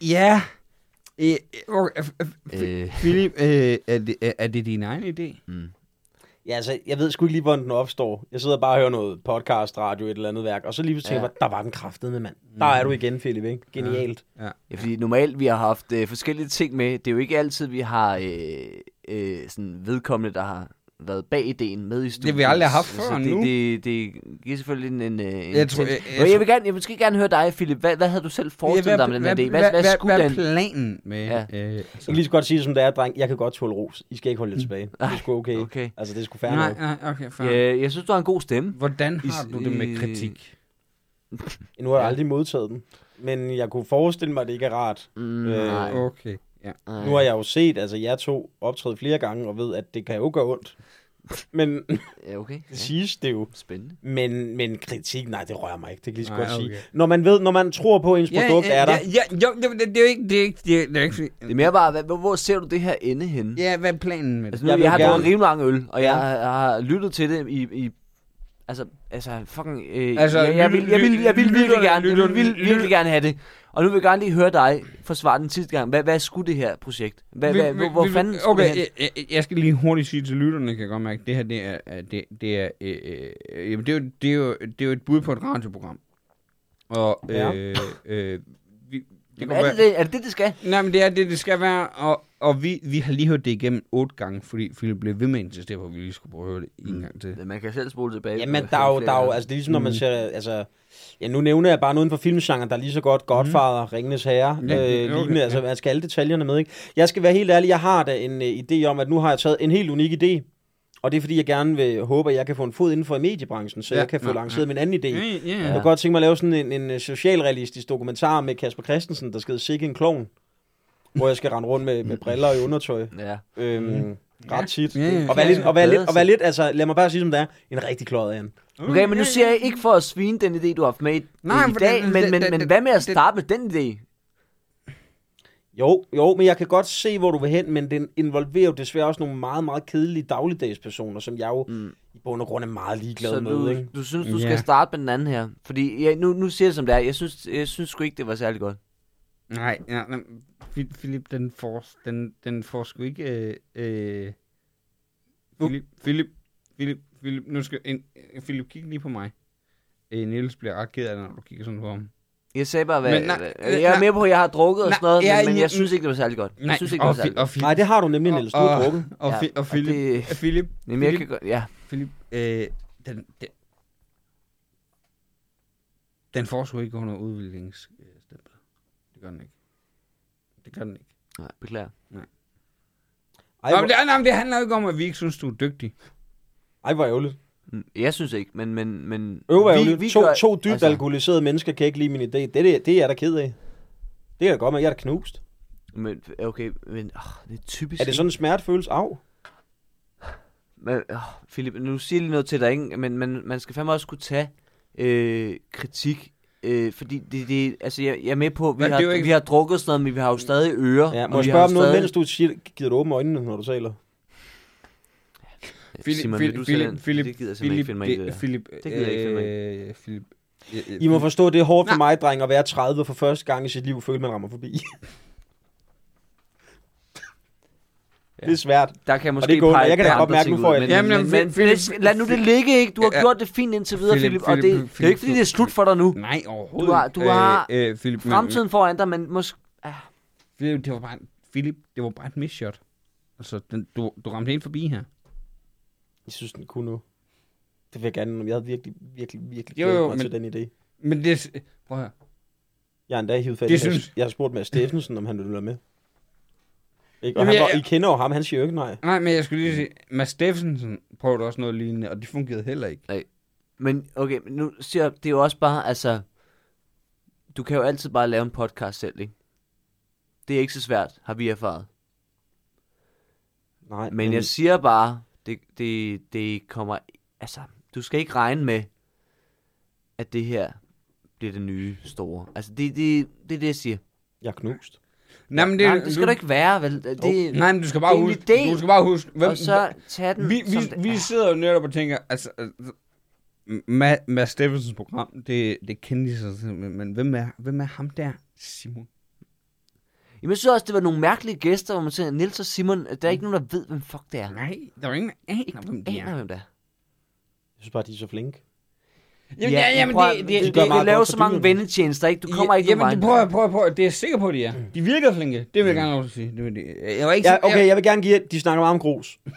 [SPEAKER 2] ja.
[SPEAKER 1] Ja. Øh, okay, øh, øh,
[SPEAKER 2] Øh,
[SPEAKER 1] Philip, øh, er, det, er- er det din egen idé?
[SPEAKER 4] Ja, altså, jeg ved sgu ikke lige, hvordan den opstår. Jeg sidder bare og hører noget podcast, radio, et eller andet værk, og så lige tænker jeg, ja. der var den kraftede med mand. Der er
[SPEAKER 1] Mm.
[SPEAKER 4] du igen, Philip, ikke? Genialt.
[SPEAKER 2] ja, fordi normalt vi har haft øh, forskellige ting med. Det er jo ikke altid, vi har øh, øh, sådan vedkommende, der har været bag ideen med i studiet.
[SPEAKER 1] vi aldrig har haft før
[SPEAKER 2] det,
[SPEAKER 1] nu.
[SPEAKER 2] Det, det, giver selvfølgelig en... en, øh, en
[SPEAKER 1] Jeg tror-
[SPEAKER 2] jeg,
[SPEAKER 1] jeg-
[SPEAKER 2] jeg,
[SPEAKER 1] jeg
[SPEAKER 2] jeg,
[SPEAKER 1] tror-
[SPEAKER 2] vil gerne, jeg vil måske gerne høre dig, Philip. Hvad, hvad havde du selv
[SPEAKER 1] Ja,
[SPEAKER 2] forestillet dig med den her idé? Hvad, hvad, hvad skulle
[SPEAKER 1] hvad er
[SPEAKER 2] den?
[SPEAKER 1] planen med...
[SPEAKER 2] Ja.
[SPEAKER 1] Øh,
[SPEAKER 4] Jeg kan lige så godt sige, det, som det er, dreng. Jeg kan godt tåle ros. I skal ikke holde jer tilbage. Det er sgu okay.
[SPEAKER 2] okay.
[SPEAKER 4] Altså, det er sgu fair
[SPEAKER 1] Mm. nej,
[SPEAKER 4] nok.
[SPEAKER 1] nej, okay, fair.
[SPEAKER 2] Øh, jeg synes, du har en god stemme.
[SPEAKER 1] Hvordan
[SPEAKER 2] I-
[SPEAKER 1] har du det med
[SPEAKER 2] øh,
[SPEAKER 1] kritik?
[SPEAKER 4] Nu har jeg aldrig modtaget den. Men jeg kunne forestille mig, at det ikke er rart.
[SPEAKER 2] Mm,
[SPEAKER 4] Øh,
[SPEAKER 2] nej.
[SPEAKER 1] Okay, ja.
[SPEAKER 2] nej.
[SPEAKER 4] Nu har jeg jo set, altså jer to optræde flere gange, og ved, at det kan jo gøre ondt. Men det
[SPEAKER 2] Ja, okay. Ja.
[SPEAKER 4] siges det jo.
[SPEAKER 2] Spændende.
[SPEAKER 4] Men, men kritik, nej, det rører mig ikke. Det kan jeg lige så
[SPEAKER 1] Nej,
[SPEAKER 4] godt sige.
[SPEAKER 1] okay.
[SPEAKER 4] Når man ved, når man tror på, at ens produkt
[SPEAKER 1] ja,
[SPEAKER 4] er der.
[SPEAKER 1] Ja, ja, jo, jo, det, det er jo ikke, det er ikke, det er, det er ikke fordi-
[SPEAKER 2] Det er mere bare, hvad, hvor, hvor ser du det her ende henne?
[SPEAKER 1] Ja, hvad er planen med det?
[SPEAKER 2] Altså, nu,
[SPEAKER 4] Jeg
[SPEAKER 2] jeg,
[SPEAKER 4] vil
[SPEAKER 2] jeg har
[SPEAKER 4] gerne-
[SPEAKER 2] drukket rimelig mange øl, og jeg, har- jeg har lyttet til det i... i altså, altså, fucking... Øh, altså, jeg, jeg, vil, jeg, vil, jeg vil
[SPEAKER 1] lytter-
[SPEAKER 2] virkelig gerne, jeg
[SPEAKER 1] lytter-
[SPEAKER 2] vil, vil,
[SPEAKER 1] lytter-
[SPEAKER 2] virkelig gerne have det. Og nu vil jeg gerne lige høre dig forsvare den sidste gang. Hvad, hvad skulle det her projekt? Hvad, hvad, hvor, hvor fanden skulle
[SPEAKER 1] okay,
[SPEAKER 2] det hen?
[SPEAKER 1] jeg, jeg, jeg skal lige hurtigt sige til lytterne, kan jeg godt mærke, det her, det er, er- det, det er, øh, øh, jamen, det er, jo, det, er jo, det er jo et bud på et radioprogram. Og, øh,
[SPEAKER 4] Ja.
[SPEAKER 1] øh, vi, det
[SPEAKER 2] Jamen,
[SPEAKER 1] kan
[SPEAKER 2] er,
[SPEAKER 1] være-
[SPEAKER 2] det, det, er det det, det skal?
[SPEAKER 1] Nej, men det er det, det skal være, og, og vi, vi har lige hørt det igennem otte gange, fordi Philip blev ved med at insistere på, at vi lige skulle prøve at høre det en gang til.
[SPEAKER 2] Man kan selv spole tilbage.
[SPEAKER 4] Jamen, der er jo, der er jo, altså det er ligesom, når
[SPEAKER 1] Mm.
[SPEAKER 4] man ser, altså, ja, nu nævner jeg bare noget inden for filmgenren, der er lige så godt Godfather, mm. Ringenes Herre,
[SPEAKER 1] Ja,
[SPEAKER 4] øh,
[SPEAKER 1] okay,
[SPEAKER 4] lignende,
[SPEAKER 1] ja.
[SPEAKER 4] altså man skal alle detaljerne med, ikke? Jeg skal være helt ærlig, jeg har da en øh, idé om, at nu har jeg taget en helt unik idé, og det er fordi, jeg gerne vil håbe, at jeg kan få en fod inden for i mediebranchen, så
[SPEAKER 1] Ja,
[SPEAKER 4] jeg kan få
[SPEAKER 1] nå,
[SPEAKER 4] lanceret min anden idé.
[SPEAKER 1] Ja, ja,
[SPEAKER 4] Jeg kunne godt tænke mig at lave sådan en, en øh, socialrealistisk dokumentar med Kasper Christensen, der skal hedde Sikke en klovn, hvor jeg skal rende rundt med, med briller og i undertøj.
[SPEAKER 2] Ja.
[SPEAKER 4] Øhm, Ret tit.
[SPEAKER 1] Ja, ja,
[SPEAKER 4] og være
[SPEAKER 1] ja,
[SPEAKER 4] lidt,
[SPEAKER 1] ja.
[SPEAKER 4] og være lidt,
[SPEAKER 2] Bedre
[SPEAKER 4] og være lidt, altså, lad mig bare sige, som det er, en rigtig klod af en.
[SPEAKER 2] Okay, men nu siger jeg ikke for at svine den idé, du har haft med i,
[SPEAKER 1] Nej,
[SPEAKER 2] i
[SPEAKER 1] for
[SPEAKER 2] dag,
[SPEAKER 1] den-
[SPEAKER 2] men,
[SPEAKER 1] den-
[SPEAKER 2] men,
[SPEAKER 1] den-
[SPEAKER 2] men hvad med at
[SPEAKER 1] den-
[SPEAKER 2] starte med den idé?
[SPEAKER 4] Jo, jo, men jeg kan godt se, hvor du vil hen, men den involverer jo desværre også nogle meget, meget kedelige dagligdagspersoner, som jeg jo mm. i bund og grund er meget ligeglad
[SPEAKER 2] Så
[SPEAKER 4] med.
[SPEAKER 2] du,
[SPEAKER 4] Ikke?
[SPEAKER 2] du synes, du
[SPEAKER 1] Ja.
[SPEAKER 2] skal starte med den anden her? Fordi ja, nu, nu siger jeg det, som det er. Jeg synes, jeg synes sgu ikke, det var særlig godt.
[SPEAKER 1] Nej, ja, nej, Fi- Philip, den får, den, den får sgu ikke... Øh, øh, Philip, Philip, Philip, Philip, nu skal, en, øh, Philip, kig lige på mig. Øh, Niels bliver ret ked af det, når du kigger sådan på ham.
[SPEAKER 2] Jeg sagde bare, hvad...
[SPEAKER 1] Men nej,
[SPEAKER 2] øh, jeg er
[SPEAKER 1] nej.
[SPEAKER 2] med på, at jeg har drukket og
[SPEAKER 1] Nej,
[SPEAKER 2] sådan noget,
[SPEAKER 1] ja,
[SPEAKER 2] men, men
[SPEAKER 1] ja,
[SPEAKER 2] jeg synes ikke, det var særlig godt. Jeg synes ikke, det var
[SPEAKER 1] og,
[SPEAKER 2] særlig
[SPEAKER 1] Fi-
[SPEAKER 2] godt.
[SPEAKER 1] og, Philip,
[SPEAKER 4] Nej, det har du nemlig, Niels. Du har
[SPEAKER 1] og-
[SPEAKER 4] drukket.
[SPEAKER 1] Og, Fi-
[SPEAKER 2] Ja,
[SPEAKER 1] og
[SPEAKER 2] og
[SPEAKER 1] Philip,
[SPEAKER 2] det-
[SPEAKER 1] og Philip,
[SPEAKER 2] Jamen, jeg
[SPEAKER 1] Philip,
[SPEAKER 2] kan godt... Ja.
[SPEAKER 1] Philip, øh, den, den, den får sgu ikke under udviklingsstempel. Det gør den ikke. Det gør den ikke.
[SPEAKER 2] Nej, beklager.
[SPEAKER 4] Ej,
[SPEAKER 1] Ej, Nå, men
[SPEAKER 4] hvor,
[SPEAKER 1] det, nej, men det handler jo ikke om, at vi ikke synes, du er dygtig.
[SPEAKER 4] ej, hvor ærgerligt.
[SPEAKER 2] Mm, Jeg synes ikke, men... men, men
[SPEAKER 4] Øv, hvor ærgerligt. to,
[SPEAKER 2] gør-
[SPEAKER 4] to dybt altså... alkoholiserede mennesker kan ikke lide min idé. Det, er det, det er jeg da ked af. Det er jeg da godt med. Jeg er da knust.
[SPEAKER 2] Men, okay, men åh, det er typisk...
[SPEAKER 4] Er det sådan en smertefølelse af?
[SPEAKER 2] Men, åh, Philip, nu siger jeg lige noget til dig, ikke? men man, man skal fandme også kunne tage øh, kritik. Øh, fordi det, det, altså jeg, jeg er med på, vi,
[SPEAKER 1] Men det er
[SPEAKER 2] har,
[SPEAKER 1] jo ikke-
[SPEAKER 2] vi har drukket sådan noget, men vi har jo stadig ører.
[SPEAKER 4] Ja, må
[SPEAKER 2] og
[SPEAKER 4] jeg
[SPEAKER 2] vi
[SPEAKER 4] spørge
[SPEAKER 2] har
[SPEAKER 4] om noget,
[SPEAKER 2] stadig-
[SPEAKER 4] mens du siger, giver du åbne øjnene, når du taler?
[SPEAKER 1] Philip,
[SPEAKER 2] Simon, vil
[SPEAKER 1] Philip,
[SPEAKER 2] du
[SPEAKER 1] Philip,
[SPEAKER 2] Philip,
[SPEAKER 1] Philip,
[SPEAKER 2] det gider jeg simpelthen
[SPEAKER 1] Philip,
[SPEAKER 2] ikke finde mig i det der.
[SPEAKER 1] Philip,
[SPEAKER 2] Det gider jeg ikke finde mig
[SPEAKER 1] øh, Philip, øh,
[SPEAKER 4] I må forstå, det er hårdt for
[SPEAKER 1] Nej.
[SPEAKER 4] mig, dreng, at være 30 for første gang i sit liv, føle, man rammer forbi. Det er svært.
[SPEAKER 2] Der kan jeg måske
[SPEAKER 4] det er gået,
[SPEAKER 2] pege
[SPEAKER 4] jeg kan
[SPEAKER 2] et
[SPEAKER 4] da
[SPEAKER 2] par
[SPEAKER 4] godt
[SPEAKER 2] andre
[SPEAKER 4] mærke,
[SPEAKER 2] ting
[SPEAKER 4] nu får
[SPEAKER 2] ud,
[SPEAKER 4] jeg-
[SPEAKER 2] men,
[SPEAKER 1] Jamen,
[SPEAKER 2] men,
[SPEAKER 1] jamen,
[SPEAKER 2] men,
[SPEAKER 1] Philip-
[SPEAKER 2] men, lad nu det ligge, ikke? Du har
[SPEAKER 1] Ja.
[SPEAKER 2] gjort det fint indtil videre,
[SPEAKER 1] Philip,
[SPEAKER 2] Philip, og det,
[SPEAKER 1] Philip,
[SPEAKER 2] det er jo ikke, fordi det er slut for dig nu.
[SPEAKER 1] Nej, overhovedet
[SPEAKER 2] Du har-
[SPEAKER 1] ikke.
[SPEAKER 2] du har
[SPEAKER 1] øh, øh, Philip, men-
[SPEAKER 2] Fremtiden foran dig, men måske...
[SPEAKER 1] Philip, det var bare, Philip, det var bare et misshot. Altså, den, du, du ramte helt forbi her.
[SPEAKER 4] Jeg synes, den kunne nu. Det vil jeg gerne, men jeg havde virkelig, virkelig, virkelig
[SPEAKER 1] Jo,
[SPEAKER 4] glædet
[SPEAKER 1] jo,
[SPEAKER 4] mig
[SPEAKER 1] men-
[SPEAKER 4] til den idé.
[SPEAKER 1] Men det, prøv at høre.
[SPEAKER 4] Jeg har endda hivet fat
[SPEAKER 1] Det
[SPEAKER 4] i Mads-
[SPEAKER 1] synes-
[SPEAKER 4] Jeg har spurgt Mads Steffensen, om han ville være med. Ikke? Og
[SPEAKER 1] Jamen,
[SPEAKER 4] Jamen, han,
[SPEAKER 1] jeg-
[SPEAKER 4] var- I kender jo ham, han siger jo ikke nej.
[SPEAKER 1] Nej, men jeg skulle lige sige, Mads Steffensen prøvede også noget lignende, og det fungerede heller ikke.
[SPEAKER 2] Men okay, men nu siger jeg, det er jo også bare, altså, du kan jo altid bare lave en podcast selv, ikke? Det er ikke så svært, har vi erfaret.
[SPEAKER 4] Nej,
[SPEAKER 2] Men jeg siger bare, det, det, det kommer, altså, du skal ikke regne med, at det her bliver det nye store. Altså, det, det, det er det, jeg siger.
[SPEAKER 4] jeg er knust.
[SPEAKER 1] Nej, men
[SPEAKER 2] Det, Nej, men det skal du, ikke være, vel? Det,
[SPEAKER 1] Det, nej, men du skal bare
[SPEAKER 2] det er en
[SPEAKER 1] huske,
[SPEAKER 2] idé,
[SPEAKER 1] du skal bare huske, hvem,
[SPEAKER 2] og så tage den,
[SPEAKER 1] vi,
[SPEAKER 2] som den
[SPEAKER 1] vi, vi
[SPEAKER 2] er.
[SPEAKER 1] sidder jo netop og tænker, altså, altså Ma- Mads Steffensens program, det, det kendte sig simpelthen, men hvem er, hvem er ham der? Simon.
[SPEAKER 2] Jamen, jeg synes også, det var nogle mærkelige gæster, hvor man siger, Nils og Simon, der er ikke nogen, der ved, hvem fuck det er.
[SPEAKER 1] Mm. Nej, der er jo ingen, der aner, hvem det
[SPEAKER 2] Aner,
[SPEAKER 1] er.
[SPEAKER 2] hvem det er.
[SPEAKER 4] Jeg synes bare, de er så flinke.
[SPEAKER 1] Jamen, ja, jamen,
[SPEAKER 2] prøv at-
[SPEAKER 1] det,
[SPEAKER 2] du,
[SPEAKER 1] det,
[SPEAKER 4] de
[SPEAKER 1] det,
[SPEAKER 4] gør
[SPEAKER 2] du,
[SPEAKER 4] meget
[SPEAKER 2] du laver
[SPEAKER 4] godt for
[SPEAKER 2] så mange
[SPEAKER 4] dyrene.
[SPEAKER 2] vennetjenester, ikke? Du kommer ikke
[SPEAKER 1] Jamen,
[SPEAKER 2] nogen Mm.
[SPEAKER 1] det prøver jeg, prøver jeg, prøver jeg. Det er jeg sikker på, de er. De virker flinke. Det vil jeg gerne lov til at sige. Det vil de. Jeg var ikke
[SPEAKER 4] Ja,
[SPEAKER 1] så-
[SPEAKER 4] okay, jeg vil gerne give, at de snakker meget om grus. Der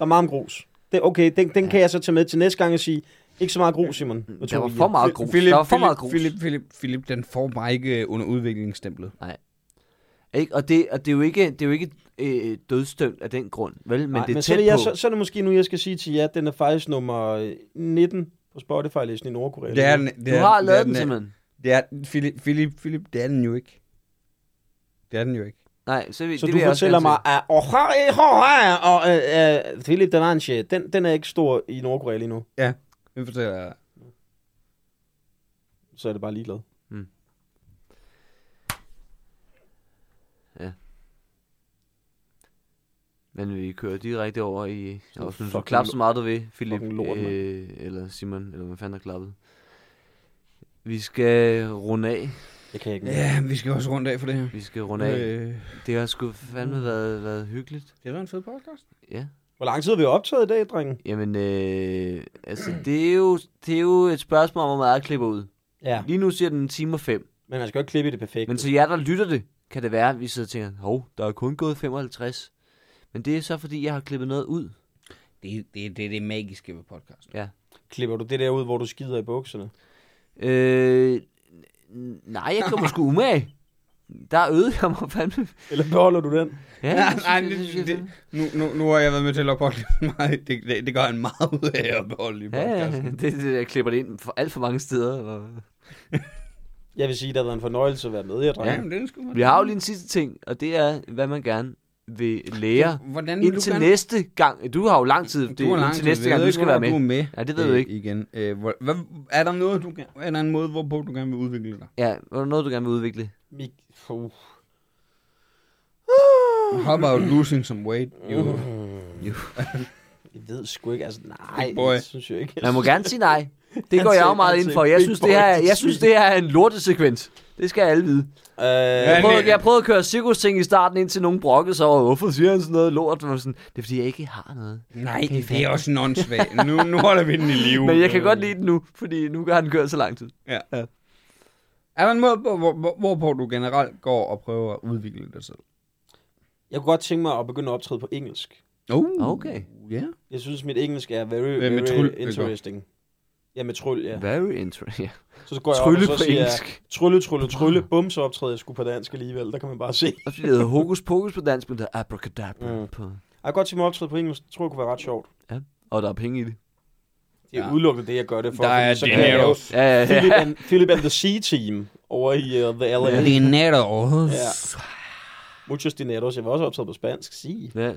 [SPEAKER 4] er meget om grus. Det, okay, den, den kan jeg så tage med til næste gang og sige, ikke så meget grus, Simon. Nu
[SPEAKER 2] Der
[SPEAKER 4] tog
[SPEAKER 2] var
[SPEAKER 4] vi
[SPEAKER 2] for
[SPEAKER 4] lige-
[SPEAKER 2] meget grus. Der var for meget grus.
[SPEAKER 1] Philip, Philip, Philip, den får bare ikke øh, under udviklingsstemplet.
[SPEAKER 2] Ikke? Og, det, og det er jo ikke, det er jo ikke øh, dødstømt af den grund, vel? Men
[SPEAKER 4] Nej,
[SPEAKER 2] det er
[SPEAKER 4] men så,
[SPEAKER 2] tæt
[SPEAKER 4] er det, jeg,
[SPEAKER 2] på.
[SPEAKER 4] så, så er det måske nu, jeg skal sige til jer, at den er faktisk nummer 19 på Spotify-listen i Nordkorea.
[SPEAKER 1] Det er den, det
[SPEAKER 2] du
[SPEAKER 1] er,
[SPEAKER 2] har
[SPEAKER 1] det er
[SPEAKER 2] lavet den
[SPEAKER 1] er-
[SPEAKER 2] simpelthen.
[SPEAKER 1] Det er, Philip, Philip, Philip, det er den jo ikke. Det er den jo ikke.
[SPEAKER 2] Nej, så, vi-
[SPEAKER 4] Så
[SPEAKER 2] det
[SPEAKER 4] du
[SPEAKER 2] vil jeg også
[SPEAKER 4] fortæller
[SPEAKER 2] gerne
[SPEAKER 4] mig, at oh, ha, eh, ho, ha, og, øh, øh, Philip Delanche, den, den er ikke stor i Nordkorea lige nu.
[SPEAKER 1] Vi fortæller...
[SPEAKER 4] Så er det bare ligeglad.
[SPEAKER 2] se. Men vi kører direkte over i... Jeg også synes, du
[SPEAKER 4] fucking
[SPEAKER 2] klap
[SPEAKER 4] lort.
[SPEAKER 2] så meget, du vil, Philip.
[SPEAKER 4] Fucking lort, mand.
[SPEAKER 2] øh, eller Simon, eller hvad fanden der klappede. Vi skal runde af.
[SPEAKER 4] Det kan jeg ikke.
[SPEAKER 1] Ja, vi skal også rundt af for det her.
[SPEAKER 2] Vi skal runde af.
[SPEAKER 1] Øh,
[SPEAKER 2] Det har sgu fandme været, været hyggeligt.
[SPEAKER 1] det var en fed podcast.
[SPEAKER 2] Ja.
[SPEAKER 4] Hvor lang tid har vi optaget i dag, drenge?
[SPEAKER 2] Jamen, øh, altså, det er, jo, det er jo et spørgsmål om, hvor meget jeg klipper ud.
[SPEAKER 4] Ja.
[SPEAKER 2] Lige nu siger den en time og fem.
[SPEAKER 4] Men man skal jo ikke klippe i det perfekte.
[SPEAKER 2] Men til jer, der lytter det, kan det være, at vi sidder og tænker, hov, der er kun gået 55. Men det er så, fordi jeg har klippet noget ud.
[SPEAKER 1] Det er det, det, det magiske ved podcasten.
[SPEAKER 4] Klipper du det der ud, hvor du skider i bukserne?
[SPEAKER 2] Øh, n- nej, jeg kommer sgu umage. Der øvede jeg mig fandme.
[SPEAKER 4] Eller beholder du den?
[SPEAKER 2] Ja,
[SPEAKER 1] Nej,
[SPEAKER 2] det synes
[SPEAKER 1] nej,
[SPEAKER 2] jeg-
[SPEAKER 1] det-
[SPEAKER 2] synes jeg
[SPEAKER 1] det-
[SPEAKER 2] fandme.
[SPEAKER 1] Nu, nu, nu har jeg været med til at lukke podcasten meget. Det, det, det gør en meget ud af at beholde i
[SPEAKER 2] Ja, ja,
[SPEAKER 1] podcasten.
[SPEAKER 2] det, det, jeg klipper det ind for alt for mange steder. Og...
[SPEAKER 4] Jeg vil sige, det har været en fornøjelse at være med jer, drenge.
[SPEAKER 1] Ja, men det er sgu meget.
[SPEAKER 2] Vi har jo lige en sidste ting, og det er, hvad man gerne vil lære.
[SPEAKER 1] Hvordan vil
[SPEAKER 2] Indtil
[SPEAKER 1] du gerne-
[SPEAKER 2] næste gang. Du har jo lang tid. Det,
[SPEAKER 1] Du har lang
[SPEAKER 2] indtil
[SPEAKER 1] tid.
[SPEAKER 2] næste
[SPEAKER 1] Jeg
[SPEAKER 2] gang,
[SPEAKER 1] ved
[SPEAKER 2] du
[SPEAKER 1] ikke,
[SPEAKER 2] skal være med.
[SPEAKER 1] hvornår Du er med.
[SPEAKER 2] Ja, det ved du
[SPEAKER 1] øh,
[SPEAKER 2] ikke.
[SPEAKER 1] Igen. Øh, hvor, hvad, er, der noget, du, gerne- er der en måde, hvorpå du gerne vil udvikle dig?
[SPEAKER 2] Ja, var der noget, du gerne vil udvikle?
[SPEAKER 4] Mik- Puh.
[SPEAKER 1] How about losing some weight? You,
[SPEAKER 2] Mm.
[SPEAKER 4] Jeg ved sgu ikke, altså nej,
[SPEAKER 1] Boy.
[SPEAKER 4] det synes jeg ikke.
[SPEAKER 2] Man må gerne sige nej. Det
[SPEAKER 4] Han
[SPEAKER 2] går jeg
[SPEAKER 4] siger-
[SPEAKER 2] jo meget
[SPEAKER 4] han
[SPEAKER 2] ind
[SPEAKER 4] siger
[SPEAKER 2] for. Jeg
[SPEAKER 4] big
[SPEAKER 2] synes,
[SPEAKER 4] boy,
[SPEAKER 2] det her, er-
[SPEAKER 4] det
[SPEAKER 2] jeg synes, det her er en lortesekvens. Det skal alle vide. Jeg
[SPEAKER 4] Øh,
[SPEAKER 1] men-
[SPEAKER 2] prøvede, jeg prøvede at køre cirkusting i starten, indtil nogen brokkede sig over, hvorfor siger han sådan noget lort? Og sådan, det er, fordi jeg ikke har noget.
[SPEAKER 1] nej,
[SPEAKER 2] Kan I
[SPEAKER 1] det
[SPEAKER 2] fatte?
[SPEAKER 1] er også non nu, nu holder vi den i live.
[SPEAKER 2] Men jeg kan godt lide den nu, fordi nu har den kørt så lang tid.
[SPEAKER 1] Er der en måde, hvor, hvor, hvor, hvorpå du generelt går og prøver at udvikle dig selv?
[SPEAKER 4] jeg kunne godt tænke mig at begynde at optræde på engelsk.
[SPEAKER 1] Oh,
[SPEAKER 2] Okay.
[SPEAKER 1] Ja.
[SPEAKER 4] Jeg synes, mit engelsk er very,
[SPEAKER 1] Hvad med
[SPEAKER 4] very
[SPEAKER 1] tryl?
[SPEAKER 4] interesting. Ja, med tryl, ja.
[SPEAKER 2] Very interesting.
[SPEAKER 4] Så går jeg
[SPEAKER 2] Trylle
[SPEAKER 4] op, og
[SPEAKER 2] på
[SPEAKER 4] så siger jeg,
[SPEAKER 2] engelsk.
[SPEAKER 4] trylle, trylle, trylle, bum, så optræder jeg sgu på dansk alligevel. Der kan man bare se.
[SPEAKER 2] Og så hedder hokus pokus på dansk, men der er abracadabra
[SPEAKER 4] Mm.
[SPEAKER 2] på.
[SPEAKER 4] Jeg kan godt tænke mig at optræde på engelsk. Det tror jeg kunne være ret sjovt.
[SPEAKER 2] Og der er penge i det.
[SPEAKER 4] Det er
[SPEAKER 1] Ja.
[SPEAKER 4] ja. udelukkende det, jeg gør det for.
[SPEAKER 1] Der
[SPEAKER 4] fordi
[SPEAKER 1] er
[SPEAKER 4] så kan jeg
[SPEAKER 1] dinero.
[SPEAKER 4] lave
[SPEAKER 2] Ja, ja,
[SPEAKER 4] Philip
[SPEAKER 2] ja.
[SPEAKER 4] and, Philip and the C-Team over i uh, The LA.
[SPEAKER 1] Det er netop.
[SPEAKER 4] Ja. Muchos dineros. Jeg var også optaget på spansk. Sige.
[SPEAKER 2] ja øh.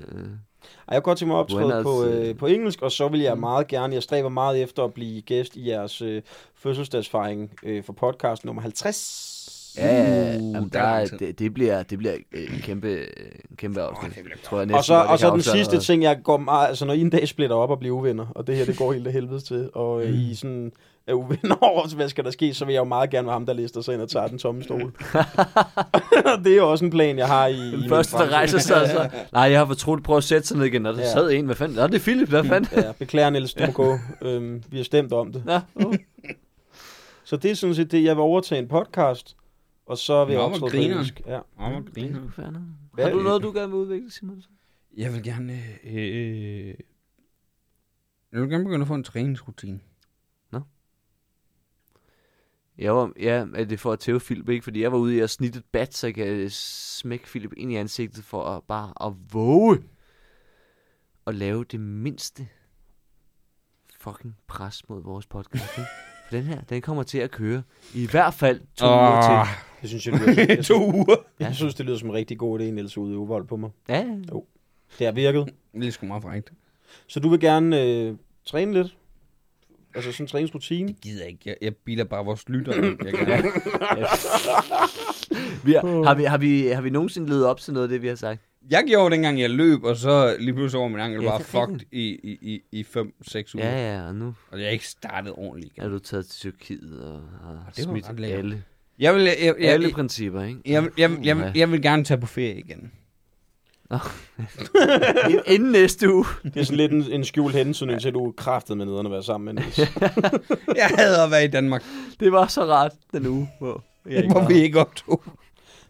[SPEAKER 4] Ej, jeg kunne godt tænke mig at optræde
[SPEAKER 2] Buenas,
[SPEAKER 4] på,
[SPEAKER 2] øh. Mm.
[SPEAKER 4] øh, på engelsk, og så vil jeg meget gerne, jeg stræber meget efter at blive gæst i jeres øh, fødselsdagsfejring øh, for podcast nummer 50.
[SPEAKER 2] Ja, ja,
[SPEAKER 1] Uh,
[SPEAKER 2] jamen,
[SPEAKER 1] der
[SPEAKER 2] der,
[SPEAKER 1] er
[SPEAKER 2] er,
[SPEAKER 1] lang tid.
[SPEAKER 2] det, det bliver, det bliver øh, en kæmpe, øh, en kæmpe afsnit,
[SPEAKER 1] det bliver
[SPEAKER 2] tror jeg næsten.
[SPEAKER 4] Og så,
[SPEAKER 2] godt, jeg
[SPEAKER 4] og så
[SPEAKER 2] kan
[SPEAKER 4] den
[SPEAKER 2] afsløre
[SPEAKER 4] sidste
[SPEAKER 2] allerede.
[SPEAKER 4] ting, jeg går meget, altså når I en dag splitter op og bliver uvenner, og det her, det går helt af helvede til, og øh,
[SPEAKER 2] Mm.
[SPEAKER 4] I sådan er uvenner over, hvad skal der ske, så vil jeg jo meget gerne være ham, der lister sig ind og tager den tomme stol. det er jo også en plan, jeg har i... i min
[SPEAKER 2] Den første, der
[SPEAKER 4] fremtid.
[SPEAKER 2] rejser sig, og så, nej, jeg har fortrudt, prøv at sætte sig ned igen, og der
[SPEAKER 4] Ja.
[SPEAKER 2] sad en, hvad fanden, Nå, det er Philip, hvad fanden?
[SPEAKER 4] Ja, beklager Niels, du må gå. Øhm, vi har stemt om det.
[SPEAKER 2] Nå, uh.
[SPEAKER 4] Så det er sådan set det, jeg vil overtage en podcast, og så vil jeg
[SPEAKER 1] Nå, hvor
[SPEAKER 4] optræde på
[SPEAKER 1] grineren.
[SPEAKER 4] engelsk. Ja.
[SPEAKER 2] Det er sgu fair nok. Har du noget, du gerne vil udvikle, Simon?
[SPEAKER 1] Jeg vil gerne... Øh, øh, jeg vil gerne begynde at få en træningsrutine.
[SPEAKER 2] Jeg var, ja, at det er for at tæve Philip, ikke? Fordi jeg var ude i at snitte et bat, så jeg kan smække Philip ind i ansigtet for at, bare at våge at lave det mindste fucking pres mod vores podcast, ikke? For den her, den kommer til at køre i hvert fald to oh. uger
[SPEAKER 1] Åh,
[SPEAKER 2] til.
[SPEAKER 4] Det synes jeg, det lyder, jeg,
[SPEAKER 1] to
[SPEAKER 4] synes,
[SPEAKER 1] uger.
[SPEAKER 4] jeg synes, det lyder som en rigtig god idé, Niels, ude i uvold på mig.
[SPEAKER 2] Ja,
[SPEAKER 4] Det har virket.
[SPEAKER 1] Det er sgu meget frækt.
[SPEAKER 4] Så du vil gerne øh, træne lidt? Altså sådan en træningsrutine?
[SPEAKER 1] Det gider jeg ikke. Jeg, jeg biler bare vores lytter. Jeg kan.
[SPEAKER 2] vi har, har, vi, har, vi, har vi nogensinde levet op til noget af det, vi har sagt?
[SPEAKER 1] jeg gjorde dengang, jeg løb, og så lige pludselig over min ankel bare fucked i, i, i, i 5-6 uger.
[SPEAKER 2] Ja, ja, og nu
[SPEAKER 1] Og jeg er ikke startet ordentligt igen.
[SPEAKER 2] er du taget til Tyrkiet og har
[SPEAKER 1] Ah, det var
[SPEAKER 2] smidt
[SPEAKER 1] ret lækkert.
[SPEAKER 2] alle,
[SPEAKER 1] Jeg vil, jeg, jeg, jeg,
[SPEAKER 2] alle
[SPEAKER 1] jeg,
[SPEAKER 2] principper, ikke?
[SPEAKER 1] jeg, jeg, jeg, jeg vil gerne tage på ferie igen.
[SPEAKER 2] Ind- Inden næste uge.
[SPEAKER 4] Det er sådan lidt en, en skjult hensynning til, at du er kraftet med nederne at være sammen med Niels.
[SPEAKER 1] Jeg hader at være i Danmark,
[SPEAKER 2] Det var så rart den uge, hvor jeg ikke
[SPEAKER 1] hvor
[SPEAKER 2] var.
[SPEAKER 1] vi ikke optog.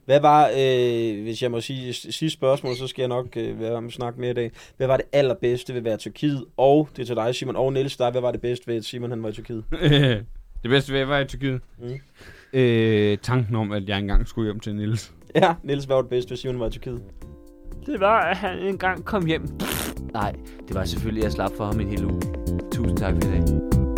[SPEAKER 4] Hvad var, øh, hvis jeg må sige s- sidste spørgsmål, så skal jeg nok øh, være om at snakke mere i dag. Hvad var det allerbedste ved at være i Tyrkiet? Og det er til dig, Simon, og Niels, dig, hvad var det bedste ved, at Simon han var i Tyrkiet?
[SPEAKER 1] det bedste ved at være i Tyrkiet.
[SPEAKER 4] Mm.
[SPEAKER 1] Øh, tanken om, at jeg engang skulle hjem til Nils.
[SPEAKER 4] Ja, Niels, hvad var det bedste ved, at Simon var i Tyrkiet?
[SPEAKER 2] Det var, at han engang kom hjem. Nej, det var selvfølgelig, at jeg slap for ham en hel uge. Tusind tak for i dag.